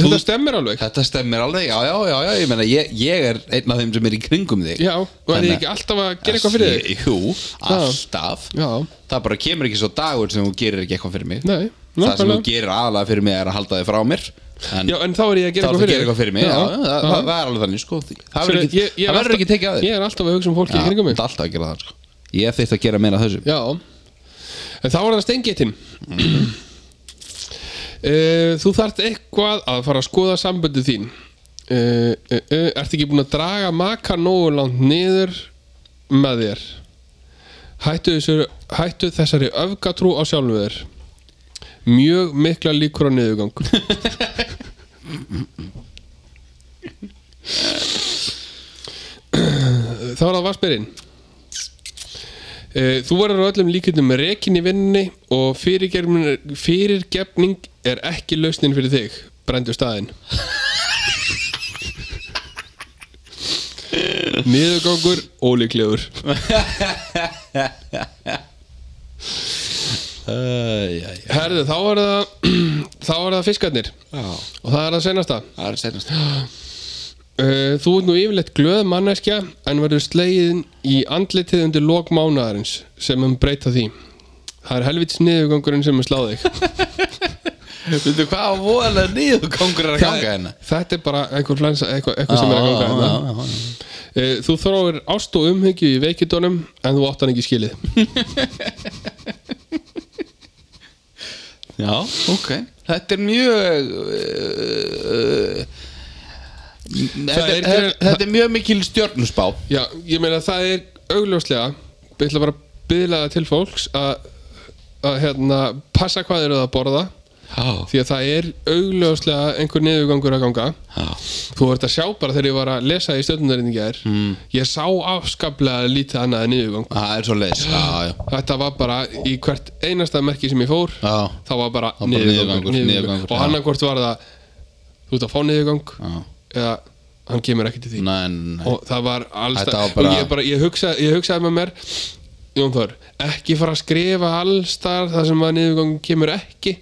þetta stemmir alveg. þetta stemmir alveg Já, já, já, já ég, meina, ég, ég er einn af þeim sem er í kringum þig Já, og er ég ekki alltaf að gera eitthvað fyrir þig? þig? Jú, alltaf Já, Það bara kemur ekki svo dagur sem þú gerir ekki eitthvað fyrir mig nei, Það sem þú nákvæmlega. gerir aðalega fyrir mig er að halda þig frá mér En Já, en þá er ég að þá gera eitthvað ertu að fyrir gera eitthvað fyrir mig já, Já, það, já. það er alveg þannig sko Það Svo verður ekki, ég- ég er það verður alltaf- ekki tekið að þér Ég er alltaf að hugsa um fólki í Já, kringum mig. þetta er alltaf að gera það sko Ég þurfti að gera meira af þessu Já En þá er það steingitinn uh, Þú þarft eitthvað að fara að skoða samböndu þín uh, uh, uh, Ertu ekki búin að draga maka nógu langt niður með þér Hættu, þessu, hættu þessari öfgatrú á sjálfum þér Mjög mikla líkur á niðurgang Þá er það vassbyrinn Eh, Þú verður á öllum líkundum rekin í vinnunni og fyrirgefning, fyrirgefning er ekki lausnin fyrir þig, brendu staðinn. Niðurgangur, ólíklegur. Æ, já, já Herðu, þá er það, þá er það fiskarnir Það og það er það senasta. er senast Já, Eh, Þú ert nú yfirleitt glöð manneskja en verður slegin í andlitið undir lok mánaðarins sem mun breyta því. Það er helvits niðurgangurinn sem mun slá þig. Veitu hvað að vola niður kongur er að Það- ganga hérna Þetta er bara einhver flensa, eitthvað, eitthvað sem er að ganga hérna. Eh, Þú þróir ást og umhyggju í veikidónum en þú átt hann ekki skilið Já, ok Þetta er mjög eh, uh, þetta, er er, ekki- þetta er mjög mikil stjörnusbá Já, ég meina það er augljóslega ég ætla bara að byðla það til fólks að, að hérna, passa hvað þeir eru að borða Já, því að það er augljóslega einhver niðurgangur að ganga já Þú verður að sjá bara þegar ég var að lesa í stöðunarinn í gær Hmm. mm. ég sá afskaplega lítið annað en niðurgang Það er svo leis Já, já Þetta var bara í hvert einasta merki sem ég fór Já, þá var bara var bara niðurgangur, niðurgangur, niðurgangur. niðurgangur, og já. annarkvort var það þú ert að fá niðurgang já eða hann kemur ekki til því Nei, nei og það var alls Þetta staðar var bara- og ég, bara, ég, hugsa, ég hugsaði með mér Jón Þór, ekki fara að skrifa alls þar þar sem að niðurgangum kemur ekki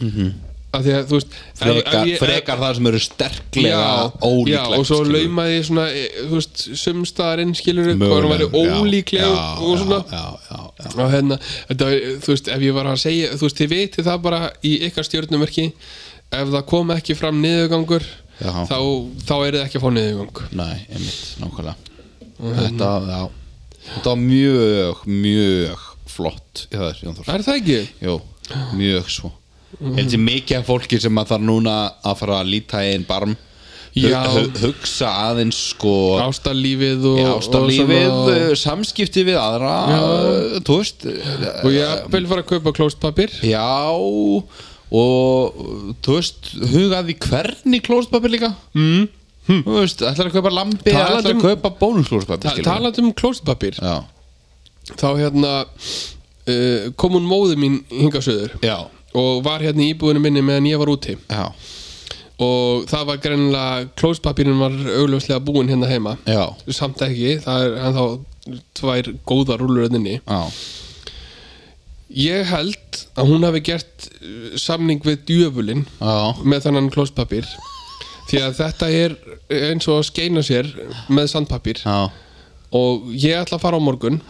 Mhm. af því að þú veist ef- frekar, ef ég- frekar það sem eru sterklega Já, já, ólíklegt og svo skilur. laumaði ég svona, e, þú veist, sumstaðarinn skilur upp og hann Mögulega, væri já, ólíkleg já, og svona já, já, já, já. og hérna, þetta, var- þú veist, ef ég var að segja þú veist, þið veitir það bara í ykkar stjórnumerki ef það kom ekki fram niðurgangur Já. þá, þá er það ekki að fá niðurgang Nei, einmitt, nákvæmlega Mhm. Þetta, já Þetta var mjög, mjög flott í það, Jón Þór er það ekki? Jó, mjög svo Mhm. Heldur mikið af fólki sem að þarf núna að fara að líta í einn barm hu- Já. hu- Hugsa aðeins sko ástarlífið og, Já, ástarlífið, og, svona- samskipti við aðra, þú veist og eh, ég apel fara að kaupa klóstpapir Já og þú veist hugaði hvernig klóstpapir líka mm. hm. þú veist, ætlar að kaupa Talandi lampi eða ætlar um- að kaupa bónusklóstpapir skilurðu? talat um klóstpapir Já, þá hérna uh, kom hún móðu mín hingasöður já, og var hérna í íbúðinu minni meðan ég var úti já, og það var greinilega klóstpapirinn var augljóslega búinn hérna heima já, samt ekki, það er hann þá tvær góða rúlur öðninni já. ég held að hún hafi gert uh, samning við djöfulinn já. með þannan klóspapir því að þetta er eins og að skeina sér með sandpapir Já, og ég ætla að fara á morgun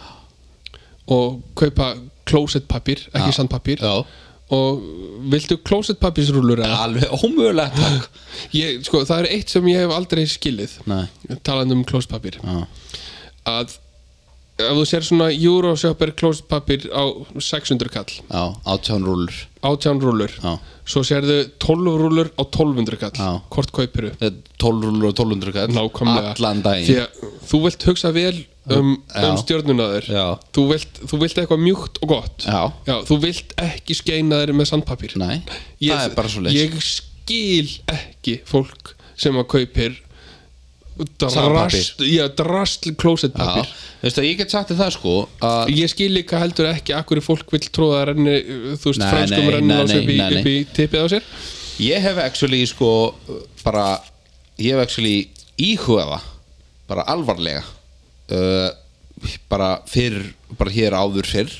og kaupa klósettpapir, ekki Já. sandpapir já. og viltu klósettpapirsrúlur eða? Alveg ómögulegt takk Ég, sko, það er eitt sem ég hef aldrei skilið Nei, talandi um klóspapir já, að ef þú sér svona Euroshopper klóspapir á 600 kall já, átján rúlur 18 rúlur Já, svo sérðu 12 rúlur á 1200 kall Já. hvort kaupiru Þetta er 12 rúlur og 1200 kall nákvæmlega Allan daginn því að þú vilt hugsa vel um, Já. um stjörnuna þér Já. þú vilt, þú vilt eitthvað mjúkt og gott Já. þú vilt ekki skeina þér með sandpapír Nei, ég, það er bara svo ég skil ekki fólk sem að kaupir Sandpapír. drast, já, drastl klósettpapír Veistu að ég get sagt þér það sko að Ég skil líka heldur ekki akkur fólk vill tróða renni, þú veist, Nei, franskum nei, renni nei, á sig upp í, nei, nei. upp í tippið á sér Ég hef actually sko bara, ég hef actually íhugaða, bara alvarlega uh, bara fyrr, bara hér áður fyrr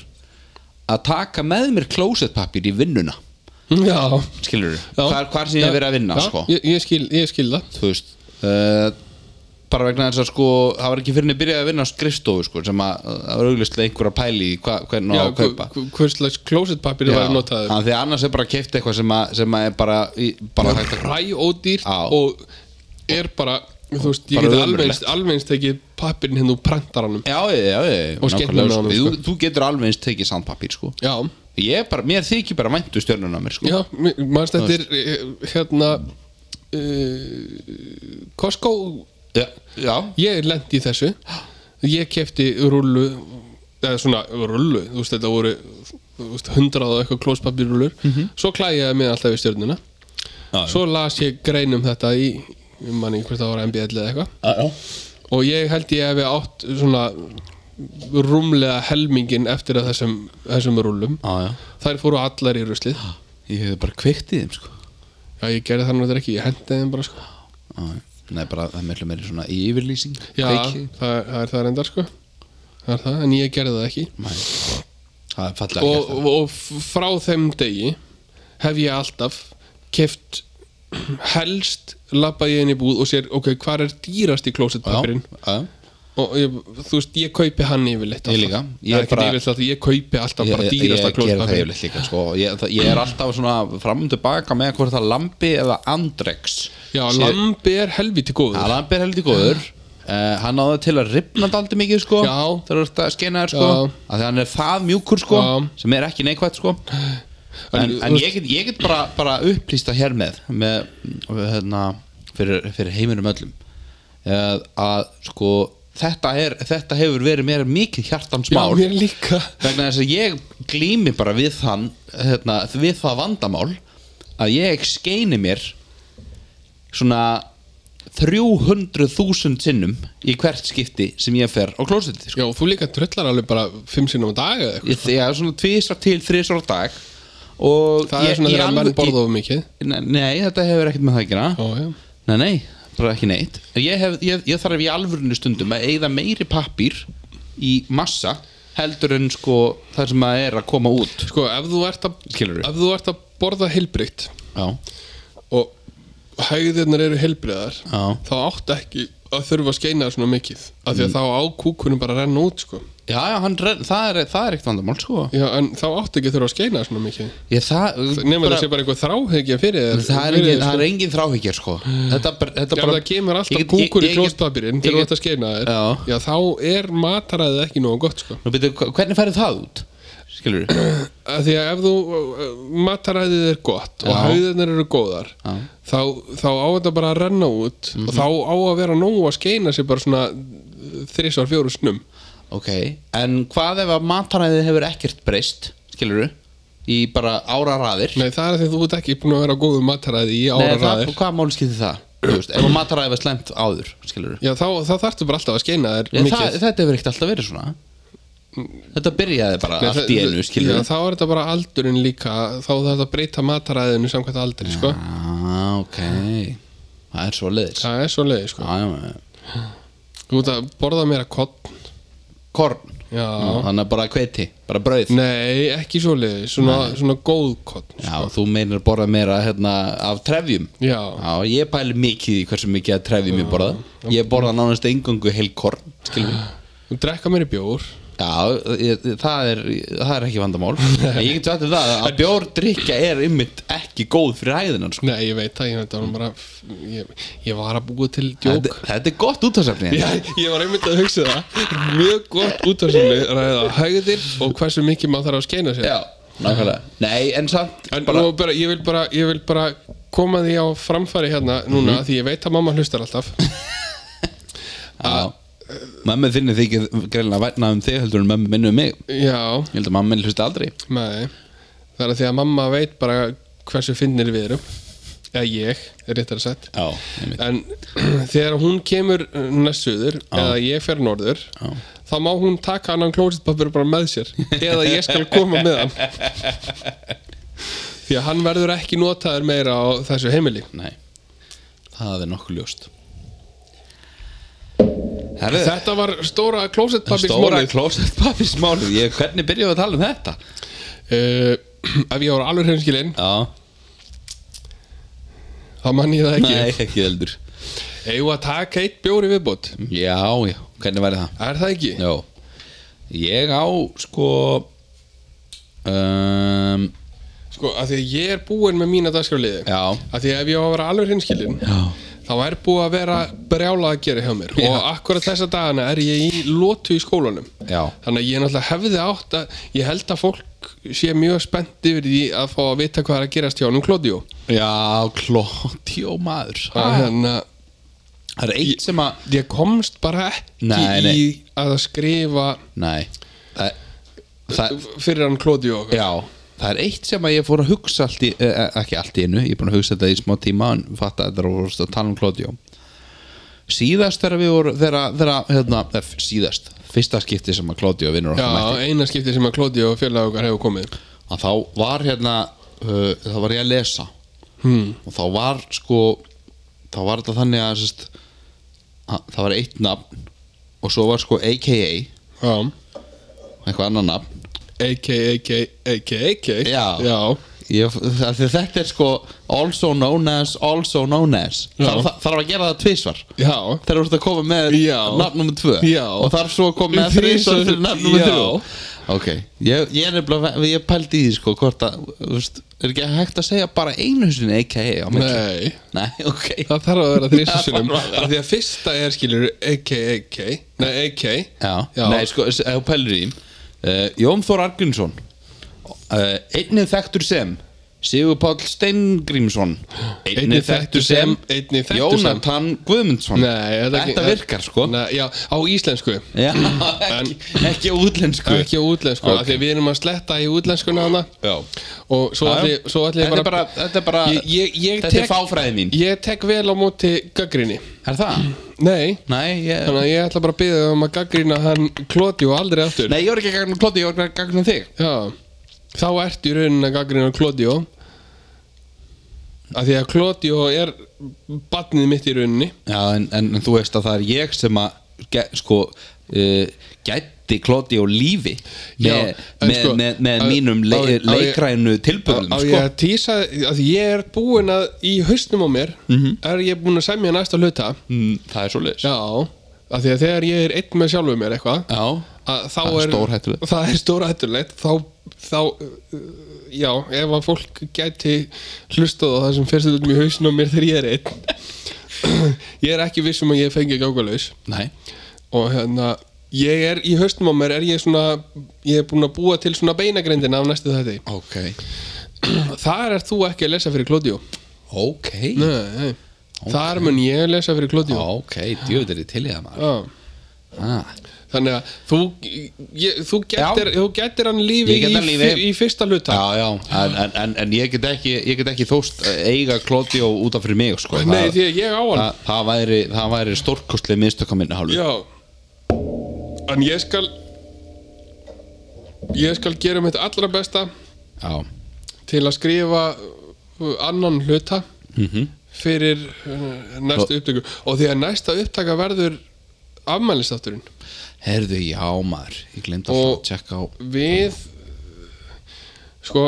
að taka með mér klósettpappir í vinnuna Já, skilur já hvar, hvar sem ég Já, hef verið að vinna já, sko ég, ég, skil, ég skil það þú veist uh, bara vegna þess að sko það var ekki fyrir en ég byrjaði að vinna á skrifstofu sko sem að það var auglustlega einhver að pæli í hva, hvernig á Já, að kaupa hver- hvers slags klósettpapir Já, var notaður af því að annars er bara að kefta eitthvað sem, að, sem að er bara, í- bara hægt að Ræ ódýrt Já. og er bara, þú veist, ég Bara geti ömurlegt. alvegst, alvegst tekið pappirinn hinn úr prantaranum Já, já, já, já Og skemmt nákvæmlega, með honum, sko. sko. Þú, þú getur alveg eins tekið sandpapír sko. Já, Ég er bara, mér þykir bara væntu stjörnuna mér sko. já, mér- manst þetta er eh, hérna uh, Costco já, já. Ég lendi í þessu Ég kefti rullu eða svona rullu, þú veist þetta voru þú veist, hundrað og eitthvað klóspapirrullur svo klæjaði mig alltaf við stjörnuna Mhm. Já, svo las ég grein um þetta í ég man ekki hvort það var MBL eða eitthvað já. og ég held ég hef átt svona rúmlega helmingin eftir að þessum, þessum rullum Já, já. þær fóru allar í ruslið Ég hefði bara kveikt í þeim sko. já ég gerði það náttúrulega ekki, ég hendi þeim bara sko Já, já. Nei, bara það er meðlum meiri svona yfirlýsing já, Kveiki. það, það er það reyndar sko það er það, en ég gerði það ekki Nei. Það er fallega og, gert sko. það. og, og frá þeim degi hef ég alltaf keft helst labbaði ég inn í búð og sér ok, hvað er dýrast í klósettpapirinn Já, já. og ég, þú veist, ég kaupi hann yfirleitt Ég alltaf. líka. Ég ég, er bara- bara, yfirleitt, alltaf, ég kaupi alltaf Ég, bara ég, ég dýrasta ger það klósettpapirinn yfirleitt líka sko. ég, það, ég er alltaf svona fram og tilbaka með hvort það lambi eða andrex Já, Sé- lambi er helviti Já, góður Lambi er heldur góður uh, Hann náði til að ripna daldi mikið sko Já. Þegar þú ert að skeina þér sko Já. Af því að hann er það mjúkur sko Já. Sem er ekki neikvætt sko En, En- en ég, get, ég get bara, bara upplýsta hér með, með hérna, fyrir, fyrir heiminum öllum uh, Að sko þetta, er, þetta hefur verið mér mikið hjartans Já, mál mér líka vegna þess að ég glými bara við þann hérna, við það vandamál að ég skeini mér svona 300.000 sinnum í hvert skipti sem ég fer á klósetti sko. Já, þú líka tröllar alveg bara fimm sinnum á dag eða eitthvað ég, ég er svona tvisar til þrisar á dag og Það ég, er svona ég þegar að alveg- menn borða of mikið ég- Nei, nei, þetta hefur ekkert með það að gera Já, já Nei, nei, bara ekki neitt Ég, hef, ég, ég þarf í alvörinu stundum að eigða meiri pappír í massa heldur en sko það sem að er að koma út Sko, ef þú ert að, Skilurðu? ef þú ert að borða heilbrygt Já, og hægðirnar eru heilbreyðar Já. þá átt ekki að þurfa að skeina þér svona mikið af Mm. því að þá á kúkunum bara að renna út sko. já, já hann, renn- það er, það er eitt vandamál sko Já, en þá átt ekki að þurfa að skeina þér svona mikið ég, það, nema bara, það sé bara einhver þráhyggja fyrir þér það fyrir er engin, þér, það sko. er engin þráhyggjar sko Þetta, ber- þetta Já, bara það kemur Ég alltaf get- ég- kúkur í ég get- klóstpapirinn ég þegar þú get- ert að skeina þér Já. Já, þá er mataræðið ekki nógu gott sko. Nú, byrju, hva- Hvernig færðu það út? Skilur að því að ef þú uh, mataræðið er gott og Já. hæðirnar eru góðar Já. Mhm. þá, þá á þetta bara að renna út og þá á að vera nógu að skeina sér bara svona þrísvar fjóru snum Ok, en hvað ef að mataræðið hefur ekkert breyst Skilur Í bara ára raðir Nei, það er því að þú ert ekki búin að vera á góðu mataræði í ára Nei, það, ræðir hvað máli skiptir það? Þú veist, ef að mataræði var slæmt áður, skilur Já, þá, þá þarftu bara alltaf að skeina þér við mikið Mm. það, Þetta hefur ekkert alltaf verið svona Þetta byrjaði bara Nei, allt í það- einu, skilur Já, við þá er þetta bara aldurinn líka þá þarf þetta að breyta mataræðinu samkvæmt aldri, sko ah, ok Það er svo leiðis Það er svo leiði, sko Þú ert að borða meira kottn Korn, Já þannig að bara kveiti, bara brauð Nei, ekki svo leiði, svona, svona góð kottn Já, þú meinar borða meira hérna, af trefjum Já, Já, ég pæli mikið í hversu mikið að trefjum ég borða Ég borða nánast engungu heil korn, skilur við og drekka meiri bjór Já, ég, það, er, það er ekki vandamál En Ég get sagt þér það að bjórdrykja er ymmit ekki góð fyrir hæðinan sko. Nei, ég veit það, ég, þetta var bara, ég, ég var að búa til djók þetta, þetta er gott útastefni Já, ég var einmitt að hugsa það Mjög gott útvarsumni ræða hægðir og hversu mikið maður þarf að skeina sér Já, nákvæmlega Nei, en samt En bara, bara, bara, ég, vil bara, ég vil bara koma því Mhm. á framfæri hérna núna því ég veit að mamma hlustar alltaf að Mömmu þinni þykir greinlega vætna um þig heldur en mömmu minni um mig Já, Ég held að mamma minn hlusti aldrei nei Það er að því að mamma veit bara hversu finnir við erum Eða ég, er réttar að sett Já, einmitt. En þegar hún kemur næstuður Eða ég fer norður Já. Þá má hún taka annan klósitpapir bara með sér Eða ég skal koma með hann Því að hann verður ekki notaður meira á þessu heimili Nei, það er nokkuð ljóst Herðu, Þetta var stóra stóra klósitpapirsmólið klósetpappismálið Ég, hvernig byrjuðu að tala um þetta? uh, Ef ég var alveg hreinskilinn Já, Þá mann ég það ekki nei, ekki heldur Eigum við að taka eitt bjóri viðbútt Já, já, hvernig væri það? Er það ekki? Já Ég á, sko um, Sko, að því að ég er búinn með mína dagskráliði Já að því að ef ég á að vera alveg hinskilin Já þá er búið að vera brjála að gera hjá mér Já. og akkurat þessa dagana er ég í lotu í skólanum Já, þannig að ég náttúrulega hefði átt að ég held að fólk sé mjög spennt yfir því að fá að vita hvað er að gerast hjá honum Klódió já klótjó maður að hérna Það er eitt sem að ég komst bara ekki Nei, nei. í að skrifa Nei Það, það fyrir hann Klódió Já Það er eitt sem að ég fór að hugsa allt í, eh, ekki allt í einu, ég er búin að hugsa þetta í smá tíma en fatta að þetta er að tala um Klódió Síðast þegar við voru þegar, þegar hérna, eh, síðast fyrsta skipti sem að Klódió vinnur Já, okkar mætti eina skipti sem að Klódió og félag okkar hefur komið að þá var hérna uh, þá var ég að lesa hmm. og þá var sko þá var þetta þannig að, sest, að það var eitt nafn og svo var sko AKA Já, eitthvað annan nafn a.k.a. a.k.a. a.k.a. Já. Já. ég, af því að þetta er sko also known as, also known as Já. þarf, það- þarf að gera það tvísvar Já, þegar þú ert að koma með Já. nafn nummer 2 Já. og þarf svo að koma með Þrisvar þrísvar fyrir nafn nummer Já. 3 ok, ég, ég er nefnilega ég pældi í því sko hvort að þú veist, er ekki hægt að segja bara einu sinni AKA á milli? nei nei, ok Það þarf að vera Það þrísusunum þarf að vera. Af því að fyrsta er skilur AK, AK Nei, AK já, Já. nei sko, s- ef þú pælir í því, uh, Jón Þór Argrímsson uh, einnið þekktur sem Sigur Páll Steingrímsson Einnig þekktur sem, einnig þekktur sem. Jónatan Guðmundsson Nei, þetta, þetta virkar sko Nei, Já, á íslensku Já, ekki, ekki á útlensku Ekki á útlensku Ok. Af því að við erum að sletta í útlenskuna hana já Og svo Já, já. ætli, svo ætli Þetta er bara- þetta er bara- ég, ég, ég þetta tek, er fáfræði mín. Ég tek vel á móti gaggrinni Er það? Nei Nei, ég, Þannig að ég ætla bara að byggja um að gaggrina hann kloti og aldrei aftur Nei, ég var ekki að gagna klóti, ég var að gagna þig Já, þá ertu í rauninni að gaggrina Klódió að því að Klódió er badnið mitt í rauninni Já, en, en, en þú veist að það er ég sem að ge, sko, uh, gætti klóti og lífi Já, með, en með, sko, með, með á- mínum á- le, á- leikrænu Á tilbúðum á ég sko. að tísa að því ég er búinn að í hausnum á mér er ég búinn að semja næsta hluta Mm, Það er svoleiðis Já, að því að þegar ég er einn með sjálfu mér eitthvað Já, að þá Það er er stórhættulegt. það er stórhættulegt þá, þá uh, já, ef að fólk gæti hlustað á það sem fyrst um í hausnum á mér þegar ég er einn ég er ekki viss um að ég fengi gákalaus nei og hérna ég er í haustum á mér er ég svona ég er búin að búa til svona beinagrindina af næstu þetta Ok þar er þú ekki að lesa fyrir Klódió Ok nei, nei. þar mun ég lesa fyrir Klódió Ok, djöfður er til í það maður Já. ah. þannig að þú ég, þú, getur, þú getur hann lífi, Ég get í, hann lífi. í fyrsta hluta Já, já, en, en, en, en ég get ekki, ég get ekki þóst að eiga klóti og út af fyrir mig sko. nei, það, því að ég á hann það, það væri, það væri stórkostlega mistökk á minni hálfu já en ég skal ég skal gera mitt allra besta Já, til að skrifa uh, annan hluta fyrir uh, næstu upptöku og því að næsta upptaka verður afmælistátturinn Herðu, já maður, ég glemt að Og- og... tjekka á við sko,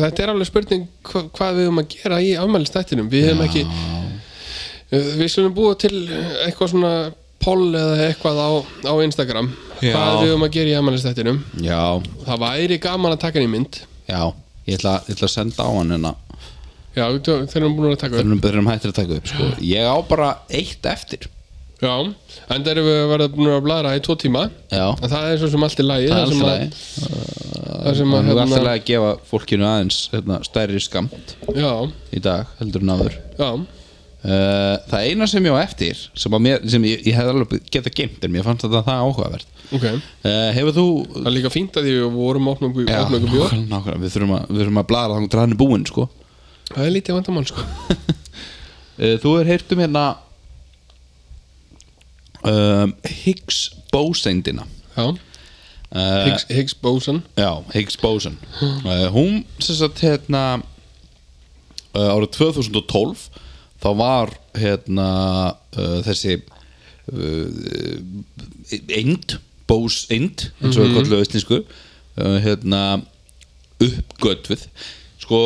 þetta er alveg spurning hva, hvað við höfum að gera í afmælistættinum við höfum ekki uh, við skulum búa til uh, eitthvað svona poll eða eitthvað á, á Instagram Já. hvað við höfum að gera í afmælistættinum Já, það væri gaman að taka hann í mynd já, ég ætla, ég ætla að senda á hann hérna. en að já, við tö- þeir eru búin að taka upp. þeir eru hættir að taka upp sko. Ég á bara eitt eftir Já, enda erum við að verða búin að bladra í tvo tíma Já, En það er svo sem allt í lagi það er sem alltaf að- lagi Það sem að Það er alltaf hérna, lagi að gefa fólkinu aðeins hérna, stærri skamt Já, í dag, heldur en áður já Uh, það eina sem ég á eftir sem, að mér, sem ég, ég hef alveg geta geimt en mér fannst þetta það áhugavert Ok, uh, Hefur þú það er líka fínt að því við vorum að opna okkur Já, opna okkur bjór nákvæmlega, nákvæmlega. Við þurfum að, við þurfum að blara þannig til hann er búinn sko. Það er lítið vandamál sko uh, Þú er heyrt um hérna um, Higgs bóseindina Já, uh, Higgs, Higgs Boson Já, Higgs bósein uh, Hún sem sagt hérna uh, árið 2012 þá var hérna uh, þessi uh, eind bóseind eins og við kolluðu austninsku uh, hérna uppgötfuð sko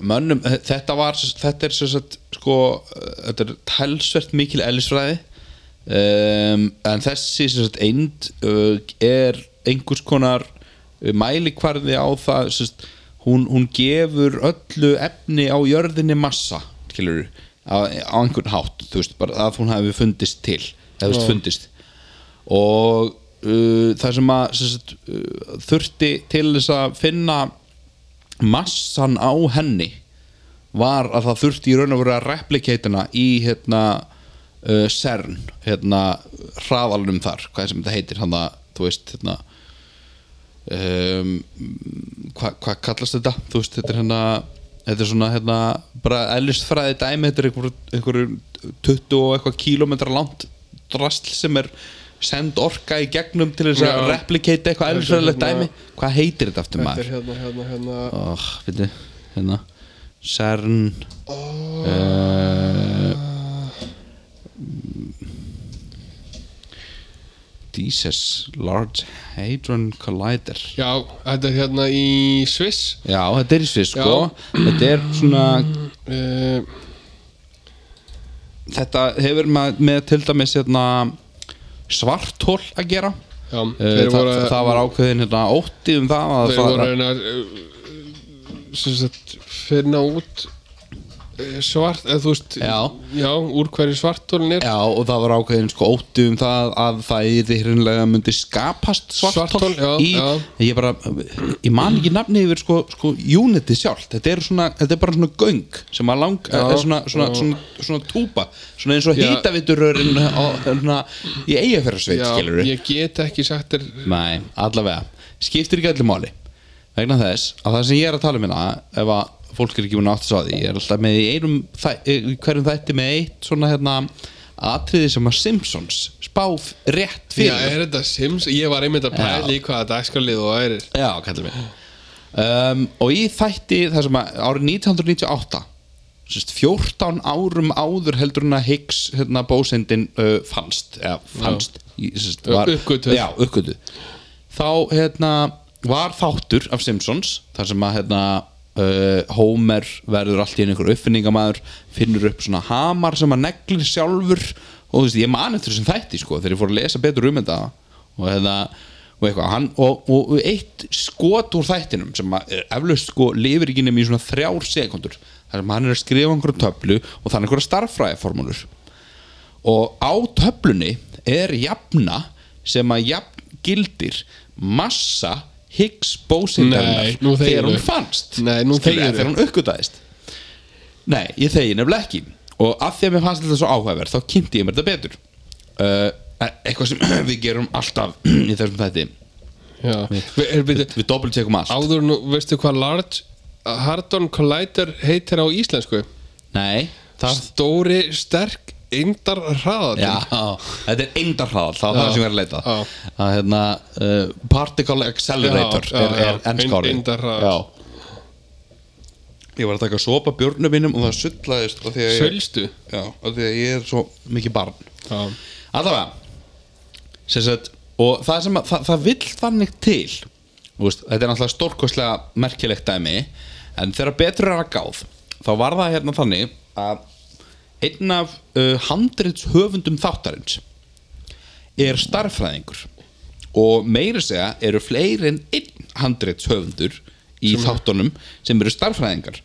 mönnum, eh, þetta var þetta er sem sagt sko uh, þetta er tælsvert mikil ellisfræði um, en þessi sem sagt eind uh, er einhvers konar uh, mælikvarði á það sem sagt hún, hún gefur öllu efni á jörðinni massa skilur, á, á einhvern hátt þú veist, bara að hún hafi fundist til eða þú veist, fundist og uh, það sem að sem sagt, uh, þurfti til þess að finna massan á henni var að það þurfti í raun og veru að replikatina í hérna uh, CERN, hérna hraðalunum þar, hvað sem þetta heitir hann að, þú veist, hérna um, hvað hva kallast þetta þú veist þetta er hérna þetta er svona hérna bara eðlisfræði dæmi þetta er einhver, einhver 20 og eitthvað kílómetra langt drasl sem er send orka í gegnum til þess að Já. replicate eitthvað er eðlisfræðilegt hérna- dæmi hvað heitir þetta aftur Þetta maður? er hérna, hérna, hérna oh, finni, hérna CERN oh. uh, Jesus Large Hadron Collider Já, þetta er hérna í Sviss Já, þetta er í svið sko Já. Þetta er svona uh, Þetta hefur með, með til dæmis hérna, svartól að gera Já, Eh, þeir Þa, voru Það var ákveðin hérna, ótti um það að Þeir það voru hérna uh, eh, sem sagt finna út eh, svart, eða þú veist Já. já, úr hverju svartólin er Já, og það var ákveðin sko ótti um það að það yfir hinnlega myndi skapast svartól Svarthol, já, í, já. Ég bara, ég man ekki nafni yfir sko, sko uniti sjálft Þetta er, svona, þetta er bara svona göng sem að lang, Já, er svona, svona, og- svona, svona, túpa Svona eins og Já. hýtavitururinn í eigafjörðarsveit, skilur við ég get ekki sagt þér Nei, allavega Skiptir ekki allir máli Vegna þess að það sem ég er að tala um hérna Ef að fólk er ekki búin að átta svo að því Ég er alltaf með í einum þæ, í hverjum þætti með eitt svona hérna Atriði sem að Simpsons spáf rétt Já, fyrir er þetta Sims? Ég var einmitt að Já. pæla í hvaða dagskalið og ærir Já, kallar mig um, Og í þætti þar sem að árið 1998 sérst, 14 árum áður heldur en að Higgs hérna, bósendin uh, fannst, eða, fannst í- sérst, var, Uppgötvuð. já, uppgötu. þá hérna, var þáttur af Simpsons þar sem að hérna, uh, Homer verður allt í einu einhver uppfinningamæður finnur upp svona hamar sem að neglir sjálfur og þú veist, ég mani eftir þessum þætti sko, þegar ég fór að lesa betur um þetta og hérna og eitthvað, hann, og, og og eitt skot úr þættinum sem að er eflaust sko lifir ekki nefnum í svona þrjár sekundur þar sem hann er að skrifa einhverja töflu og þannig einhverja starffræðiformúlur og á töflunni er jafna sem að jafn gildir massa Higgs Nei, bósindarinnar nú þegir þegar hún þú. fannst Nei, nú Skilurðu, þegir þegar hún uppgötaðist Nei, ég þegi nefnilega ekki og af því að mér fannst þetta svo áhugaverð þá kynnti ég mér þetta betur uh, eitthvað sem við gerum alltaf í þessum þætti Já, Vi, er, við, við doppeltjekum allt áður nú, veistu hvað large Hardon Collider heitir á íslensku? Nei, það Stóri, sterk, eindar hraðatinn Já, þetta er eindarhraðal það var það Já, sem ég var að leita já. að, hérna, uh, Particle Accelerator Já, já, er, er já, ennskári ein- eindarhraðall. Ég var að taka sopa björnum mínum og það sullaðist af því að ég, Sölstu? já, af því að ég er svo mikið barn Já, Allavega sem sagt, og það sem að, það, það vill þannig til þú veist, þetta er náttúrulega stórkoslega merkilegt dæmi en þegar betur er að gáð þá var það hérna þannig að einn af uh, handrits höfundum þáttarins er starffræðingur og meiri segja eru fleiri en einn handrits höfundur í þáttunum sem eru starffræðingar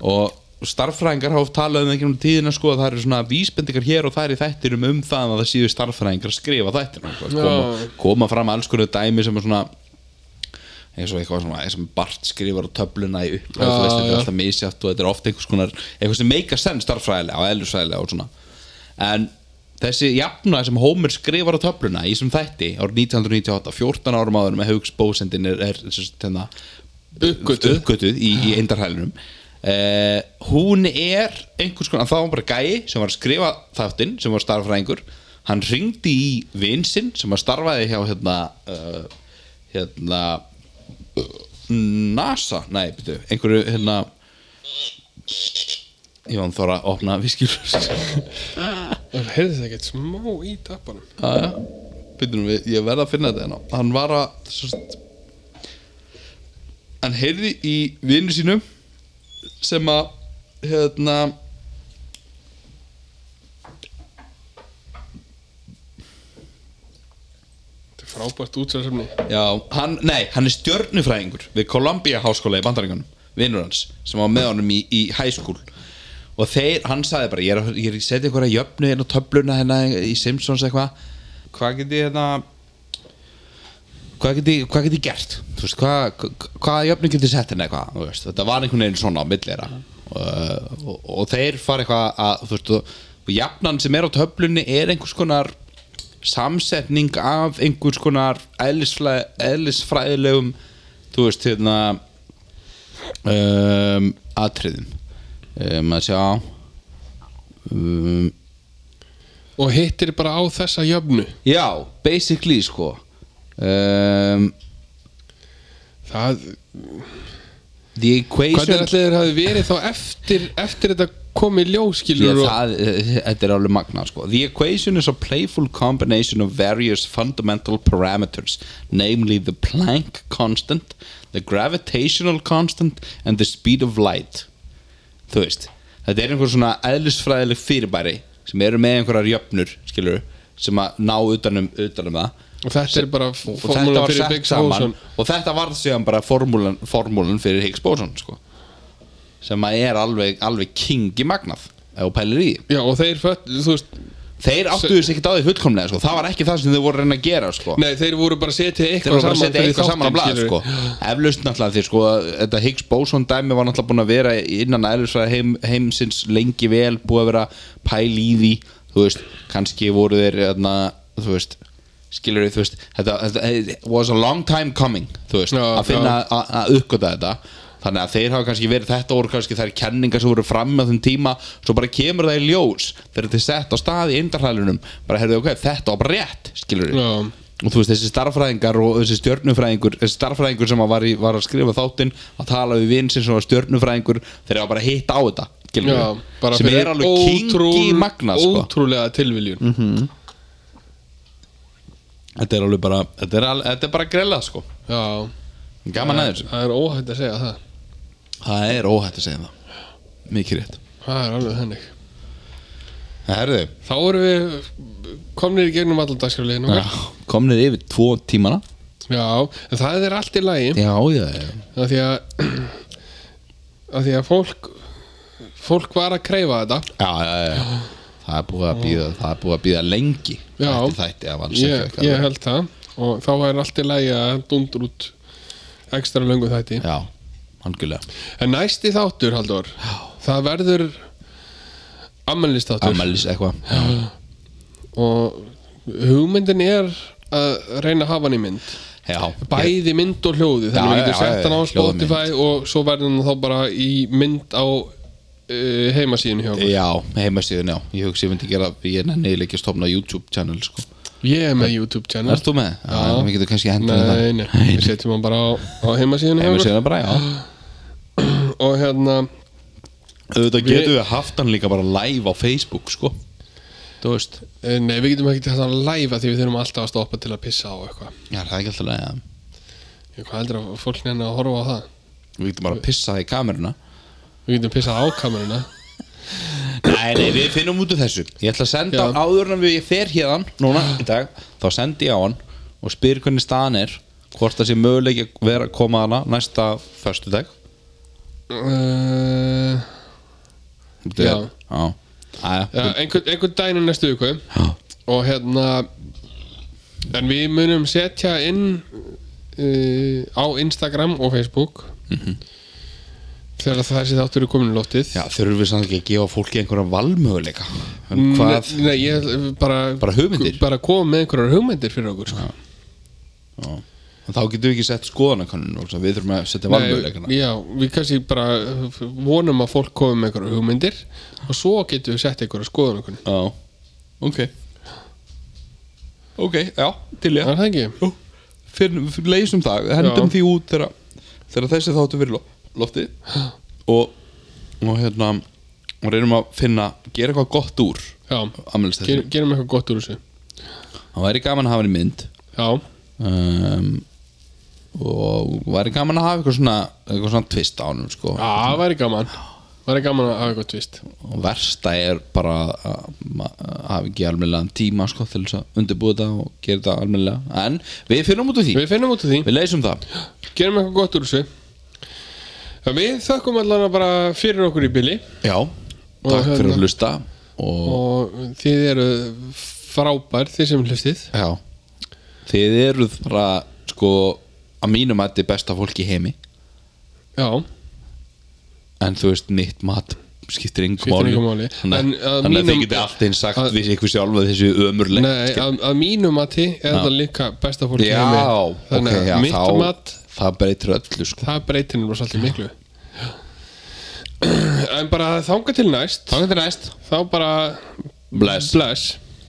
og starffræðingar hafa oft talað um einhvern um tíðina sko að það eru svona vísbendingar hér og það í þættinum um það að það séu starffræðingar að skrifa þættina og Já. koma, koma fram alls konar dæmi sem er svona eins og eitthvað svona, eins og Bart skrifar á töfluna í upp Já, þetta er já. alltaf misjátt og þetta er ofta einhvers konar eitthvað sem meika senn starffræðilega og eðlisfræðilega og svona en þessi jafnaði sem Homer skrifar á töfluna í sem þætti árið 1998 14 árum áður með Hauks bósendin er, er, er, hérna, tenna, Uppgötvuð. uppgötuð í, í eindarhælinum uh, hún er einhvers konar, það var bara gæi sem var að skrifa þáttinn, sem var starfræðingur hann ringdi í vinsinn sem var starfaði hjá hérna uh, hérna NASA, nei, byrju einhverju hérna ég var hann þóra að opna viskjur Það heyrðist ekkert smá í tappanum Jæja, býtum við, ég verð að finna þetta hérna Hann var að sérst, Hann heyrði í vinnu sínum sem að hérna Þetta er frábært útsvarsefni Já, hann, nei, hann er stjörnufræðingur við Columbia háskóla í bandaringunum vinnur hans, sem var með honum í, í high school og þeir, hann sagði bara ég er, að- ég er að setja einhverja jöfnu hérna á töfluna hérna í Simpsons eitthvað hvað geti hérna hvað geti, hvað geti gert þú veist, hvað, hvað, hvað jöfnu geti sett hérna eitthvað, þú veist, þetta var einhvern veginn svona á millera og, og, og þeir fara eitthvað að, þú veist, og, og jafnan sem er á töflunni er einhvers konar samsetning af einhvers konar eðlisfræ, eðlisfræðilegum þú veist hérna um, atriðum um, að sjá um, Og hittir bara á þessa jöfnu já, basically sko um, Það, the equation hvernig ætlaðir hafi verið þá eftir, eftir þetta komið ljóskilur Ég, það, þetta er alveg magna sko. The equation is a playful combination of various fundamental parameters namely the Planck constant the gravitational constant and the speed of light þú veist, þetta er einhver svona eðlisfræðileg fyrirbæri sem eru með einhverjar jöfnur, skilur sem að ná utanum, utanum um það Og þetta er bara og þetta formúla var fyrir sett Biggs saman Bóson og þetta varð síðan bara formúlan, formúlan fyrir Higgs bóson sko. sem að er alveg, alveg kingi magnað ef þú pælir í því Já og þeir fött, þú veist Þeir áttuðu sig ekkert á því fullkomlega sko. Það var ekki það sem þeir voru að reyna að gera sko. Nei þeir voru bara að setja Þeir eitthvað voru bara að saman setja fyrir eitthvað saman á þáttinn, blað skilurðu. sko. Eflaust náttúrulega því sko, Þetta Higgs Boson dæmi var náttúrulega búin að vera innan eðlisfræði heim, heimsins lengi vel búið að vera pæl í því Þú veist, kannski voru þeir þarna, þú veist, skilur þú veist þetta, þetta it was a long time coming þú veist, Já, að finna að- að uppgöta þetta þannig að þeir hafa kannski verið þetta voru kannski þær kenningar sem voru fram á þeim tíma svo bara kemur það í ljós þegar þetta er sett á stað í indarhælunum bara heyrðu ok, þetta var bara rétt, skilur við Já. og þú veist, þessi starffræðingar og þessi stjörnufræðingur þessi starffræðingur sem að var, í, var að skrifa þáttinn að tala við vinn sem var stjörnufræðingur þeir hafa bara hitt á þetta, skilur Já, bara við sem er alveg kingi ótrúl- magna sko. Mhm. Ótrúlega tilviljun þetta er alveg bara, þetta er, al, þetta er bara grella sko. Já gaman Það- aðeins Það er óhætt að segja það Það er óhætt að segja það Mikið rétt Það er alveg þannig Herðu Þá erum við komnir í gegnum allan dagskraflegin Já, Komnir yfir tvo tímana Já, en það er allt í lagi Já, já, já af því að af því að fólk fólk var að kreifa þetta Já, já, já Það er búið að býða, það er búið að býða lengi Já. Eftir þætti af alls ég, ég held það og þá er allt í lagi að dundur út ekstra löngu þætti Já, algjörlega en næsti þáttur, Halldór það verður ammælistáttur Amalys eitthvað Já. og hugmyndin er að reyna að hafa hann í mynd Já, ég- bæði mynd og hljóði þannig Já, að við getum já, já, sett hann á já, hljóðmynd. Spotify og svo verður hann þá bara í mynd á uh, heimasíðinu hjá okkur Já, heimasíðun, já Ég hugsi ég myndi gera, ég nenni eiginlega ekki að stofna YouTube channel sko. ég er með YouTube channel Erst þú með? Já, Já. Við getum kannski hendur Nei, nei, við setjum hann bara á, á heimasíðinu hjá okkur. Heimasíðuna bara, já og hérna Þetta Við- getum við haft hann líka bara live á Facebook, sko Þú veist eh, nei, við getum ekki þetta að læfa því við þurfum alltaf að stoppa til að pissa á eitthvað Já, það er ekki alltaf leið Ég, hvað heldur að fólk nefnir að horfa á það Við getum bara að pissa í kameruna við getum pissað á kameruna Nei, nei, við finnum út úr þessu Ég ætla að senda Já. hann áður en við ég fer hérðan Núna, í dag, þá sendi ég á hann Og spyr hvernig staðan er Hvort það sé möguleik að vera að koma hana Næsta föstudag uh, Já. Já, já, ja, einhvern, einhvern daginn í næstu viku já. og hérna en við munum setja inn uh, á Instagram og Facebook þegar þessi þáttur er komin í lótið Mhm. Já, þurfum við samt ekki að gefa fólki einhverja valmöguleika En hvað, Nei, nei, ég bara, Bara hugmyndir? Bara koma með einhverjar hugmyndir fyrir okkur sko. Já. En þá getum við ekki sett skoðanakönnun og svo Við þurfum að setja valmöguleikana Nei, Já, við kannski bara vonum að fólk komi með einhverjar hugmyndir og svo getum við sett einhverjar skoðun okkur Já, ok Ok, já, til ég Það er það ekki? Jú, fyrir, fyrir leysum það hendum Já. því út þegar, þegar þessi þáttu fyrir lo, lofti og, og hérna og reynum að finna, gera eitthvað gott úr Já, ammælst Ger, þessi gerum eitthvað gott úr þessu það væri gaman að hafa henni mynd Já, um, og væri gaman að hafa eitthvað svona, eitthvað svona tvist á honum sko. Já, það væri gaman Það væri gaman að hafa eitthvað tvist og versta er bara að ma- að hafa ekki almennilega tíma sko, til þess að undirbúa þetta og gera þetta almennilega en við finnum út úr því, Við finnum út af því, við leysum það gerum eitthvað gott úr þessu Já, Við þökkum allan bara fyrir okkur í bili Já, takk fyrir hérna- að hlusta og, og þið eru frábær þið sem hlustið Já Þið eruð bara sko að mínum að þið besta fólk í heimi Já, en þú veist mitt mat skiptir engum Skiptir máli engu máli. Þannig, En að þannig að þið mínum- getið allt einn sagt að- við ykkur sjálf að þessu ömurlegt nei, að, að mínu mati er þetta líka besta fólk í Já, heimi. ok, Þannig að já mitt þá, mat, það breytir öllu sko það breytir nú svolítið miklu En bara þanga til næst Þá getur næst þá bara Bless. bless.